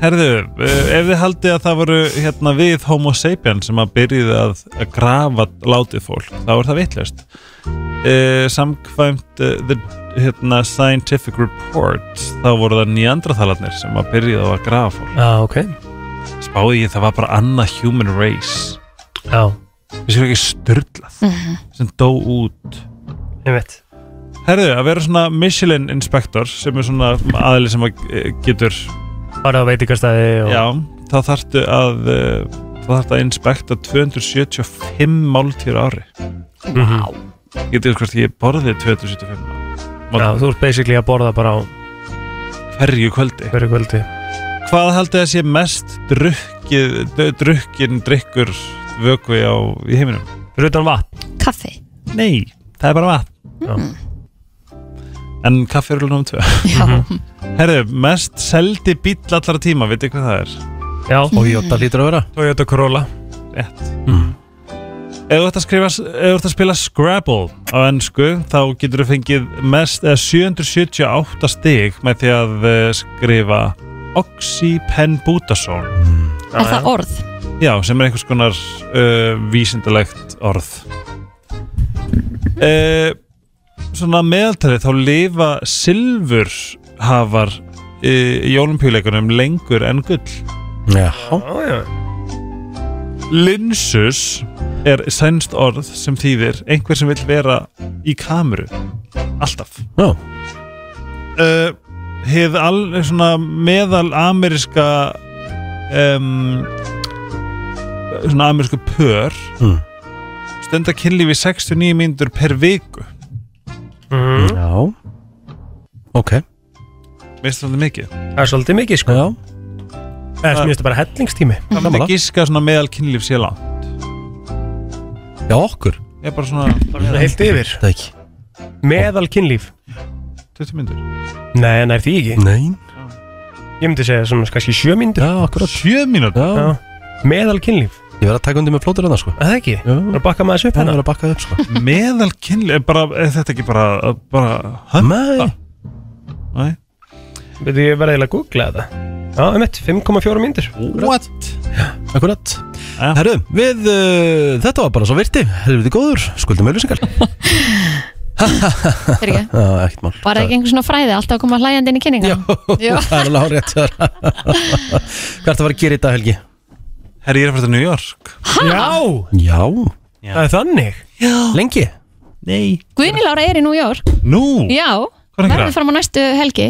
Herðu, eh, ef þið haldið að það voru hérna við homo sapien sem að byrjuði að, að grafa látið fólk þá er það vitlaust uh, samkvæmt uh, the, hérna, scientific report þá voru það nýjandraþalarnir sem að byrjuði að grafa fólk Já, ok spáði ég það var bara annað human race Já, við séum ekki styrlað sem dó út ég veit Herðu, að vera svona Michelin inspektor sem er svona aðli sem að eh, getur Bara á veitingastæði og Já, þá þarftu að uh, þá þarftu að inspekta 275 máltíður á ári mm -hmm. Getið hvort ég borðið 275 Já, mál þú ert basically að borða bara á hverju kvöldi hverju kvöldi Hvað haldið að sé mest drukkið, d- drukkin drikkur vökvi á í heiminum? Fyrir utan vatn kaffi Nei, það er bara vatn Já. En kaffi er glunum tvö Já, Mhm. Herðu, mest seldi bíl allara tíma, vitið hvað það er? Já, Hm. Og Jóta lítur að vera Toyota Corolla Rétt Ef þú ert að skrifa, ef þú ert að spila Scrabble á ennsku þá getur þú fengið mest eða 778 stig með því að eh, skrifa Oxypenbutason er það orð? Já, sem er einhvers konar uh, vísindalegt orð uh, Svona meðaltalið þá lifa silfur hafar í olimpíuleikunum lengur en gull Já Já, já Linsus er sænst orð sem þýðir einhver sem vil vera í kameru alltaf Já uh, hefð al, svona meðal ameríska um, svona amerísku pör Mm. stunda kynlífi 69 mínútur per viku mm. Já Ok veist það mikið Það er svolítið mikið sko Já Það er mjög bara hellingstími það Sammála. myndi giska svona meðal kynlíf sé langt Já okkur ég er bara svona Heilt yfir Það ekki Meðal kynlíf 20 mínútur Nei, en er því ekki Nei Ég myndi segja svona kannski sjö myndir Já akkurat 7 mínútur? Já Meðal kynlíf Ég verð að taka undir með flótur hennar sko Er það ekki? Já Það er að bakka maður þessu upp Það hérna verð að bakka upp sko meðal kynlíf er bara, er þetta ekki bara, bara hönn? Nei Ah. Nei Veitu, ég verði eiginlega að googla þetta Já, um 5,4 myndir What? Akkurat Já. Herru, við uh, Þetta var bara svo virti Helviti góður Skuldum auðlýsingar Er ekki? Já, ekkert mál Var það ekki einhver svona fræði alltaf að koma hlægjandi inn í kynninga? Já. Það er alveg hárétt Hvað er það að gera í dag, Helgi? Herri, ég er að fara til New York Já, Já það er þannig Lengi? Nei Guðni Lára er í New York Nú, Já, Hvað er að gera? verður fram á næstu helgi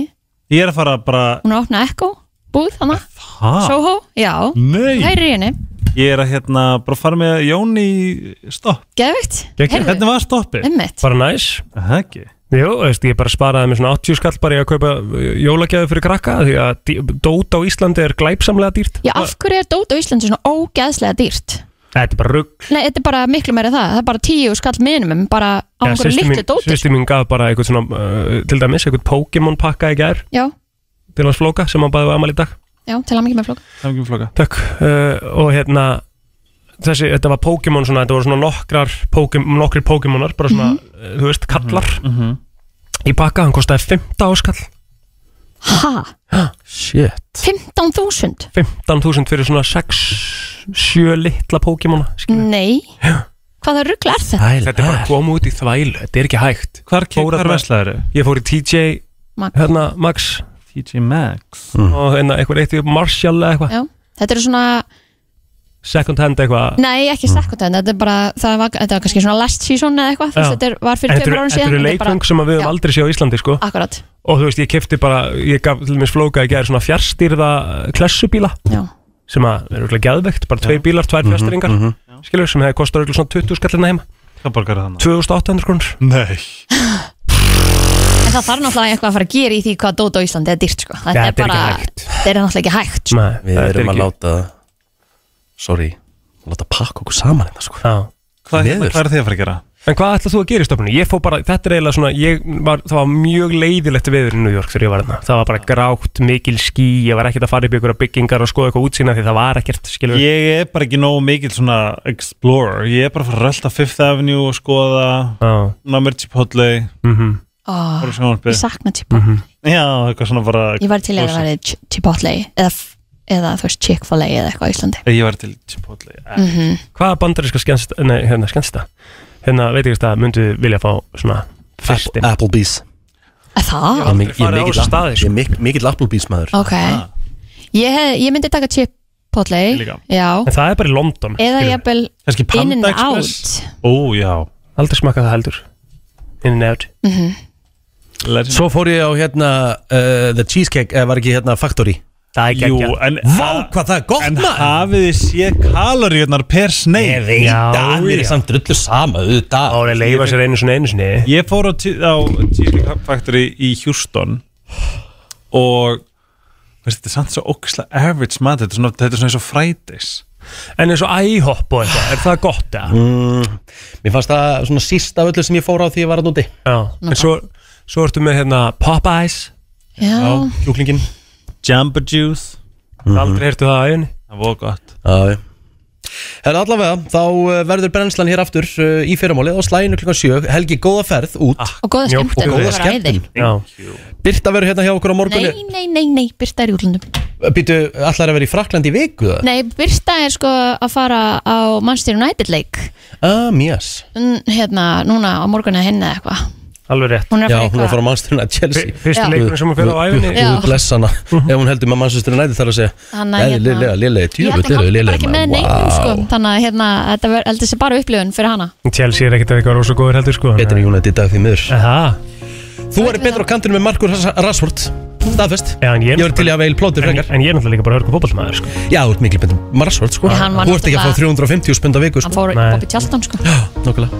ég er að fara bara Hún er að opna Echo, búð hana Hæ? Soho, já, Nei hæri í henni Ég er að hérna bara fara með Jón í stopp Geðvikt, Geggjað. Hvernig var stoppið? emmitt Bara næs Það ekki Jú, veist, ég bara sparaði með svona 80 skall bara í að kaupa jólagjafi fyrir krakka því að dí- dót á Íslandi er glæpsamlega dýrt Já, af hverju er dót á Íslandi svona ógeðslega dýrt? Þetta er bara rugg Nei, þetta er bara miklu meira það Það er bara tíu skall minimum bara á einhverju litlu dóti Sýsti mín gaf bara eitthvað svona uh, til dæmis, eitthvað Pokémon pakka í gær Já, til hans flóka sem hann baði var amal í dag já, til að mikið með flók Það er ekki um floka Takk uh, eh, og hérna þessi, þetta var Pokémon svona, þetta voru svona nokkrar Pokémon, nokkri Pokémonar, bara Mhm. svona, eh, þú veist, kallar Mhm. í pakka, hann kostaði 15 áskall, Ha, Shit 15.000? 15.000 fyrir svona 6, 7 litla Pokémona, skilur. Nei Hvaða rugl er þetta? Æl, Þetta er bara að koma út í þvælu, þetta er ekki hægt. Hvar, Fór hvar þarna- veslaður þau? Ég fór í TJ, Max. hérna, Max, TJ Maxx og hérna, eitthvað eitt í Marshall eða eitthvað, Já, þetta eru svona second hand eitthvað. Nei, ekki sekundin, þetta er bara það var, Þetta var kannski svona last season eða eitthvað þú veist, Já. Þetta er, var En fyrir Þetta tveimur eru- árum þetta síðan eru þetta er bara- leikfeng sem að við höfum Já. aldrei séð á Íslandi, sko. Akkurat, Og þú veist, ég kefti bara, ég gaf til minns flóka í gerð svona fjárstýrða klessubíla. já sem að er auðvitað geðvegt, bara tvei bílar, tvær Mhm, fjastringar mm skilur, sem hefði kostar auðvitað svona 20 skallina heima Hvað borgar það 2800 krónur Nei En það þarf náttúrulega eitthvað að fara að gera í því hvað dót á Íslandi er dýrt sko. Þetta er Þetta er bara, ekki hægt. þetta er náttúrulega ekki hægt sko. Nei, Við þetta er erum að ekki- láta Sorry Láta pakka okkur saman hérna sko Já. Hvað hérna, Miður. hvað er þið að fara að gera? En hvað ætlað þú að gera í stofnunni? Ég fó bara, þetta er eiginlega svona ég var, það var mjög leiðilegt veður í New York þegar ég var þarna, það var bara grátt, mikil ský ég var ekkert að fara upp í ykkur byggingar og skoða eitthvað útsýna því það var ekkert, skilur Ég er bara ekki nógu mikill svona explorer Ég er bara að fara að rölda Fifth Avenue og skoða Já, Namirji Podley mhm Ó, Bara Ég sjónvarpið sakna Chipotle um Já, eitthvað svona bara Ég var til í að Rosa. vera Chipotle eða, f- eða þú veist Chick-fil-A eða eitthvað á Íslandi Mhm. Ég var til Chipotle Eh, Hvaða bandaríska skemmst, nei, hérna, skemmst það hérna, veit ég veist að myndu vilja fá svona fyrstin Apple- Applebee's Er Það? Ég er mik- ég er farið á mikill þessa Apple- staði, sko. Ég er mik- mikill Applebee's maður Ok Ég, hef, ég myndi taka Chipotle líka. Já En það er bara í London Eða skilurðu. jafnvel Kannski in and Panda Express out Ó, já Aldrei smakað það heldur In and out Mhm. Legend. Svo fór ég á hérna uh, The Cheesecake, eða var ekki hérna Factory Það er Jú, geggjað. en Vá, hvað það er gott En maður hafið þið séð kaloríunar per Ég sneið? veit Já, að mér já. er samt drullu sama auðvitað Það er leifa sér einu svona einu sinni Ég fór á, tí- á Cheesecake Factory í Houston og veist, þetta er samt svo ógislega average mat þetta er svona, þetta er svona eins og Fridays En eins og IHOP og eitthvað, er það gott eða? Mér fannst það svona síst af öllu sem ég fór á því ég var að núti Já, en svo, svo ertu með hérna Popeyes Já, Kjúklingin, Jamba Juice aldrei heyrtu það á æfinni Það var gott Já, já En allavega, þá eh, verður brennslan hér aftur eh, í fyrramálið á slæginu klukkan 7 Helgi, góða ferð út og góða Mjólk og skemmtun góða það var æði. skemmtun. Já, Birta verður hérna hjá okkur á morgunni Nei, nei, nei, nei, Birta er í útlundum Býtu, allar að vera í Fraklandi í viku það? Nei, Birta er sko að fara á Manchester United leik Ah, mjöss Mm, hérna, núna á morgun eða henni eða eitthvað alveg rétt hún er Já, að hún er að fara fara eitthvað á mannsturinn að Chelsea Fyrsti Já. leikurinn sem hún fyrir á æfinni Já. Þú bless hana Ef hún heldur með mannsturinn að þarf að segja Þannig að Nei, hérna- liðlega, liðlega, ég held tjúfut, liðlega, að hún er liðlega bara ekki með neinum sko þannig að hérna, þetta ver- heldur sér bara upplifun fyrir hana Chelsea er ekkert eitthvað rosa góður heldur sko Betur en Júnætt í dag því miður Það, Þú er betur á kantinu með Markur Rassvort Staðfest Já, en ég- Ég var til í að veil plóti en, frekar en ég er náttúrulega líka bara hörku fótballmaður sko Já, þú ert miklu betur Rassvort sko Hann var Þú ert ekki að náttúrulega- fá 350 spund á viku hann sko fór upp Nei. í tjáltan sko Nókulega